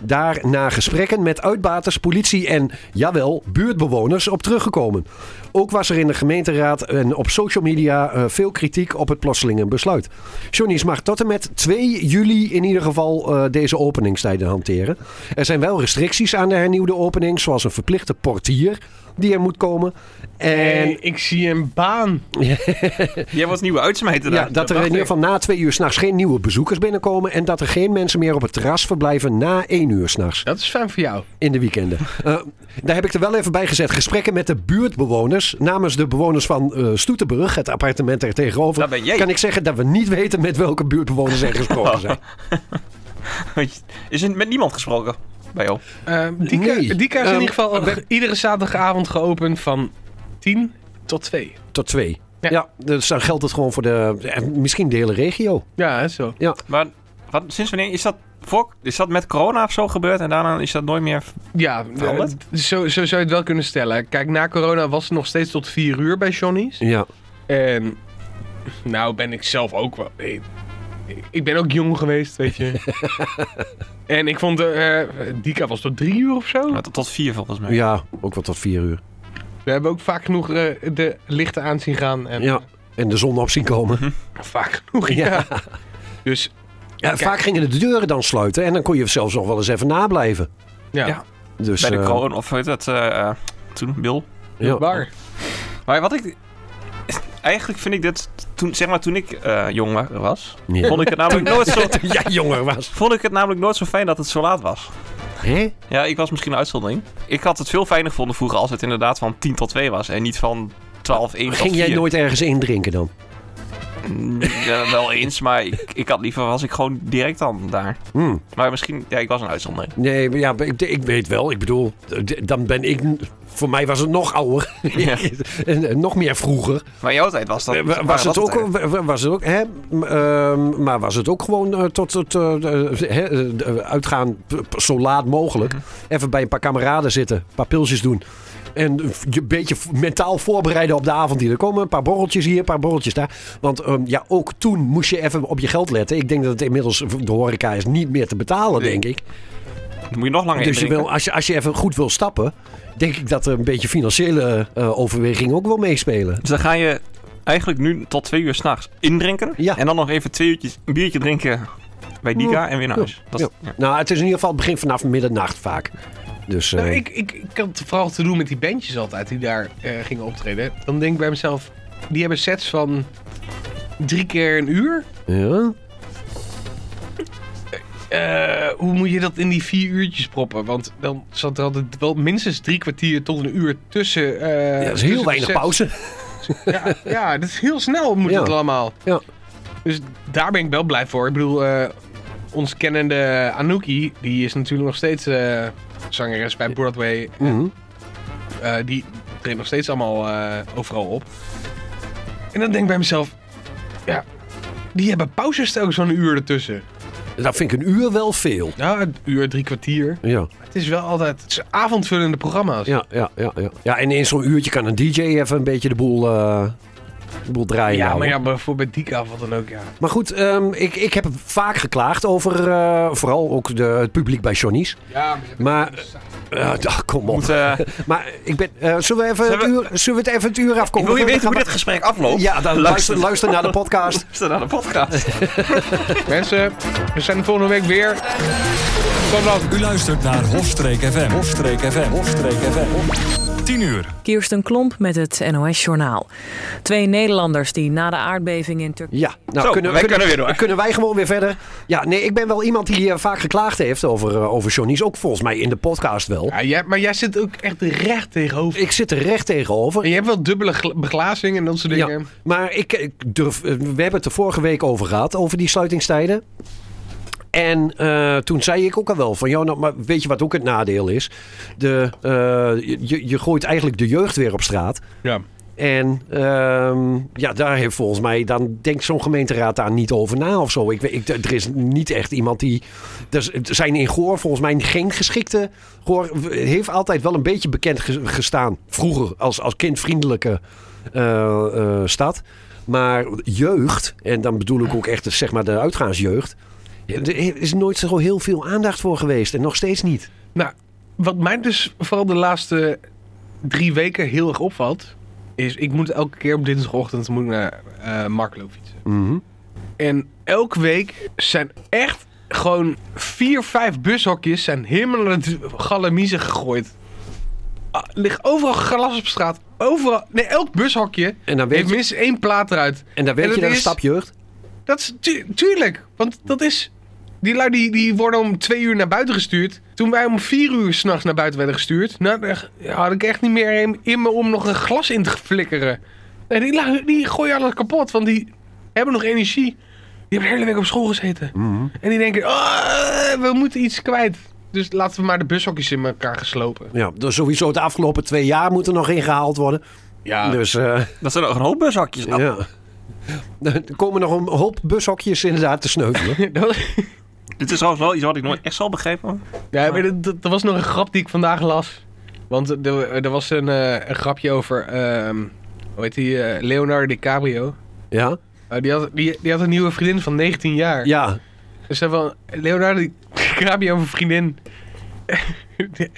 [SPEAKER 5] daarna gesprekken met uitbaters, politie en, jawel, buurtbewoners op teruggekomen. Ook was er in de gemeenteraad en op social media eh, veel kritiek op het plotselinge besluit. Johnny's mag tot en met 2 juli in ieder geval eh, deze openingstijden hanteren. Er zijn wel restricties aan de hernieuwde opening, zoals een verplichte portier die er moet komen. En
[SPEAKER 6] En ik zie een baan.
[SPEAKER 3] Jij was nieuwe uitsmijter
[SPEAKER 5] ja,
[SPEAKER 3] daar.
[SPEAKER 5] dat er in
[SPEAKER 6] dacht
[SPEAKER 5] ieder geval na twee uur s'nachts geen nieuwe bezoekers binnenkomen. En dat er geen mensen meer op het terras verblijven na één uur s'nachts
[SPEAKER 6] Dat is fijn voor jou.
[SPEAKER 5] in de weekenden. Eh, daar heb ik er wel even bij gezet. Gesprekken met de buurtbewoners. Namens de bewoners van eh Stoetenburg, het appartement er tegenover.
[SPEAKER 3] Daar ben jij.
[SPEAKER 5] Kan ik zeggen dat we niet weten met welke buurtbewoners er gesproken zijn.
[SPEAKER 3] Is er met niemand gesproken bij jou?
[SPEAKER 6] Ehm, Dika,
[SPEAKER 5] Nee.
[SPEAKER 6] Dika is
[SPEAKER 5] Ehm,
[SPEAKER 6] in ieder geval op- iedere zaterdagavond geopend van 10 tot 2.
[SPEAKER 5] Tot twee. Ja.
[SPEAKER 6] Ja.
[SPEAKER 5] dus dan geldt het gewoon voor de, eh, misschien de hele regio.
[SPEAKER 6] Ja, hè, zo.
[SPEAKER 3] Maar wat, sinds wanneer is dat, voor, is dat met corona of zo gebeurd en daarna is dat nooit meer...
[SPEAKER 6] Ja,
[SPEAKER 3] Veranderd?
[SPEAKER 6] eh, zo, zo zou je het wel kunnen stellen. Kijk, na corona was het nog steeds tot 4 uur bij Johnny's.
[SPEAKER 5] Ja.
[SPEAKER 6] En nou ben ik zelf ook wel. Ik, ik ben ook jong geweest, weet je. en ik vond. eh eh, Dika was tot drie uur of zo.
[SPEAKER 3] Nou, tot, tot vier volgens mij.
[SPEAKER 5] Oh. ja, ook wel tot vier uur.
[SPEAKER 6] We hebben ook vaak genoeg eh, de lichten aan zien gaan. En
[SPEAKER 5] Ja. En de zon op zien komen.
[SPEAKER 6] Vaak genoeg, ja. Dus
[SPEAKER 5] Ja, vaak gingen de deuren dan sluiten. En dan kon je zelfs nog wel eens even nablijven.
[SPEAKER 6] ja,
[SPEAKER 3] Ja,
[SPEAKER 5] Dus,
[SPEAKER 3] bij de
[SPEAKER 5] eh,
[SPEAKER 3] corona of weet dat, eh, eh, toen, Bill.
[SPEAKER 5] ja.
[SPEAKER 6] waar.
[SPEAKER 3] Maar wat ik... Eigenlijk vind ik dit, toen, zeg maar toen ik eh jonger was,
[SPEAKER 5] Ja.
[SPEAKER 3] vond ik, het namelijk nooit zo,
[SPEAKER 5] Toen jij jonger was.
[SPEAKER 3] vond ik het namelijk nooit zo fijn dat het zo laat was.
[SPEAKER 5] Hé?
[SPEAKER 3] Ja, ik was misschien een uitzondering. Ik had het veel fijner gevonden vroeger als het inderdaad van 10 tot 2 was en niet van 12, 1 tot
[SPEAKER 5] Ging jij
[SPEAKER 3] 4.
[SPEAKER 5] nooit ergens indrinken dan?
[SPEAKER 3] Mm, ja, wel eens, maar ik, ik had liever was ik gewoon direct dan daar.
[SPEAKER 5] Hmm.
[SPEAKER 3] Maar misschien, ja, ik was een uitzondering.
[SPEAKER 5] Nee, maar ja, maar ik, ik weet wel. Ik bedoel, d- dan ben ik... Voor mij was het nog ouder.
[SPEAKER 3] Ja.
[SPEAKER 5] en, en nog meer vroeger.
[SPEAKER 3] Maar in jouw tijd was dat.
[SPEAKER 5] Eh, wa-
[SPEAKER 3] waren
[SPEAKER 5] Was het
[SPEAKER 3] dat
[SPEAKER 5] ook...
[SPEAKER 3] tijden.
[SPEAKER 5] wa- wa- Was het ook hè? m- ehm, maar was het ook gewoon eh, tot het eh, eh, hè, Mhm. eh, uitgaan p- p- zo laat mogelijk. Even bij een paar kameraden zitten. Een paar pilsjes doen. En je een beetje v- mentaal voorbereiden op de avond die er komen. Een paar borreltjes hier, een paar borreltjes daar. Want ehm, ja, ook toen moest je even op je geld letten. Ik denk dat het inmiddels voor de horeca is niet meer te betalen,
[SPEAKER 3] Nee.
[SPEAKER 5] denk ik.
[SPEAKER 3] Dan moet je nog langer
[SPEAKER 5] Dus je
[SPEAKER 3] indrinken.
[SPEAKER 5] wil, als, je, als je even goed wil stappen, denk ik dat er een beetje financiële eh overwegingen ook wel meespelen.
[SPEAKER 3] Dus dan ga je eigenlijk nu tot twee uur s'nachts indrinken.
[SPEAKER 5] Ja.
[SPEAKER 3] En dan nog even twee uurtjes een biertje drinken bij Diga en weer naar huis. Dat is- ja.
[SPEAKER 5] Nou, het is in ieder geval het begin vanaf middernacht vaak. Dus eh,
[SPEAKER 6] Nou, ik, ik, ik had vooral te doen met die bandjes altijd die daar eh, gingen optreden. Dan denk ik bij mezelf, die hebben sets van drie keer een uur.
[SPEAKER 5] ja.
[SPEAKER 6] Eh, hoe moet je dat in die vier uurtjes proppen? Want dan zat er altijd wel minstens drie kwartier tot een uur tussen. eh
[SPEAKER 5] Ja, dat is
[SPEAKER 6] tussen
[SPEAKER 5] heel
[SPEAKER 6] de
[SPEAKER 5] weinig
[SPEAKER 6] sets.
[SPEAKER 5] pauze.
[SPEAKER 6] Ja, ja, dat is heel snel moet
[SPEAKER 5] Ja.
[SPEAKER 6] het allemaal.
[SPEAKER 5] Ja.
[SPEAKER 6] Dus daar ben ik wel blij voor. Ik bedoel, eh, ons kennende Anouki, die is natuurlijk nog steeds eh, zangeres bij Broadway.
[SPEAKER 5] Mhm.
[SPEAKER 6] Eh, die treedt nog steeds allemaal eh, overal op. En dan denk ik bij mezelf, ja, die hebben pauzes telkens van een uur ertussen.
[SPEAKER 5] Dat vind ik een uur wel veel.
[SPEAKER 6] Ja, een uur, drie kwartier.
[SPEAKER 5] Ja,
[SPEAKER 6] Het is wel altijd het is avondvullende programma's.
[SPEAKER 5] ja, ja, ja, ja. ja en in zo'n uurtje kan een DJ even een beetje de boel, eh, de boel draaien.
[SPEAKER 6] Ja, maar
[SPEAKER 5] houden.
[SPEAKER 6] ja, bijvoorbeeld bij Dika of wat dan ook, ja.
[SPEAKER 5] Maar goed, ehm, ik, ik heb vaak geklaagd over eh, vooral ook de, het publiek bij Johnny's.
[SPEAKER 6] Ja,
[SPEAKER 5] Maar, eh, ah, kom op.
[SPEAKER 3] Moet, eh,
[SPEAKER 5] Maar ik ben, eh, zullen, we even
[SPEAKER 3] Zullen
[SPEAKER 5] het
[SPEAKER 3] we-
[SPEAKER 5] uur, zullen we het even het uur afkomen?
[SPEAKER 3] wil je
[SPEAKER 5] Dan
[SPEAKER 3] weten
[SPEAKER 5] gaan
[SPEAKER 3] hoe dit gesprek afloopt?
[SPEAKER 5] we- oh, Ja, dan luister,
[SPEAKER 3] luister,
[SPEAKER 5] luister naar de podcast.
[SPEAKER 3] luister naar de podcast.
[SPEAKER 6] Mensen, we zijn er volgende week weer. Tot dan.
[SPEAKER 8] U luistert naar Hofstreek FM. Hofstreek FM. Hofstreek FM. 10 uur.
[SPEAKER 1] Kirsten Klomp met het NOS-journaal. Twee Nederlanders die na de aardbeving in Turkije.
[SPEAKER 5] Ja, nou
[SPEAKER 3] Zo,
[SPEAKER 5] kunnen,
[SPEAKER 3] wij
[SPEAKER 5] kunnen,
[SPEAKER 3] kunnen weer door.
[SPEAKER 5] kunnen wij gewoon weer verder. Ja, nee, ik ben wel iemand die eh, vaak geklaagd heeft over, eh, over Johnny's. Ook volgens mij in de podcast wel.
[SPEAKER 6] Ja, jij, maar jij zit ook echt recht tegenover.
[SPEAKER 5] Ik zit er recht tegenover.
[SPEAKER 6] En je hebt wel dubbele gla- beglazing en dat soort dingen.
[SPEAKER 5] Ja, maar ik, ik durf, eh, we hebben het er vorige week over gehad, over die sluitingstijden. En eh, toen zei ik ook al wel van, joh, nou, maar weet je wat ook het nadeel is? De, eh, je, je gooit eigenlijk de jeugd weer op straat.
[SPEAKER 6] Ja.
[SPEAKER 5] En ehm, ja, daar heeft volgens mij, dan denkt zo'n gemeenteraad daar niet over na of zo. Ik, weet- ik, er is niet echt iemand die. Er z- er Dus zijn in Goor volgens mij geen geschikte. Goor heeft altijd wel een beetje bekend ge- gestaan. Vroeger als, als kindvriendelijke eh, eh, stad. Maar jeugd, en dan bedoel ik ook echt de, zeg maar de uitgaansjeugd. Er is nooit zo heel veel aandacht voor geweest. En nog steeds niet.
[SPEAKER 6] Nou, wat mij dus vooral de laatste drie weken heel erg opvalt, is ik moet elke keer op dinsdagochtend moet ik naar eh Marklo fietsen.
[SPEAKER 5] Mhm.
[SPEAKER 6] En elke week zijn echt gewoon vier, vijf bushokjes zijn helemaal naar de galamiezen gegooid. Ah, Ligt overal glas op straat. Overal, nee, elk bushokje
[SPEAKER 5] En dan weet
[SPEAKER 6] heeft
[SPEAKER 5] je,
[SPEAKER 6] minstens één plaat eruit.
[SPEAKER 5] en dan weet
[SPEAKER 6] en
[SPEAKER 5] je
[SPEAKER 6] dat
[SPEAKER 5] dat een
[SPEAKER 6] is-
[SPEAKER 5] stap jeugd.
[SPEAKER 6] Dat is tu- tuurlijk, want dat is. Die lui die, die worden om twee uur naar buiten gestuurd. Toen wij om vier uur s'nachts naar buiten werden gestuurd, nou, daar had ik echt niet meer in, in me om nog een glas in te flikkeren. En die lui die gooien alles kapot, want die hebben nog energie. Die hebben de hele week op school gezeten. En die denken, "Ah, we moeten iets kwijt. Dus laten we maar de bushokjes in elkaar geslopen.
[SPEAKER 5] Ja, dus sowieso de afgelopen twee jaar moet er nog ingehaald worden.
[SPEAKER 6] Ja,
[SPEAKER 5] Dus eh,
[SPEAKER 3] Dat zijn nog een hoop bushakjes. Nou,
[SPEAKER 5] ja. Er komen nog een hoop bushokjes inderdaad te sneuvelen.
[SPEAKER 6] dat,
[SPEAKER 3] Dit is trouwens wel iets wat ik nooit echt zal begrijpen.
[SPEAKER 6] Ja, maar dat, dat- dat was nog een grap die ik vandaag las. Want er, er was een, eh, een grapje over, ehm, hoe heet die, eh, Leonardo DiCaprio.
[SPEAKER 5] Ja,
[SPEAKER 6] Eh, die, had, die, die had een nieuwe vriendin van 19 jaar.
[SPEAKER 5] ja.
[SPEAKER 6] Dus zei van, Leonardo DiCaprio heeft een vriendin die,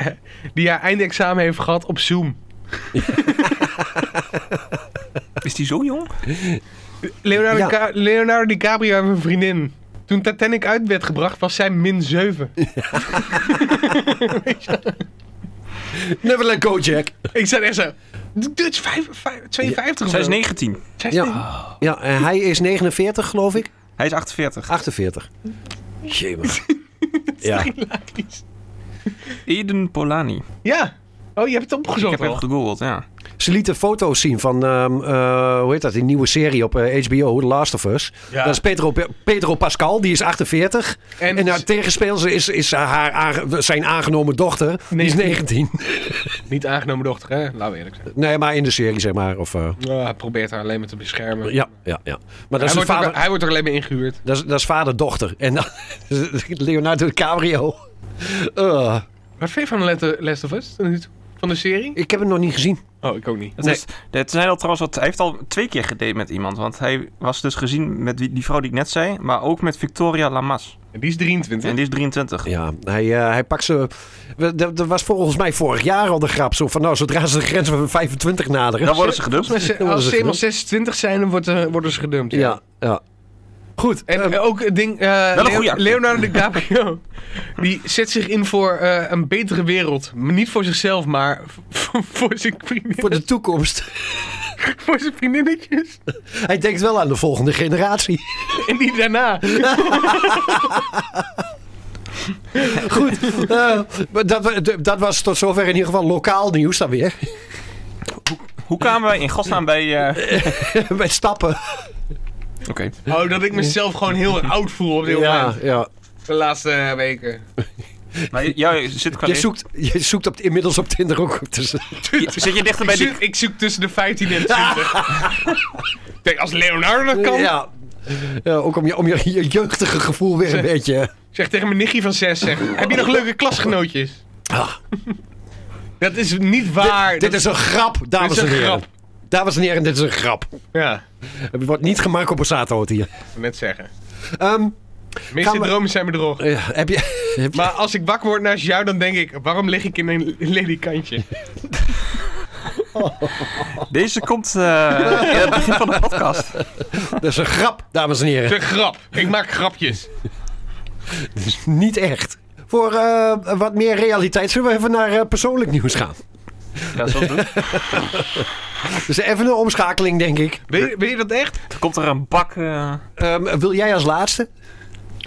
[SPEAKER 6] die haar eindexamen heeft gehad op Zoom.
[SPEAKER 3] Is die zo jong?
[SPEAKER 6] Leonardo,
[SPEAKER 5] Ja.
[SPEAKER 6] Ca- Leonardo DiCaprio heeft een vriendin. Toen Titanic uit werd gebracht, was zij min 7.
[SPEAKER 5] Never let go, Jack.
[SPEAKER 6] Ik zei echt zo, dit is vijf- vijf- 52 of
[SPEAKER 3] Zij is
[SPEAKER 6] zo."
[SPEAKER 3] 19.
[SPEAKER 6] Zij is negen.
[SPEAKER 5] Ja. ja, en hij is 49, geloof ik.
[SPEAKER 3] Hij is 48.
[SPEAKER 5] 48. Jemig. Ja.
[SPEAKER 3] Eden Polani.
[SPEAKER 6] Ja. Oh, je hebt het
[SPEAKER 3] Ik
[SPEAKER 6] opgezocht
[SPEAKER 3] heb
[SPEAKER 6] al.
[SPEAKER 3] hem gegoogeld, ja.
[SPEAKER 5] Ze lieten foto's zien van, ehm, eh, hoe heet dat, die nieuwe serie op eh, HBO, The Last of Us.
[SPEAKER 6] Ja.
[SPEAKER 5] Dat is Pedro, Pedro Pascal, die is 48.
[SPEAKER 6] En-
[SPEAKER 5] En haar tegenspeelster is, is haar, aange- zijn aangenomen dochter, die is 19.
[SPEAKER 6] Niet aangenomen dochter, hè? Laten we eerlijk zijn.
[SPEAKER 5] Nee, maar in de serie, zeg maar. Of, eh,
[SPEAKER 6] Ja, hij probeert haar alleen maar te beschermen.
[SPEAKER 5] ja, ja, ja. Maar dat
[SPEAKER 6] Hij
[SPEAKER 5] is, een
[SPEAKER 6] wordt,
[SPEAKER 5] vader,
[SPEAKER 6] ook, hij wordt er alleen maar ingehuurd.
[SPEAKER 5] dat, is, dat is vader-dochter. En dan Leonardo DiCaprio. Eh,
[SPEAKER 6] Wat vind je van de Last of Us? tot nu toe? van de serie?
[SPEAKER 5] Ik heb het nog niet gezien.
[SPEAKER 6] Oh, ik ook niet.
[SPEAKER 3] Het is, Dus het zijn al trouwens wat, hij heeft al twee keer gedate met iemand. Want hij was dus gezien met die, die vrouw die ik net zei, maar ook met Victoria Lamas.
[SPEAKER 6] En die is 23.
[SPEAKER 3] En die is 23.
[SPEAKER 5] Ja, hij, eh, hij pakt ze. we- d- Dat was volgens mij vorig jaar al de grap. Zo van, nou, zodra ze de grens van 25 naderen.
[SPEAKER 3] Dan worden ze gedumpt.
[SPEAKER 6] Als ze,
[SPEAKER 5] Dan
[SPEAKER 6] als
[SPEAKER 5] worden
[SPEAKER 6] ze
[SPEAKER 5] ze
[SPEAKER 6] eenmaal
[SPEAKER 5] gedumpt.
[SPEAKER 6] 26 zijn, dan wordt, eh, worden ze gedumpt.
[SPEAKER 5] Ja, ja. Goed.
[SPEAKER 6] En
[SPEAKER 5] eh,
[SPEAKER 6] eh, ook het ding, eh,
[SPEAKER 3] een
[SPEAKER 6] Leo-
[SPEAKER 3] goede acteur.
[SPEAKER 6] Leonardo DiCaprio, die zet zich in voor eh, een betere wereld. Maar niet voor zichzelf, maar voor, voor zijn vriendin,
[SPEAKER 5] voor de toekomst.
[SPEAKER 6] voor zijn vriendinnetjes.
[SPEAKER 5] Hij denkt wel aan de volgende generatie.
[SPEAKER 6] En die daarna.
[SPEAKER 5] Goed. eh, maar dat, wa- d- dat was tot zover in ieder geval lokaal nieuws dan weer.
[SPEAKER 3] Hoe kwamen wij in godsnaam bij... eh,
[SPEAKER 5] Bij stappen.
[SPEAKER 3] Oké.
[SPEAKER 6] Oh, dat ik mezelf gewoon heel oud voel op dit
[SPEAKER 5] Ja,
[SPEAKER 6] moment.
[SPEAKER 5] ja.
[SPEAKER 6] De laatste eh, weken.
[SPEAKER 3] Maar j- jij nou, zit qua...
[SPEAKER 5] Je zoekt, je zoekt op, inmiddels op Tinder ook. tussen.
[SPEAKER 3] Je- Zit je dichter
[SPEAKER 6] Ik
[SPEAKER 3] bij die...
[SPEAKER 6] zoek, ik zoek tussen de 15 en 20. Ik denk, als Leonardo dat kan.
[SPEAKER 5] Ja. Ja, ook om je, om je, je jeugdige gevoel weer een beetje.
[SPEAKER 6] Zeg tegen mijn nichtje van 6, zeg. Heb je nog leuke klasgenootjes?
[SPEAKER 5] Ah.
[SPEAKER 6] Dat is niet waar.
[SPEAKER 5] Dit is een grap, dames
[SPEAKER 6] Dit is
[SPEAKER 5] en
[SPEAKER 6] een
[SPEAKER 5] heren.
[SPEAKER 6] grap.
[SPEAKER 5] Dames en heren, dit is een grap.
[SPEAKER 6] Ja,
[SPEAKER 5] Het wordt niet gemaakt op een zaterdag hier.
[SPEAKER 6] ik wou net zeggen.
[SPEAKER 5] Ehm,
[SPEAKER 6] De meeste
[SPEAKER 5] Gaan we-
[SPEAKER 6] dromen zijn bedrog.
[SPEAKER 5] eh, heb je, heb je-
[SPEAKER 6] Maar als ik wakker word naast jou, dan denk ik... Waarom lig ik in een ledikantje?
[SPEAKER 3] Deze komt eh, in het begin van de podcast.
[SPEAKER 5] dat is een grap, dames en heren.
[SPEAKER 6] De grap. Ik maak grapjes.
[SPEAKER 5] Niet echt. Voor eh, wat meer realiteit zullen we even naar eh, persoonlijk nieuws gaan.
[SPEAKER 3] Ja, zo doen.
[SPEAKER 5] Dus even een omschakeling, denk ik.
[SPEAKER 6] Wil je, wil je dat echt?
[SPEAKER 3] Er komt er een bak... eh,
[SPEAKER 5] Ehm, wil jij als laatste?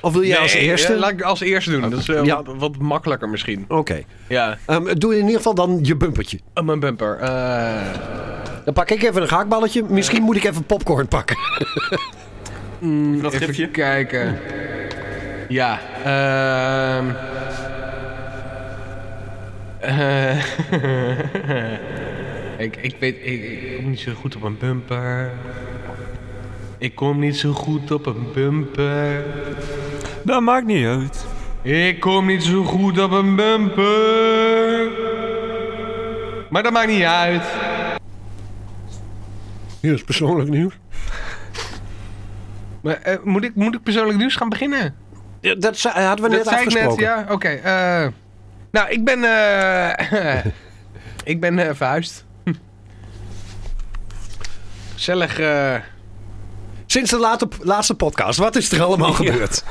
[SPEAKER 5] Of wil jij als
[SPEAKER 6] Nee,
[SPEAKER 5] eerste?
[SPEAKER 6] eh, laat ik als eerste doen. Dat is wel
[SPEAKER 5] Ja.
[SPEAKER 6] wat, wat makkelijker misschien.
[SPEAKER 5] Oké.
[SPEAKER 6] Ja.
[SPEAKER 5] Ehm, doe in ieder geval dan je bumpertje.
[SPEAKER 6] Oh, mijn bumper. Eh,
[SPEAKER 5] Dan pak ik even een gehaktballetje. Misschien moet ik even popcorn pakken.
[SPEAKER 3] dat
[SPEAKER 6] even
[SPEAKER 3] gifje.
[SPEAKER 6] kijken. Ja. ehm. Eh, ik, ik weet... Ik, ik kom niet zo goed op een bumper. Ik kom niet zo goed op een bumper.
[SPEAKER 3] Dat maakt niet uit.
[SPEAKER 6] Ik kom niet zo goed op een bumper. Maar dat maakt niet uit.
[SPEAKER 5] Hier is persoonlijk nieuws.
[SPEAKER 6] Maar, eh, moet, ik, moet ik persoonlijk nieuws gaan beginnen?
[SPEAKER 5] dat ze- hadden we net
[SPEAKER 6] dat zei ik
[SPEAKER 5] afgesproken.
[SPEAKER 6] net, ja. Oké. eh, nou, ik ben... eh, ik ben eh, verhuisd. Hm. Gezellig... eh,
[SPEAKER 5] Sinds de late- laatste podcast, wat is er allemaal gebeurd?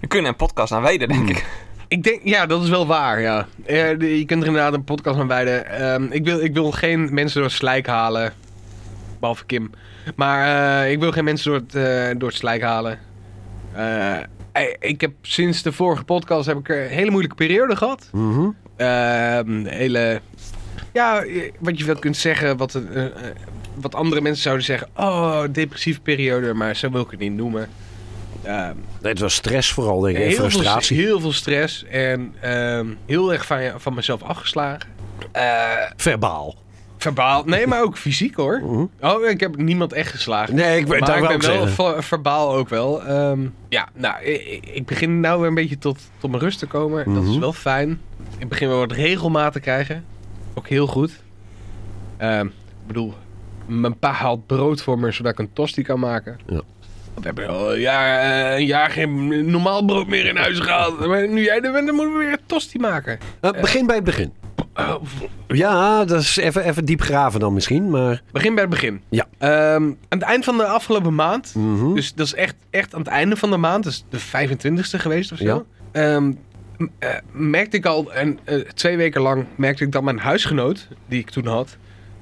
[SPEAKER 3] We kunnen een podcast aan wijden, denk ik.
[SPEAKER 6] ik denk... Ja, dat is wel waar, ja. Eh, de- je kunt er inderdaad een podcast aan wijden. Ehm, ik, wil, ik wil geen mensen door het slijk halen. Behalve Kim. Maar eh, ik wil geen mensen door het, eh, door het slijk halen. Eh, ik- ik heb sinds de vorige podcast heb ik een hele moeilijke periode gehad.
[SPEAKER 5] Mhm.
[SPEAKER 6] Ehm, hele. Ja, eh, wat je wel kunt zeggen, wat, een, eh, eh, wat andere mensen zouden zeggen. Oh, depressieve periode, maar zo wil ik het niet noemen. Ehm,
[SPEAKER 5] Nee, het was stress vooral, denk ik. en
[SPEAKER 6] heel, veel,
[SPEAKER 5] frustratie.
[SPEAKER 6] heel veel stress en ehm, heel erg van, van mezelf afgeslagen. Eh,
[SPEAKER 5] Verbaal.
[SPEAKER 6] verbaal, nee, maar ook fysiek hoor.
[SPEAKER 5] Mhm.
[SPEAKER 6] Oh, ik heb niemand echt geslagen.
[SPEAKER 5] Nee, ik,
[SPEAKER 6] maar
[SPEAKER 5] daar
[SPEAKER 6] ik
[SPEAKER 5] wou
[SPEAKER 6] ben
[SPEAKER 5] ik
[SPEAKER 6] wel
[SPEAKER 5] zeggen.
[SPEAKER 6] ver- verbaal ook wel. Ehm, ja, nou, i- i- ik, begin nou weer een beetje tot, tot mijn rust te komen. Dat is
[SPEAKER 5] Mhm.
[SPEAKER 6] wel fijn. Ik begin weer wat regelmaat te krijgen. Ook heel goed. Ehm, ik bedoel, mijn pa haalt brood voor me zodat ik een tosti kan maken.
[SPEAKER 5] Ja.
[SPEAKER 6] We hebben al een jaar, eh, een jaar geen normaal brood meer in huis gehad. Maar nu jij er bent, dan moeten we weer een tosti maken.
[SPEAKER 5] Eh, begin bij het begin.
[SPEAKER 6] Oh,
[SPEAKER 5] Ja, dat is even, even diep graven dan misschien, maar...
[SPEAKER 6] Begin bij het begin.
[SPEAKER 5] Ja.
[SPEAKER 6] Ehm, aan het eind van de afgelopen maand
[SPEAKER 5] Mhm.
[SPEAKER 6] Dus dat is echt, echt aan het einde van de maand, dus de 25e geweest of zo.
[SPEAKER 5] Ja.
[SPEAKER 6] Ehm, m- eh, merkte ik al, en eh, twee weken lang merkte ik dat mijn huisgenoot, die ik toen had,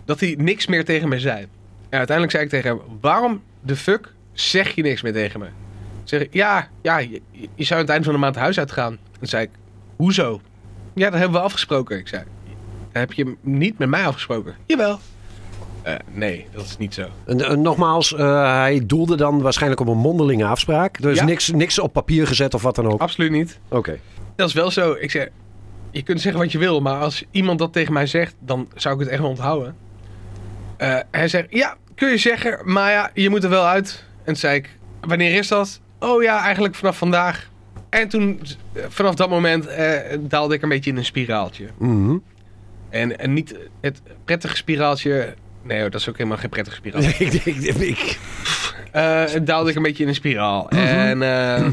[SPEAKER 6] dat hij niks meer tegen me zei. En uiteindelijk zei ik tegen hem, waarom de fuck zeg je niks meer tegen me? Zeg ik, ja, ja je, je zou aan het einde van de maand huis uitgaan. Dan zei ik, hoezo? Ja, dat hebben we afgesproken. Ik zei, "Dat heb je niet met mij afgesproken? Jawel. Eh, nee, dat is niet zo.
[SPEAKER 5] En, eh, nogmaals, eh, hij doelde dan waarschijnlijk op een mondelinge afspraak. Dus
[SPEAKER 6] Ja.
[SPEAKER 5] niks, niks op papier gezet of wat dan ook. Oké.
[SPEAKER 6] Absoluut niet. Dat is wel zo. Ik zeg, je kunt zeggen wat je wil, maar als iemand dat tegen mij zegt, dan zou ik het echt wel onthouden. Eh, hij zegt, ja, kun je zeggen, maar ja, je moet er wel uit. En toen zei ik, wanneer is dat? Oh ja, eigenlijk vanaf vandaag. En toen, eh, vanaf dat moment, eh, daalde ik een beetje in een spiraaltje.
[SPEAKER 5] Mhm.
[SPEAKER 6] En, en niet het prettige spiraaltje. Nee, hoor, dat is ook helemaal geen prettige spiraal.
[SPEAKER 5] ik, ik, ik, ik-
[SPEAKER 6] Eh, het daalde ik een beetje in een spiraal.
[SPEAKER 5] Mhm.
[SPEAKER 6] En eh,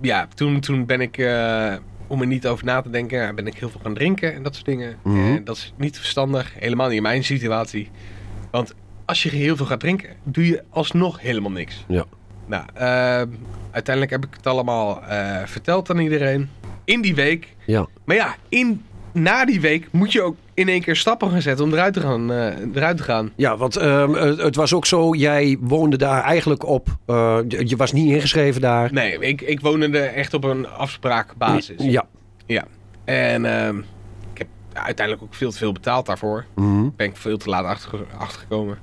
[SPEAKER 6] ja, toen, toen ben ik, eh, om er niet over na te denken, ben ik heel veel gaan drinken en dat soort dingen.
[SPEAKER 5] Mhm.
[SPEAKER 6] En dat is niet verstandig, helemaal niet in mijn situatie. Want als je heel veel gaat drinken, doe je alsnog helemaal niks.
[SPEAKER 5] Ja.
[SPEAKER 6] Nou, eh, uiteindelijk heb ik het allemaal eh, verteld aan iedereen. In die week.
[SPEAKER 5] Ja.
[SPEAKER 6] Maar ja, in, na die week moet je ook in één keer stappen gaan zetten om eruit te gaan. eh, eruit te gaan.
[SPEAKER 5] Ja, want ehm, het, het was ook zo, jij woonde daar eigenlijk op. eh, je je was niet ingeschreven daar.
[SPEAKER 6] Nee, ik, ik woonde er echt op een afspraakbasis.
[SPEAKER 5] Ja.
[SPEAKER 6] En ehm, ik heb uiteindelijk ook veel te veel betaald daarvoor.
[SPEAKER 5] Mhm.
[SPEAKER 6] Ben ik veel te laat achter, achtergekomen.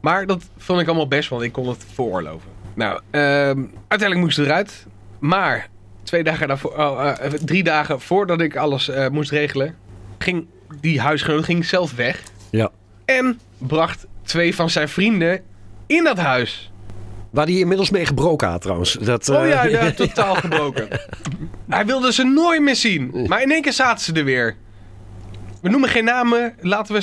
[SPEAKER 6] Maar dat vond ik allemaal best, want ik kon het veroorloven. Nou, ehm, uiteindelijk moest ik eruit. Maar twee dagen daarvoor, oh, eh, drie dagen voordat ik alles eh, moest regelen, ging die huisgenoot ging zelf weg.
[SPEAKER 5] Ja.
[SPEAKER 6] En bracht twee van zijn vrienden in dat huis.
[SPEAKER 5] Waar die inmiddels mee gebroken had trouwens. Dat,
[SPEAKER 6] Oh ja,
[SPEAKER 5] eh,
[SPEAKER 6] ja, totaal gebroken. Hij wilde ze nooit meer zien. Maar in één keer zaten ze er weer. We noemen geen namen. Laten we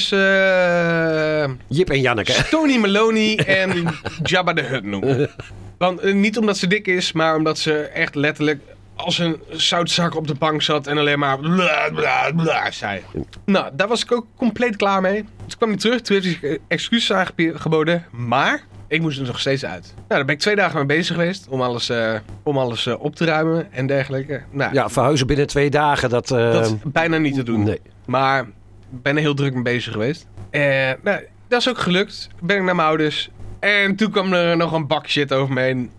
[SPEAKER 6] ze
[SPEAKER 5] Jip en
[SPEAKER 6] eh,
[SPEAKER 5] Janneke.
[SPEAKER 6] Tony Maloney en Jabba de Hutt noemen. Want eh, niet omdat ze dik is, maar omdat ze echt letterlijk als een zoutzak op de bank zat en alleen maar bla bla bla zei. Nou, daar was ik ook compleet klaar mee. Dus ik kwam niet terug, toen heeft hij zich, eh, excuses aangeboden, maar ik moest er nog steeds uit. Nou, daar ben ik twee dagen mee bezig geweest om alles, eh, om alles eh, op te ruimen en dergelijke. Nou,
[SPEAKER 5] Ja, verhuizen binnen twee dagen. Dat, eh,
[SPEAKER 6] dat is bijna niet te doen.
[SPEAKER 5] Nee.
[SPEAKER 6] Maar ik ben er heel druk mee bezig geweest. En nou, dat is ook gelukt. Ben ik naar mijn ouders. En toen kwam er nog een bak shit over me heen.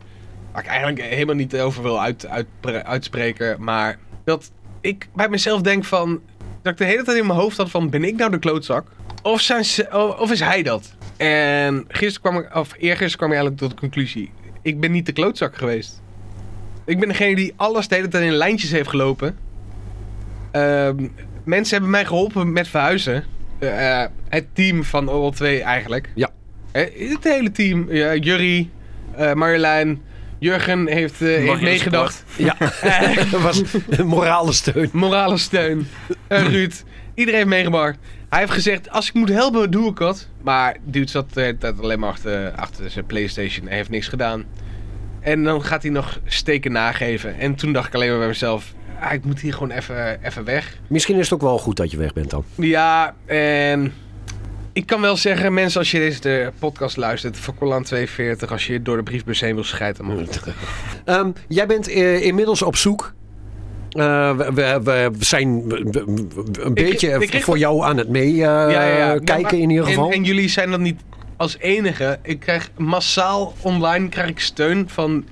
[SPEAKER 6] Waar ik eigenlijk helemaal niet over wil uit, uit- uitspreken. Maar dat ik bij mezelf denk van... Dat ik de hele tijd in mijn hoofd had van... Ben ik nou de klootzak? Of, zijn ze, of is hij dat? En gisteren kwam ik... Of eergisteren kwam ik eigenlijk tot de conclusie. Ik ben niet de klootzak geweest. Ik ben degene die alles de hele tijd in lijntjes heeft gelopen. Ehm, mensen hebben mij geholpen met verhuizen. Eh, eh, het team van OL2 eigenlijk.
[SPEAKER 5] Ja.
[SPEAKER 6] Eh, het hele team. Ja, Jurrie, eh, Marjolein, Jurgen heeft, eh, heeft
[SPEAKER 3] Marjolein
[SPEAKER 6] meegedacht.
[SPEAKER 5] Ja, dat was een morale steun.
[SPEAKER 6] Morale steun. Eh, Ruud. Iedereen heeft meegemaakt. Hij heeft gezegd, als ik moet helpen, doe ik dat. Maar dude zat de hele tijd alleen maar achter, achter zijn Playstation en heeft niks gedaan. En dan gaat hij nog steken nageven. En toen dacht ik alleen maar bij mezelf, ah, ik moet hier gewoon even even weg.
[SPEAKER 5] Misschien is het ook wel goed dat je weg bent dan.
[SPEAKER 6] Ja, en ik kan wel zeggen, mensen, als je deze de podcast luistert, voor Colan 42, als je door de briefbus heen wil schijten, mag het.
[SPEAKER 5] Ehm, jij bent eh, inmiddels op zoek. Eh, we, we- we zijn we- we- we- een beetje
[SPEAKER 6] ik kreeg-
[SPEAKER 5] voor jou aan het meekijken
[SPEAKER 6] Ja, ja, ja.
[SPEAKER 5] kijken
[SPEAKER 6] Ja, maar-
[SPEAKER 5] in ieder geval.
[SPEAKER 6] En, en jullie zijn dat niet als enige. Ik krijg massaal online krijg ik steun van.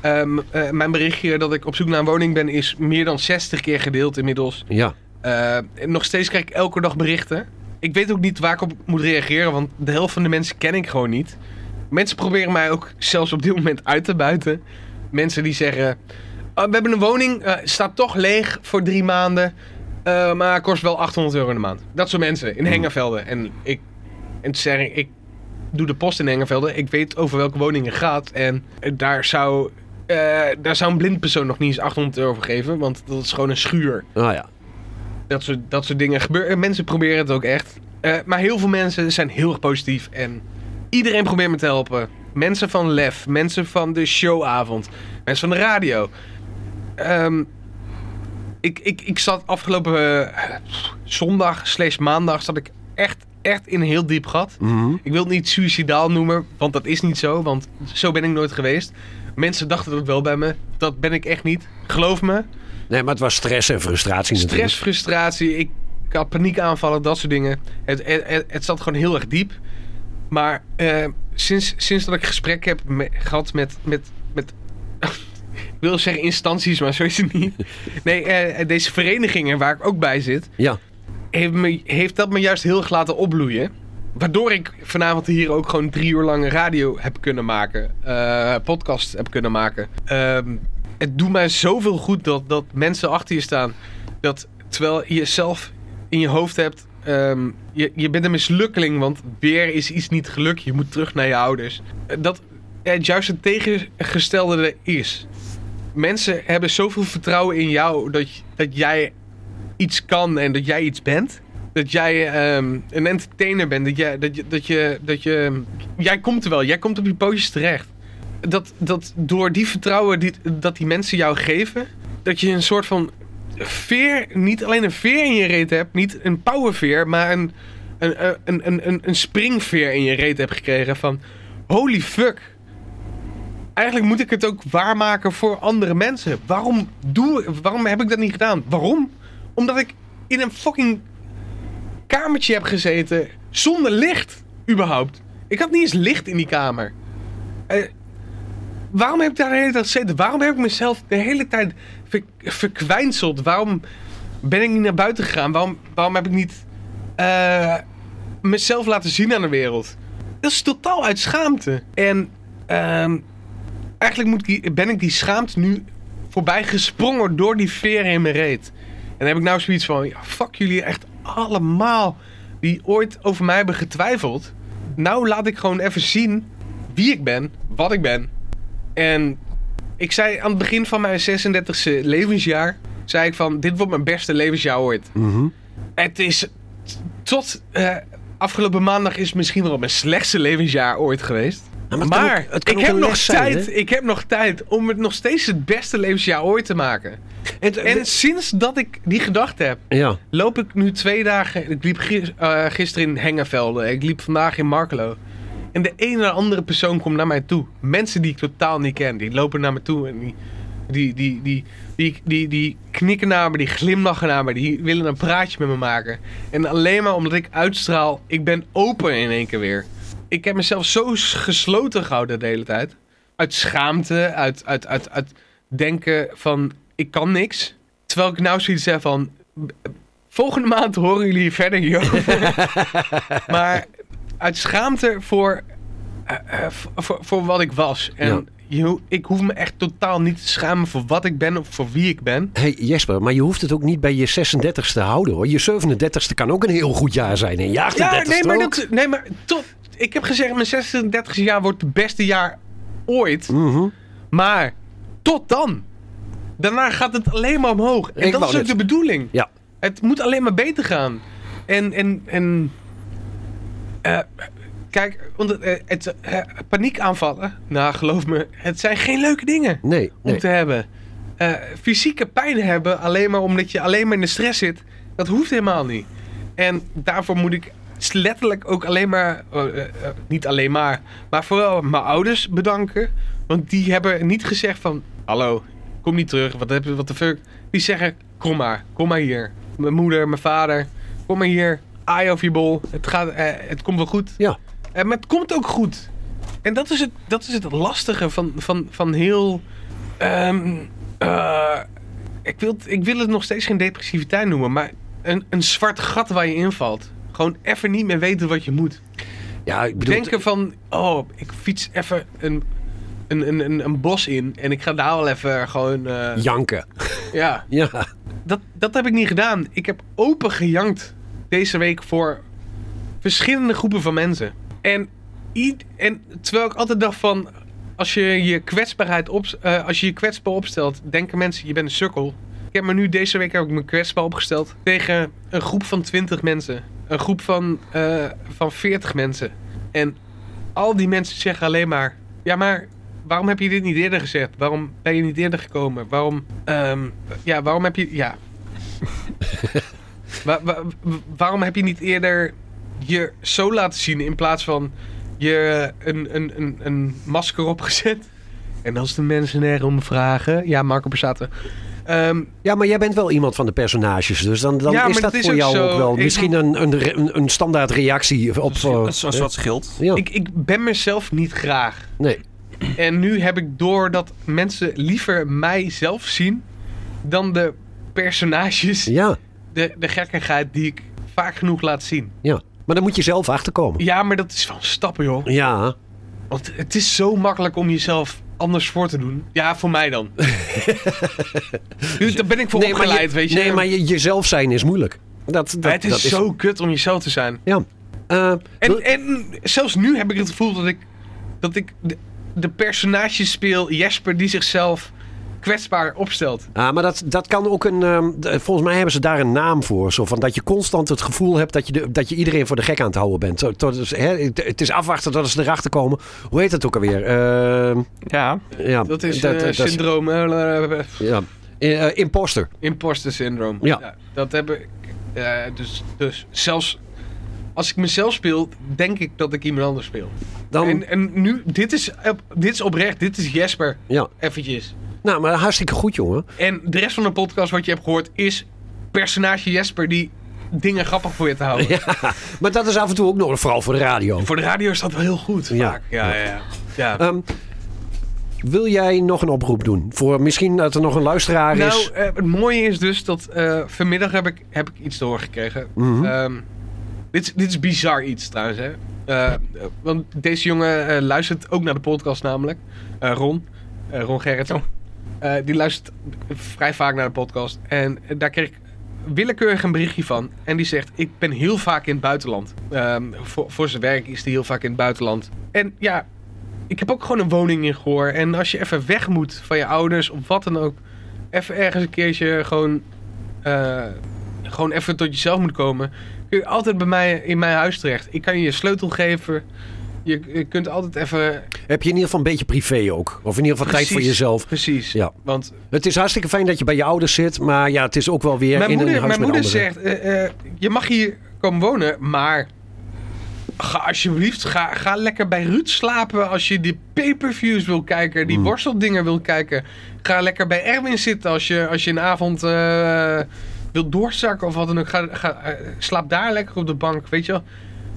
[SPEAKER 6] ehm, eh, mijn berichtje dat ik op zoek naar een woning ben is meer dan 60 keer gedeeld inmiddels.
[SPEAKER 5] Ja,
[SPEAKER 6] Eh, en nog steeds krijg ik elke dag berichten. Ik weet ook niet waar ik op moet reageren, want de helft van de mensen ken ik gewoon niet. Mensen proberen mij ook zelfs op dit moment uit te buiten. Mensen die zeggen: "Ah, We hebben een woning, eh, staat toch leeg voor drie maanden, eh, maar kost wel 800 euro in de maand. Dat soort mensen in Hengervelden. En ik, en te zeggen, ik doe de post in Hengervelden, ik weet over welke woningen het gaat. En eh, daar zou, eh, daar zou een blind persoon nog niet eens 800 euro voor geven, want dat is gewoon een schuur
[SPEAKER 5] nou ja.
[SPEAKER 6] dat soort, dat soort dingen gebeuren. Mensen proberen het ook echt. Eh, maar heel veel mensen zijn heel erg positief. En iedereen probeert me te helpen. Mensen van Lef, mensen van de showavond, mensen van de radio. Ehm, ik, ik, ik zat afgelopen eh, zondag slash maandag zat ik echt, echt in een heel diep gat.
[SPEAKER 5] Mhm.
[SPEAKER 6] Ik wil het niet suicidaal noemen, want dat is niet zo. Want zo ben ik nooit geweest. Mensen dachten dat wel bij me. Dat ben ik echt niet. Geloof me.
[SPEAKER 5] Nee, maar het was stress en frustratie
[SPEAKER 6] Stress,
[SPEAKER 5] natuurlijk.
[SPEAKER 6] frustratie, ik ik had paniekaanvallen, dat soort dingen. Het, het, het, het zat gewoon heel erg diep. Maar eh, sinds, sinds dat ik gesprek heb me- gehad met, met, met ik wil zeggen instanties, maar zo is het niet. Nee, eh, deze verenigingen waar ik ook bij zit,
[SPEAKER 5] Ja, Nou,
[SPEAKER 6] heeft, me, heeft dat me juist heel erg laten opbloeien. Waardoor ik vanavond hier ook gewoon drie uur lang radio heb kunnen maken. eh, podcast heb kunnen maken. Ehm, het doet mij zoveel goed dat, dat mensen achter je staan. Dat terwijl je zelf in je hoofd hebt... ehm, je, je bent een mislukkeling, want weer is iets niet gelukt. Je moet terug naar je ouders. Eh, Dat het juist het tegengestelde er is. Mensen hebben zoveel vertrouwen in jou dat, dat jij iets kan en dat jij iets bent. dat jij ehm, een entertainer bent. Dat, jij, dat, je, dat, je, dat je. Jij komt er wel, jij komt op je pootjes terecht. Dat, dat door die vertrouwen die, dat die mensen jou geven, dat je een soort van veer, niet alleen een veer in je reet hebt, niet een powerveer, maar een, een, een, een, een, een springveer in je reet hebt gekregen. Van holy fuck. Eigenlijk moet ik het ook waarmaken voor andere mensen. Waarom, doe, waarom heb ik dat niet gedaan? Waarom? Omdat ik in een fucking kamertje heb gezeten zonder licht, überhaupt. Ik had niet eens licht in die kamer. Eh, waarom heb ik daar de hele tijd gezeten? Waarom heb ik mezelf de hele tijd ver- verkwijnseld? Waarom ben ik niet naar buiten gegaan? Waarom, waarom heb ik niet eh, mezelf laten zien aan de wereld? Dat is totaal uit schaamte. En ehm, eigenlijk moet ik die- ben ik die schaamte nu voorbij gesprongen door die veren in mijn reet. En dan heb ik nou zoiets van, ja, fuck jullie echt allemaal die ooit over mij hebben getwijfeld. Nou laat ik gewoon even zien wie ik ben, wat ik ben. En ik zei aan het begin van mijn 36e levensjaar, zei ik van, dit wordt mijn beste levensjaar ooit. Het is t- tot eh, afgelopen maandag is misschien wel mijn slechtste levensjaar ooit geweest.
[SPEAKER 5] maar
[SPEAKER 6] maar
[SPEAKER 5] het kan ook- het kan
[SPEAKER 6] ik,
[SPEAKER 5] ook
[SPEAKER 6] heb
[SPEAKER 5] een
[SPEAKER 6] nog
[SPEAKER 5] les zijn,
[SPEAKER 6] tijd,
[SPEAKER 5] hè?
[SPEAKER 6] ik heb nog tijd om het nog steeds het beste levensjaar ooit te maken.
[SPEAKER 5] En,
[SPEAKER 6] En sinds dat ik die gedachte heb,
[SPEAKER 5] ja.
[SPEAKER 6] loop ik nu twee dagen. Ik liep gis- eh, gisteren in Hengevelde. Ik liep vandaag in Markelo. En de ene naar andere persoon komt naar mij toe. Mensen die ik totaal niet ken, die lopen naar me toe en die, die, die, die, die, die, die knikken naar me, die glimlachen naar me, die willen een praatje met me maken. En alleen maar omdat ik uitstraal, ik ben open in één keer weer. Ik heb mezelf zo s- gesloten gehouden de hele tijd. Uit schaamte, uit, uit, uit, uit denken van ik kan niks. Terwijl ik nou zoiets heb van Volgende maand horen jullie verder hierover. maar uit schaamte voor, eh, eh, voor- voor, voor wat ik was. En
[SPEAKER 5] Ja.
[SPEAKER 6] je ho- ik hoef me echt totaal niet te schamen voor wat ik ben of voor wie ik ben.
[SPEAKER 5] Hey Jesper, maar je hoeft het ook niet bij je 36e te houden hoor. Je 37e kan ook een heel goed jaar zijn. En je 38e
[SPEAKER 6] Ja, nee, maar,
[SPEAKER 5] ook.
[SPEAKER 6] dat, nee, maar tot, ik heb gezegd, mijn 36 jaar wordt het beste jaar ooit.
[SPEAKER 5] Mhm.
[SPEAKER 6] Maar tot dan. Daarna gaat het alleen maar omhoog. En
[SPEAKER 5] Ik
[SPEAKER 6] dat
[SPEAKER 5] wou
[SPEAKER 6] is ook
[SPEAKER 5] net-
[SPEAKER 6] de bedoeling.
[SPEAKER 5] Ja.
[SPEAKER 6] Het moet alleen maar beter gaan. En, en, en eh, kijk, want het, eh, het, eh, paniekaanvallen, nou geloof me, het zijn geen leuke dingen
[SPEAKER 5] Nee,
[SPEAKER 6] om
[SPEAKER 5] nee.
[SPEAKER 6] te hebben. Eh, fysieke pijn hebben, alleen maar omdat je alleen maar in de stress zit, dat hoeft helemaal niet. En daarvoor moet ik letterlijk ook alleen maar, eh, eh, eh, niet alleen maar, maar vooral mijn ouders bedanken. Want die hebben niet gezegd van, hallo, kom niet terug, wat heb je, wat de fuck. Die zeggen, kom maar, kom maar hier. Mijn moeder, mijn vader, kom maar hier. Aai over je bol, het, gaat, eh, het komt wel goed.
[SPEAKER 5] Ja.
[SPEAKER 6] Eh, maar het komt ook goed. En dat is het, dat is het lastige van, van, van heel. ehm, eh, ik, wil, het- ik wil het nog steeds geen depressiviteit noemen, maar een, een zwart gat waar je invalt. Gewoon even niet meer weten wat je moet.
[SPEAKER 5] ja, ik bedoel,
[SPEAKER 6] Denken van, oh, ik fiets even een, een, een, een, een bos in en ik ga daar wel even gewoon. eh,
[SPEAKER 5] janken.
[SPEAKER 6] ja
[SPEAKER 5] Ja.
[SPEAKER 6] dat, dat heb ik niet gedaan. Ik heb open gejankt deze week voor verschillende groepen van mensen. En, ied- en terwijl ik altijd dacht van... Als je je kwetsbaarheid op, eh, als je je kwetsbaar opstelt, denken mensen je bent een sukkel. Ik heb me nu deze week heb ik me kwetsbaar opgesteld tegen een groep van 20 mensen, een groep van, eh, van 40 mensen. En al die mensen zeggen alleen maar: ja, maar waarom heb je dit niet eerder gezegd? Waarom ben je niet eerder gekomen? Waarom, ehm, ja, waarom heb je, ja. Wa- wa- wa- waarom heb je niet eerder je zo laten zien in plaats van je eh, een, een, een, een masker opgezet? En als de mensen erom vragen, ja, Marco Borsato. Ehm
[SPEAKER 5] ja, maar jij bent wel iemand van de personages. Dus dan, dan
[SPEAKER 6] Ja,
[SPEAKER 5] is
[SPEAKER 6] maar
[SPEAKER 5] dat
[SPEAKER 6] dat is
[SPEAKER 5] voor
[SPEAKER 6] ook
[SPEAKER 5] jou
[SPEAKER 6] zo.
[SPEAKER 5] ook wel
[SPEAKER 6] Ik-
[SPEAKER 5] misschien een, een, re- een, een standaard reactie op... eh,
[SPEAKER 3] Hmm. Een soort soort schild.
[SPEAKER 5] ja,
[SPEAKER 6] ik, ik ben mezelf niet graag.
[SPEAKER 5] nee.
[SPEAKER 6] En nu heb ik door dat mensen liever mij zelf zien dan de personages,
[SPEAKER 5] Ja,
[SPEAKER 6] de, de gekkigheid die ik vaak genoeg laat zien.
[SPEAKER 5] ja. Maar dan moet je zelf achterkomen.
[SPEAKER 6] Ja, maar dat is van stappen, joh.
[SPEAKER 5] Ja,
[SPEAKER 6] Want het is zo makkelijk om jezelf anders voor te doen. Ja, voor mij dan. Dus daar ben ik voor
[SPEAKER 5] maar,
[SPEAKER 6] opgeleid,
[SPEAKER 5] je,
[SPEAKER 6] weet je.
[SPEAKER 5] nee maar je, jezelf zijn is moeilijk. Dat, dat,
[SPEAKER 6] het is,
[SPEAKER 5] dat
[SPEAKER 6] zo kut om jezelf te zijn.
[SPEAKER 5] Ja. Eh,
[SPEAKER 6] En, en zelfs nu heb ik het gevoel dat ik, dat ik de, de personage speel, Jesper, die zichzelf kwetsbaar opstelt.
[SPEAKER 5] Ah, maar dat, dat kan ook een. ehm, d- volgens mij hebben ze daar een naam voor. Zo van dat je constant het gevoel hebt dat je, de, dat je iedereen voor de gek aan het houden bent. Zo, tot- dus, hè, het, het is afwachten tot ze erachter komen. Hoe heet dat ook alweer? Ehm,
[SPEAKER 3] Ja.
[SPEAKER 5] ja,
[SPEAKER 6] Dat is eh, syndroom, eh, eh,
[SPEAKER 5] ja. Eh, eh, imposter.
[SPEAKER 6] imposter syndroom.
[SPEAKER 5] Ja.
[SPEAKER 6] dat heb ik. eh, dus, dus zelfs als ik mezelf speel, denk ik dat ik iemand anders speel.
[SPEAKER 5] Dan,
[SPEAKER 6] En, en nu, dit is, op- dit is oprecht, dit is Jesper.
[SPEAKER 5] ja.
[SPEAKER 6] Eventjes.
[SPEAKER 5] Nou, maar hartstikke goed, jongen.
[SPEAKER 6] En de rest van de podcast wat je hebt gehoord is personage Jesper die dingen grappig voor je te houden.
[SPEAKER 5] Maar dat is af en toe ook nog vooral voor de radio.
[SPEAKER 6] Voor de radio is dat wel heel goed.
[SPEAKER 5] Ja.
[SPEAKER 6] Vaak. Ja, ja, ja. ja.
[SPEAKER 5] Ehm, wil jij nog een oproep doen? Voor misschien dat er nog een luisteraar is.
[SPEAKER 6] Nou, eh, het mooie is dus dat eh, vanmiddag heb ik, heb ik iets te horen gekregen.
[SPEAKER 5] Mhm.
[SPEAKER 6] Ehm, dit, is- dit is bizar iets trouwens, hè. Eh, eh, want deze jongen eh, luistert ook naar de podcast namelijk. Eh, Ron. Eh, Ron Gerritsen.
[SPEAKER 5] Oh.
[SPEAKER 6] Eh, die luistert vrij vaak naar de podcast. En eh, daar kreeg ik willekeurig een berichtje van. En die zegt, ik ben heel vaak in het buitenland. Ehm, voor, voor zijn werk is hij heel vaak in het buitenland. En ja, ik heb ook gewoon een woning in Goor. En als je even weg moet van je ouders of wat dan ook even ergens een keertje gewoon, eh, gewoon even tot jezelf moet komen, kun je altijd bij mij in mijn huis terecht. Ik kan je je sleutel geven. Je, je kunt altijd even.
[SPEAKER 5] Heb je in ieder geval een beetje privé ook? Of in ieder geval tijd voor
[SPEAKER 6] Precies.
[SPEAKER 5] jezelf?
[SPEAKER 6] Precies.
[SPEAKER 5] Ja.
[SPEAKER 6] Want
[SPEAKER 5] Het is hartstikke fijn dat je bij je ouders zit, maar ja, het is ook wel weer
[SPEAKER 6] mijn
[SPEAKER 5] in een
[SPEAKER 6] moeder,
[SPEAKER 5] huis
[SPEAKER 6] mijn
[SPEAKER 5] met
[SPEAKER 6] moeder
[SPEAKER 5] anderen.
[SPEAKER 6] zegt: eh, eh, Je mag hier komen wonen, maar. Ga alsjeblieft, ga, ga lekker bij Ruud slapen als je die pay-per-views wil kijken,
[SPEAKER 5] Mm.
[SPEAKER 6] die worsteldingen wil kijken. Ga lekker bij Erwin zitten als je, als je een avond eh, wilt doorzakken of wat dan ook. Ga, ga, eh, slaap daar lekker op de bank, weet je wel.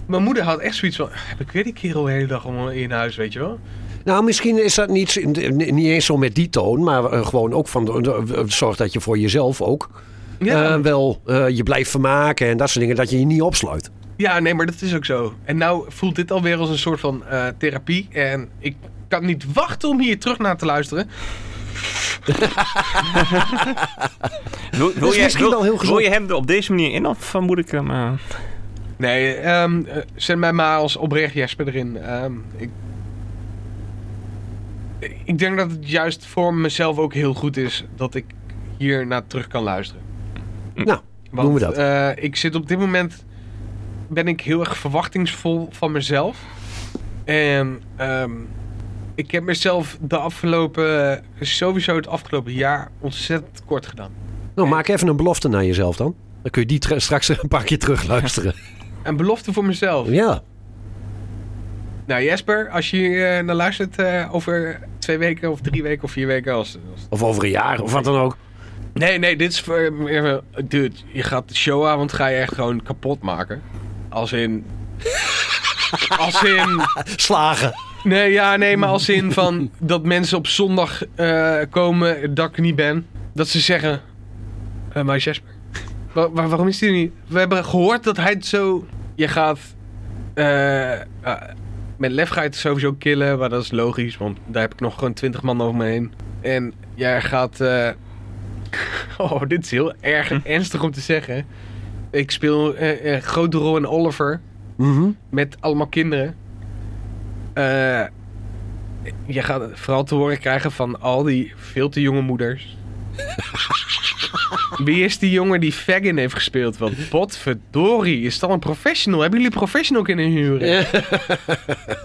[SPEAKER 6] Mijn moeder had echt zoiets van, heb ik weer die kerel de hele dag om in huis, weet je wel.
[SPEAKER 5] Nou, misschien is dat niet, niet eens zo met die toon, maar eh, gewoon ook van de- de- zorg dat je voor jezelf ook
[SPEAKER 6] Ja,
[SPEAKER 5] eh, wel eh, je blijft vermaken en dat soort dingen, dat je je niet opsluit.
[SPEAKER 6] Ja, nee, maar dat is ook zo. En nou voelt dit alweer als een soort van eh, therapie. En ik kan niet wachten om hier terug naar te luisteren.
[SPEAKER 3] Wil, wil,
[SPEAKER 5] is
[SPEAKER 3] jij,
[SPEAKER 5] misschien
[SPEAKER 3] wil,
[SPEAKER 5] wel heel gezond.
[SPEAKER 3] wil je hem er op deze manier in of moet ik hem... eh,
[SPEAKER 6] Nee, ehm, eh, zet mij maar als oprecht Jesper erin. Ehm, ik, ik denk dat het juist voor mezelf ook heel goed is dat ik hier naar terug kan luisteren.
[SPEAKER 5] Nou,
[SPEAKER 6] Want,
[SPEAKER 5] doen we dat.
[SPEAKER 6] eh, ik zit op dit moment ben ik heel erg verwachtingsvol van mezelf. En ehm, ik heb mezelf de afgelopen, sowieso het afgelopen jaar ontzettend kort gedaan.
[SPEAKER 5] nou, maak even een belofte naar jezelf dan. Dan kun je die tra- straks een paar keer terugluisteren.
[SPEAKER 6] Een belofte voor mezelf.
[SPEAKER 5] ja,
[SPEAKER 6] Nou Jesper, als je hier eh, naar luistert eh, over twee weken of drie weken of vier weken als... als-
[SPEAKER 5] of over een jaar of wat dan ook.
[SPEAKER 6] Nee, nee, dit is voor... meer van, Dude, je gaat de showavond ga je echt gewoon kapot maken. Als in... als in...
[SPEAKER 5] Slagen.
[SPEAKER 6] Nee, ja, nee, maar als in van dat mensen op zondag eh, komen dat ik er niet ben. Dat ze zeggen, eh maar Jesper, wa- wa- waarom is die er niet? We hebben gehoord dat hij het zo... Je gaat... eh, eh, met lef ga je het sowieso killen, maar dat is logisch, want daar heb ik nog gewoon twintig man over me heen. En jij gaat... eh, oh, dit is heel erg ernstig om te zeggen. Ik speel eh, een grote rol in Oliver
[SPEAKER 5] Mhm.
[SPEAKER 6] met allemaal kinderen. Eh, je gaat vooral te horen krijgen van al die veel te jonge moeders. Wie is die jongen die Fagin heeft gespeeld? Want potverdorie, is dat een professional? Hebben jullie professional kunnen huren?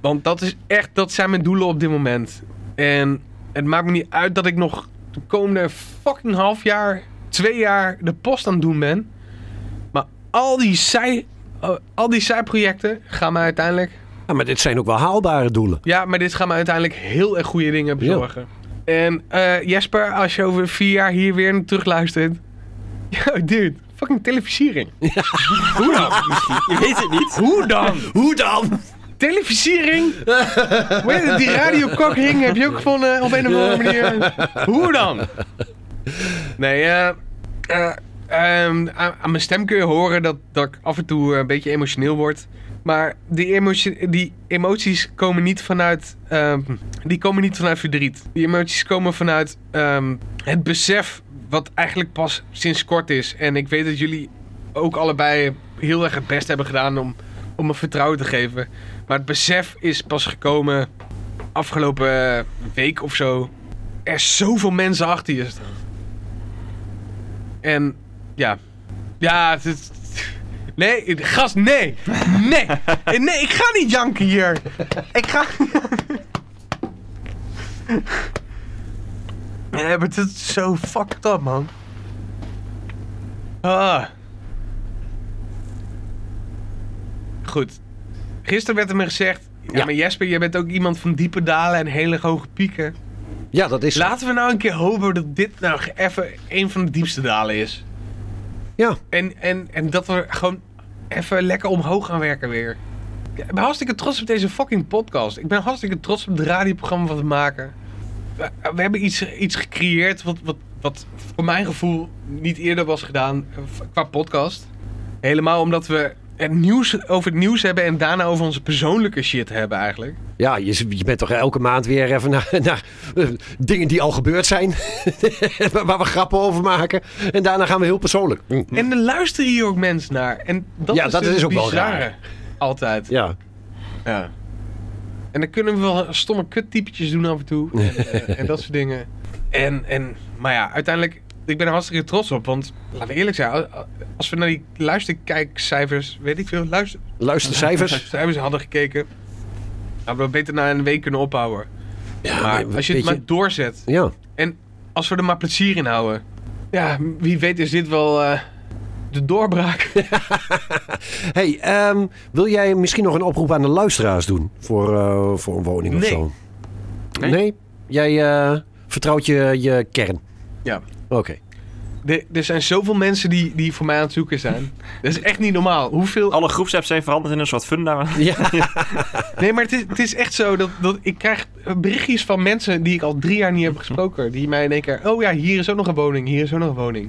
[SPEAKER 6] Want dat is echt, dat zijn mijn doelen op dit moment. En het maakt me niet uit dat ik nog de komende fucking half jaar, twee jaar de post aan het doen ben. Maar al die zij, eh, al die zijprojecten gaan me uiteindelijk,
[SPEAKER 5] Ja, maar dit zijn ook wel haalbare doelen.
[SPEAKER 6] ja, maar dit gaan me uiteindelijk heel erg goede dingen bezorgen. En eh, Jesper, als je over vier jaar hier weer naar terugluistert, ja, dude, fucking televisiering. Hoe dan?
[SPEAKER 3] je weet het niet.
[SPEAKER 6] Hoe dan?
[SPEAKER 5] Hoe dan?
[SPEAKER 6] Televisiering? Hoe heet het? Die radiokokring heb je ook gevonden eh, op een of andere manier. Hoe dan? Nee, eh, eh, ehm, aan, aan mijn stem kun je horen dat, dat ik af en toe eh, een beetje emotioneel word. Maar die, emotio- die emoties komen niet vanuit. ehm, die komen niet vanuit verdriet. Die emoties komen vanuit ehm, het besef. Wat eigenlijk pas sinds kort is. En ik weet dat jullie ook allebei heel erg het best hebben gedaan om, om me vertrouwen te geven. Maar het besef is pas gekomen afgelopen eh, week of zo. er zoveel mensen achter je staan. En ja. Ja, het is. Nee, gast, nee. Nee. Nee, ik ga niet janken hier. Ik ga. Nee, maar dit is zo fucked up, man. Ah. Goed. Gisteren werd er me gezegd. Ja,
[SPEAKER 5] Ja.
[SPEAKER 6] maar Jesper, jij bent ook iemand van diepe dalen en hele hoge pieken.
[SPEAKER 5] Ja, dat is.
[SPEAKER 6] Laten we nou een keer hopen dat dit nou even een van de diepste dalen is.
[SPEAKER 5] Ja.
[SPEAKER 6] En, en, en dat we gewoon even lekker omhoog gaan werken weer. Ja, ik ben hartstikke trots op deze fucking podcast. Ik ben hartstikke trots op het radioprogramma wat we maken. We, we hebben iets, iets gecreëerd wat, wat, wat voor mijn gevoel niet eerder was gedaan eh, qua podcast. Helemaal omdat we het nieuws over het nieuws hebben en daarna over onze persoonlijke shit hebben eigenlijk.
[SPEAKER 5] Ja, je, je bent toch elke maand weer even naar, naar eh, dingen die al gebeurd zijn. waar waar we grappen over maken. En daarna gaan we heel persoonlijk. Hm.
[SPEAKER 6] En dan luisteren hier ook mensen naar. En dat
[SPEAKER 5] Ja,
[SPEAKER 6] is
[SPEAKER 5] dat
[SPEAKER 6] dus
[SPEAKER 5] is ook wel
[SPEAKER 6] bizarre.
[SPEAKER 5] raar.
[SPEAKER 6] Altijd.
[SPEAKER 5] Ja.
[SPEAKER 6] Ja. En dan kunnen we wel stomme kuttypetjes doen af en toe. En, eh, en dat soort dingen. En, en, maar ja, uiteindelijk, ik ben er hartstikke trots op. Want laten we eerlijk zijn, als we naar die luisterkijkcijfers, weet ik veel, luister,
[SPEAKER 5] Luister cijfers.
[SPEAKER 6] cijfers hadden gekeken, hadden we beter na een week kunnen ophouden. maar als je het
[SPEAKER 5] weet
[SPEAKER 6] maar
[SPEAKER 5] je-
[SPEAKER 6] doorzet,
[SPEAKER 5] Ja.
[SPEAKER 6] als we er maar plezier in houden. Ja, wie weet is dit wel eh, de doorbraak.
[SPEAKER 5] Hey, ehm, wil jij misschien nog een oproep aan de luisteraars doen voor, eh, voor een woning of
[SPEAKER 6] Nee.
[SPEAKER 5] zo?
[SPEAKER 3] Nee.
[SPEAKER 5] Jij eh, vertrouwt je, je kern.
[SPEAKER 6] ja.
[SPEAKER 5] Oké.
[SPEAKER 6] Er, er zijn zoveel mensen die, die voor mij aan het zoeken zijn. Dat is echt niet normaal.
[SPEAKER 5] Oh.
[SPEAKER 6] Hoeveel
[SPEAKER 3] Alle groepsapps zijn veranderd in een soort funda.
[SPEAKER 5] Ja.
[SPEAKER 6] Nee, maar het is, het is echt zo dat, dat ik krijg eh, berichtjes van mensen die ik al drie jaar niet heb gesproken. Die mij in één keer, oh ja, hier is ook nog een woning, hier is ook nog een woning.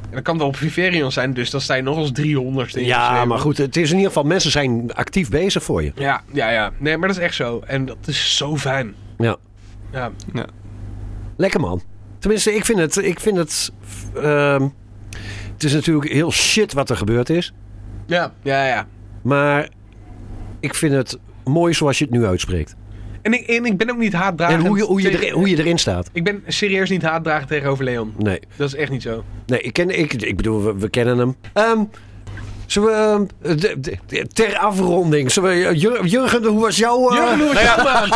[SPEAKER 6] En dat kan wel op Viverion zijn, dus dan sta je nog als 300 in.
[SPEAKER 5] ja, maar goed. Het is in ieder geval, mensen zijn actief bezig voor je.
[SPEAKER 6] Ja, ja, ja. Nee, maar dat is echt zo. En dat is zo fijn.
[SPEAKER 5] Ja.
[SPEAKER 6] Ja,
[SPEAKER 5] Lekker man. Tenminste, ik vind het. Ik vind het, ehm, het is natuurlijk heel shit wat er gebeurd is.
[SPEAKER 6] ja, ja. ja.
[SPEAKER 5] Maar ik vind het mooi zoals je het nu uitspreekt.
[SPEAKER 6] En, ik, en ik ben ook niet haatdragend.
[SPEAKER 5] En hoe je, hoe, je
[SPEAKER 6] tegen-
[SPEAKER 5] erin, hoe je erin staat.
[SPEAKER 6] Ik ben serieus niet haatdragend tegenover Leon.
[SPEAKER 5] Nee,
[SPEAKER 6] Dat is echt niet zo.
[SPEAKER 5] nee ik, ken, ik, ik bedoel, we, we kennen hem. Ehm, zullen we, ehm, de- de- de- ter afronding, zullen we, eh, Jur- Jurgen, hoe was jouw... eh,
[SPEAKER 6] Jurgen, Lewis, kom aan.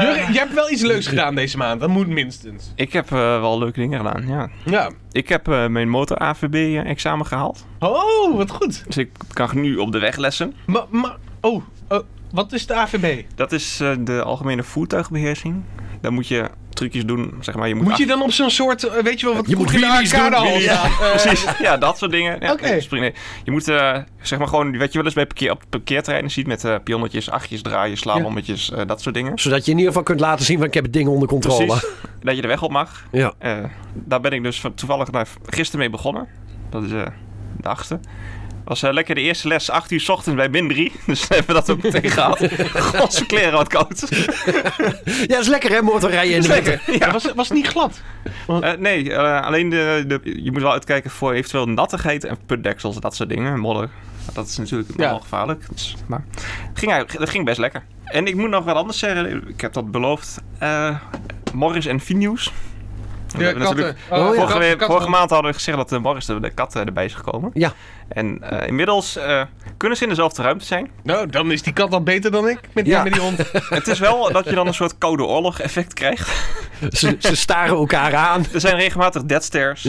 [SPEAKER 6] Jurgen, jij hebt wel iets leuks gedaan deze maand. Dat moet minstens.
[SPEAKER 3] Ik heb eh, wel leuke dingen gedaan, ja.
[SPEAKER 6] Ja.
[SPEAKER 3] Ik heb eh, mijn motor-AVB-examen eh, gehaald.
[SPEAKER 6] Oh, wat goed.
[SPEAKER 3] Dus ik kan nu op de weg lessen.
[SPEAKER 6] Maar, maar, oh, eh, wat is de AVB?
[SPEAKER 3] Dat is eh, de algemene voertuigbeheersing. Daar moet je trucjes doen, zeg maar. Je moet,
[SPEAKER 6] Moet je dan op zo'n soort, eh, weet je wel, wat
[SPEAKER 5] Je moet
[SPEAKER 6] vroeger in de
[SPEAKER 5] wheelies
[SPEAKER 6] arcade
[SPEAKER 5] doen,
[SPEAKER 6] hal
[SPEAKER 5] wheelies.
[SPEAKER 6] staan? Eh,
[SPEAKER 3] Precies, ja, dat soort dingen. Ja,
[SPEAKER 6] Oké.
[SPEAKER 3] nee, spring- nee. Je moet, eh, zeg maar gewoon, wat je wel eens bij parkeer, op parkeerterreinen ziet... met eh, pionnetjes, achtjes, draaien, slalommetjes, eh, dat soort dingen.
[SPEAKER 5] Zodat je in ieder geval kunt laten zien, van ik heb het ding onder controle.
[SPEAKER 3] Precies, dat je de weg op mag.
[SPEAKER 5] Ja.
[SPEAKER 3] Eh, daar ben ik dus van, toevallig naar, gisteren mee begonnen. Dat is eh, de achtste. Was eh, lekker de eerste les, 8 uur 's ochtends bij min 3. Dus hebben we dat ook meteen gehad. Godse kleren wat koud.
[SPEAKER 5] ja, dat is lekker hè, motorrijden in de winter.
[SPEAKER 6] ja, was, was het niet glad?
[SPEAKER 3] Eh, nee, eh, alleen de, de, je moet wel uitkijken voor eventueel nattigheid en putdeksels, dat soort dingen. Modder. Dat is natuurlijk
[SPEAKER 6] Ja.
[SPEAKER 3] wel gevaarlijk. Dus, maar ging, eigenlijk- dat ging best lekker. En ik moet nog wat anders zeggen. Ik heb dat beloofd. Eh, Morris en Finius. We hebben natuurlijk-
[SPEAKER 5] Oh, ja.
[SPEAKER 3] vorige,
[SPEAKER 6] Katten,
[SPEAKER 3] we-
[SPEAKER 6] katten.
[SPEAKER 3] vorige maand hadden we gezegd dat de Morris de, de kat eh, erbij is gekomen.
[SPEAKER 5] Ja.
[SPEAKER 3] En eh, inmiddels eh, kunnen ze in dezelfde ruimte zijn.
[SPEAKER 6] Nou, dan is die kat al beter dan ik met, die-
[SPEAKER 5] Ja.
[SPEAKER 6] met die hond.
[SPEAKER 3] Het is wel dat je dan een soort koude oorlog effect krijgt.
[SPEAKER 5] Ze, ze staren elkaar aan.
[SPEAKER 3] Er zijn regelmatig dead stares.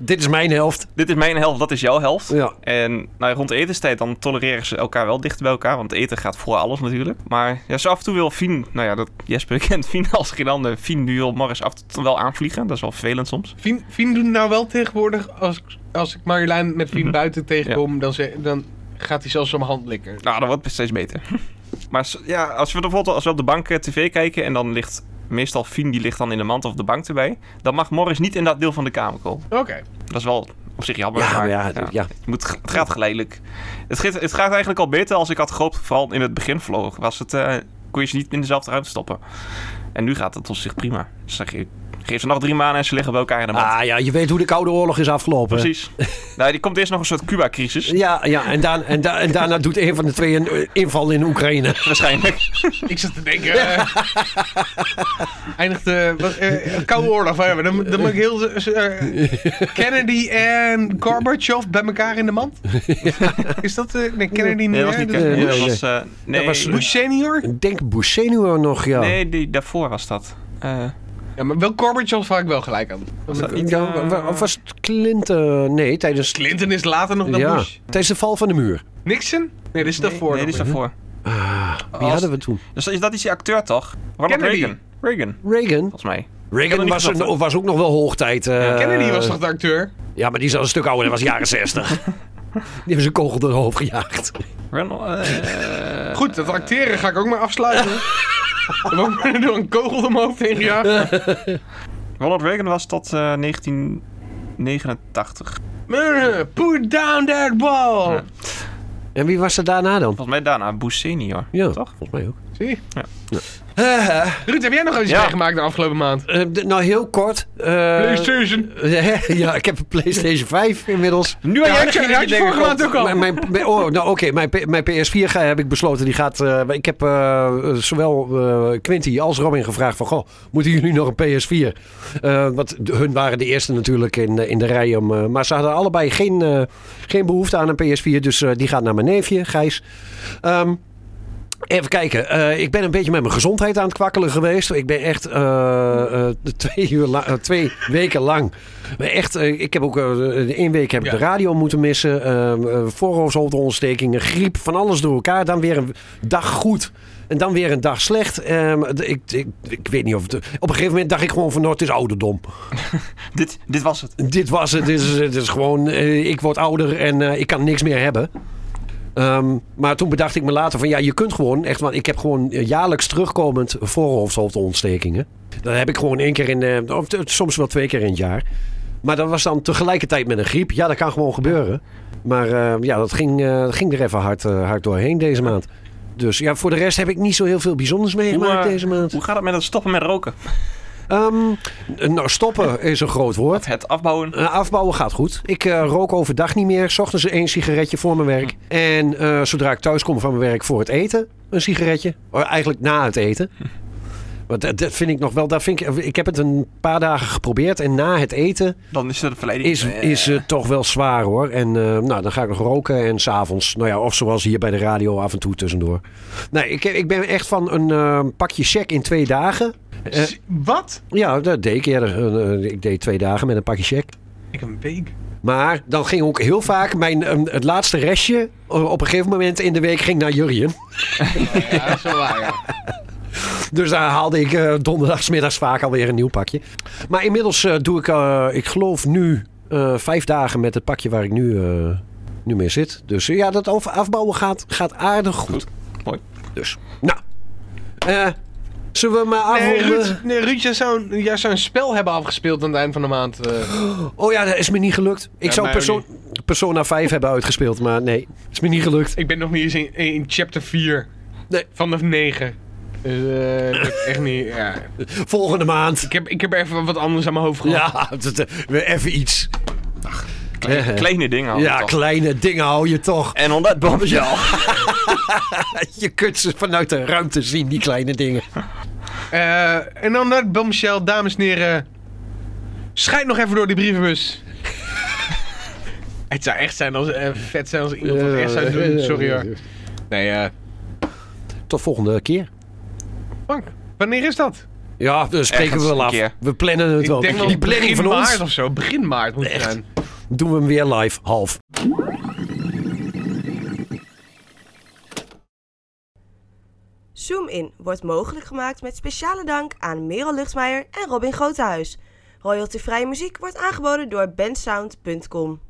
[SPEAKER 5] Dit is mijn helft.
[SPEAKER 3] Dit is mijn helft, dat is jouw helft.
[SPEAKER 5] Ja.
[SPEAKER 3] En nou, ja, rond de etenstijd dan tolereren ze elkaar wel dicht bij elkaar. Want eten gaat voor alles natuurlijk. Maar ja, zo af en toe wil Fien... Nou ja, dat Jesper kent Fien als geen ander. Fien nu wil Morris af en toe wel aanvliegen. Dat is wel vervelend soms.
[SPEAKER 6] Fien, Fien doet nou wel tegenwoordig, als, ik- als ik Marjolein met Fien
[SPEAKER 5] Mhm.
[SPEAKER 6] buiten tegenkom, dan, ze- dan gaat hij zelfs om mijn hand likken.
[SPEAKER 3] Nou, dat wordt steeds beter. maar s- ja, als we bijvoorbeeld als we op de bank eh, tv kijken... en dan ligt meestal Fien, die ligt dan in de mand of de bank erbij... dan mag Morris niet in dat deel van de kamer komen.
[SPEAKER 6] Oké.
[SPEAKER 3] Dat is wel op zich jammer.
[SPEAKER 5] Ja,
[SPEAKER 3] maar,
[SPEAKER 5] ja,
[SPEAKER 3] ja.
[SPEAKER 5] ja. ja.
[SPEAKER 3] Je moet, het gaat geleidelijk. Het, gaat- het gaat eigenlijk al beter als ik had gehoopt. Vooral in het begin vloog. Was het, eh, kon je ze niet in dezelfde ruimte stoppen. En nu gaat het op zich prima. Dus zeg je, Geef ze nog drie maanden en ze liggen bij elkaar in de mand.
[SPEAKER 5] Ah ja, je weet hoe de Koude Oorlog is afgelopen.
[SPEAKER 3] Precies. nou, die komt eerst nog een soort Cuba-crisis.
[SPEAKER 5] Ja, ja en, dan, en, da- en daarna doet een van de twee een eh, inval in Oekraïne.
[SPEAKER 3] Waarschijnlijk.
[SPEAKER 6] Ik zat te denken. eh, eindigt de wat, eh, Koude Oorlog. wacht even, Dan, dan moet ik heel. eh, Kennedy en Gorbachev bij elkaar in de mand? Is dat. eh, nee, Kennedy niet.
[SPEAKER 3] Nee, dat was
[SPEAKER 6] hè?
[SPEAKER 3] niet
[SPEAKER 6] Dat-
[SPEAKER 3] Kennedy.
[SPEAKER 5] nee,
[SPEAKER 3] Dat
[SPEAKER 5] nee.
[SPEAKER 3] was, eh, nee,
[SPEAKER 5] was-
[SPEAKER 6] Bush senior?
[SPEAKER 5] Ik denk Busceno nog, ja.
[SPEAKER 3] nee die, daarvoor was dat. Eh,
[SPEAKER 6] Ja, maar wel Gorbachev waar ik wel gelijk aan.
[SPEAKER 3] was dat niet,
[SPEAKER 5] Ja,
[SPEAKER 3] eh,
[SPEAKER 5] wa- wa- of was het Clinton? Nee, tijdens,
[SPEAKER 6] Clinton is later nog dan
[SPEAKER 5] ja,
[SPEAKER 6] Bush.
[SPEAKER 5] tijdens de val van de muur.
[SPEAKER 6] Nixon? Nee, dit is daarvoor.
[SPEAKER 3] Nee, die
[SPEAKER 6] nog.
[SPEAKER 3] is daarvoor.
[SPEAKER 5] Wie
[SPEAKER 3] Als-
[SPEAKER 5] hadden we toen?
[SPEAKER 3] Dus is dat is die acteur toch? Ronald
[SPEAKER 6] Kennedy.
[SPEAKER 3] Reagan. Reagan,
[SPEAKER 5] Reagan.
[SPEAKER 3] volgens mij. had
[SPEAKER 5] Reagan
[SPEAKER 3] het niet
[SPEAKER 5] was,
[SPEAKER 3] gedacht,
[SPEAKER 5] een- was ook nog wel hoogtijd. eh,
[SPEAKER 6] Kennedy was toch de acteur?
[SPEAKER 5] Ja, maar die is al een stuk ouder. Dat was jaren 60. Die hebben ze een kogel door het hoofd gejaagd.
[SPEAKER 3] Ronald, eh,
[SPEAKER 6] Goed, dat acteren ga ik ook maar afsluiten. Er wordt me door een kogel door mijn hoofd heen gejaagd.
[SPEAKER 3] Ronald Reagan was tot eh, 1989.
[SPEAKER 6] Eh, Put down that wall!
[SPEAKER 3] Ja.
[SPEAKER 5] En wie was er daarna dan?
[SPEAKER 3] Volgens mij daarna Bush senior.
[SPEAKER 5] Ja,
[SPEAKER 3] Toch?
[SPEAKER 5] volgens mij ook.
[SPEAKER 6] Zie?
[SPEAKER 3] Ja.
[SPEAKER 6] Ruud, heb jij nog iets
[SPEAKER 3] Ja.
[SPEAKER 6] meegemaakt de afgelopen maand?
[SPEAKER 5] Eh, d- nou, heel kort. eh,
[SPEAKER 6] PlayStation.
[SPEAKER 5] ja, ik heb een PlayStation 5 inmiddels.
[SPEAKER 3] Nu
[SPEAKER 6] Ja, had je, had je vorige maand ook al.
[SPEAKER 5] Mijn, mijn, mijn- oh, nou oké, mijn, P- mijn PS4 ga, heb ik besloten. Die gaat, eh, ik heb eh, eh, zowel eh Quinty als Robin gevraagd van... Goh, moeten jullie nog een PS4? Eh, want de- hun waren de eerste natuurlijk in, eh, in de rij. Om, eh, maar ze hadden allebei geen, eh, geen behoefte aan een PS4. Dus eh, die gaat naar mijn neefje, Gijs. Ehm, Even kijken, eh, ik ben een beetje met mijn gezondheid aan het kwakkelen geweest. Ik ben echt eh, eh, twee, uur la- eh, twee weken lang. Maar Echt, eh, ik heb ook eh, de één week heb ik
[SPEAKER 6] Ja.
[SPEAKER 5] de radio moeten missen. ehm, eh, voorhoofdontstekingen, griep, van alles door elkaar. Dan weer een dag goed. En dan weer een dag slecht. Ehm, d- ik, ik, ik weet niet of het. Op een gegeven moment dacht ik gewoon van nou, het is ouderdom.
[SPEAKER 3] Dit, dit was het.
[SPEAKER 5] Dit was het. Dit is, het is gewoon, eh, ik word ouder en eh, ik kan niks meer hebben. Ehm, maar toen bedacht ik me later van ja, je kunt gewoon echt, want ik heb gewoon eh, jaarlijks terugkomend voorhoofdhoofdontstekingen. Dat heb ik gewoon één keer in, de- of t- soms wel twee keer in het jaar. Maar dat was dan tegelijkertijd met een griep. Ja, dat kan gewoon gebeuren. Maar eh, ja, dat ging, eh, ging er even hard, eh, hard doorheen deze maand. Dus ja, voor de rest heb ik niet zo heel veel bijzonders meegemaakt
[SPEAKER 3] eh,
[SPEAKER 5] deze maand.
[SPEAKER 3] Hoe gaat het met het stoppen met roken?
[SPEAKER 5] Ehm, nou, stoppen is een groot woord.
[SPEAKER 3] Het afbouwen.
[SPEAKER 5] Eh, afbouwen gaat goed. Ik eh, rook overdag niet meer. S ochtends één sigaretje voor mijn werk. En eh, zodra ik thuis kom van mijn werk voor het eten, een sigaretje. Of eigenlijk na het eten. Want dat, dat vind ik nog wel. Daar vind ik, ik heb het een paar dagen geprobeerd. En na het eten
[SPEAKER 3] Dan is het een verleiding.
[SPEAKER 5] is, is het toch wel zwaar hoor. En eh, nou, dan ga ik nog roken en s'avonds. Nou ja, of zoals hier bij de radio af en toe tussendoor. Nee, ik, ik ben echt van een eh, pakje check in twee dagen. Eh,
[SPEAKER 6] S- Wat?
[SPEAKER 5] ja, dat deed ik eerder. Eh, eh, ik deed twee dagen met een pakje check.
[SPEAKER 6] Ik heb een week.
[SPEAKER 5] Maar dan ging ook heel vaak mijn, ehm, het laatste restje eh, op een gegeven moment in de week ging naar Jurien.
[SPEAKER 6] Ja, dat is wel waar. ja.
[SPEAKER 5] Dus daar haalde ik eh, donderdagsmiddags vaak alweer een nieuw pakje. Maar inmiddels eh, doe ik, eh, ik geloof nu, eh, vijf dagen met het pakje waar ik nu, eh, nu mee zit. Dus eh, ja, dat over- afbouwen gaat, gaat aardig goed.
[SPEAKER 3] Mooi.
[SPEAKER 5] Dus, nou. eh, zullen we maar
[SPEAKER 6] Nee,
[SPEAKER 5] afronden?
[SPEAKER 6] Ruud, Eh, nee, Ruud jij zou, een- jij zou een spel hebben afgespeeld aan het eind van de maand. eh.
[SPEAKER 5] Oh ja, dat is me niet gelukt. Ik
[SPEAKER 6] Ja,
[SPEAKER 5] zou
[SPEAKER 6] mij ook
[SPEAKER 5] perso- Persona 5 hebben uitgespeeld, maar nee. Is me niet gelukt.
[SPEAKER 6] ik ben nog niet eens in, in chapter 4
[SPEAKER 5] Nee.
[SPEAKER 6] van de 9. Dus, eh, dat heb ik echt niet. Ja.
[SPEAKER 5] Volgende maand.
[SPEAKER 6] Ik, heb, ik heb even wat anders aan mijn hoofd gehad.
[SPEAKER 5] Ja, dat, eh, weer even iets.
[SPEAKER 3] Kleine,
[SPEAKER 5] Eh,
[SPEAKER 3] kleine dingen. hadden we
[SPEAKER 5] ja,
[SPEAKER 3] toch.
[SPEAKER 5] kleine dingen hou je toch.
[SPEAKER 3] En omdat bommetje al.
[SPEAKER 5] Je kunt ze vanuit de ruimte zien, die kleine dingen.
[SPEAKER 6] Eh, en dan dat bombshell, dames en heren. Schijt nog even door die brievenbus. Het zou echt zijn als, eh, vet zijn als iemand dat echt zou doen. Sorry hoor. Nee, eh.
[SPEAKER 5] Tot volgende keer.
[SPEAKER 6] Frank, wanneer is dat?
[SPEAKER 5] Ja, dan spreken
[SPEAKER 3] Ergens
[SPEAKER 5] we wel
[SPEAKER 3] een
[SPEAKER 5] af.
[SPEAKER 3] keer.
[SPEAKER 5] We plannen het wel. die planning
[SPEAKER 6] begin
[SPEAKER 5] van
[SPEAKER 6] maart
[SPEAKER 5] ons
[SPEAKER 6] of zo. Begin maart moet het
[SPEAKER 5] Echt.
[SPEAKER 6] zijn.
[SPEAKER 5] doen we hem weer live, half.
[SPEAKER 2] Zoom In wordt mogelijk gemaakt met speciale dank aan Merel Luchtmeijer en Robin Grotehuis. Royaltyvrije muziek wordt aangeboden door bensound.com.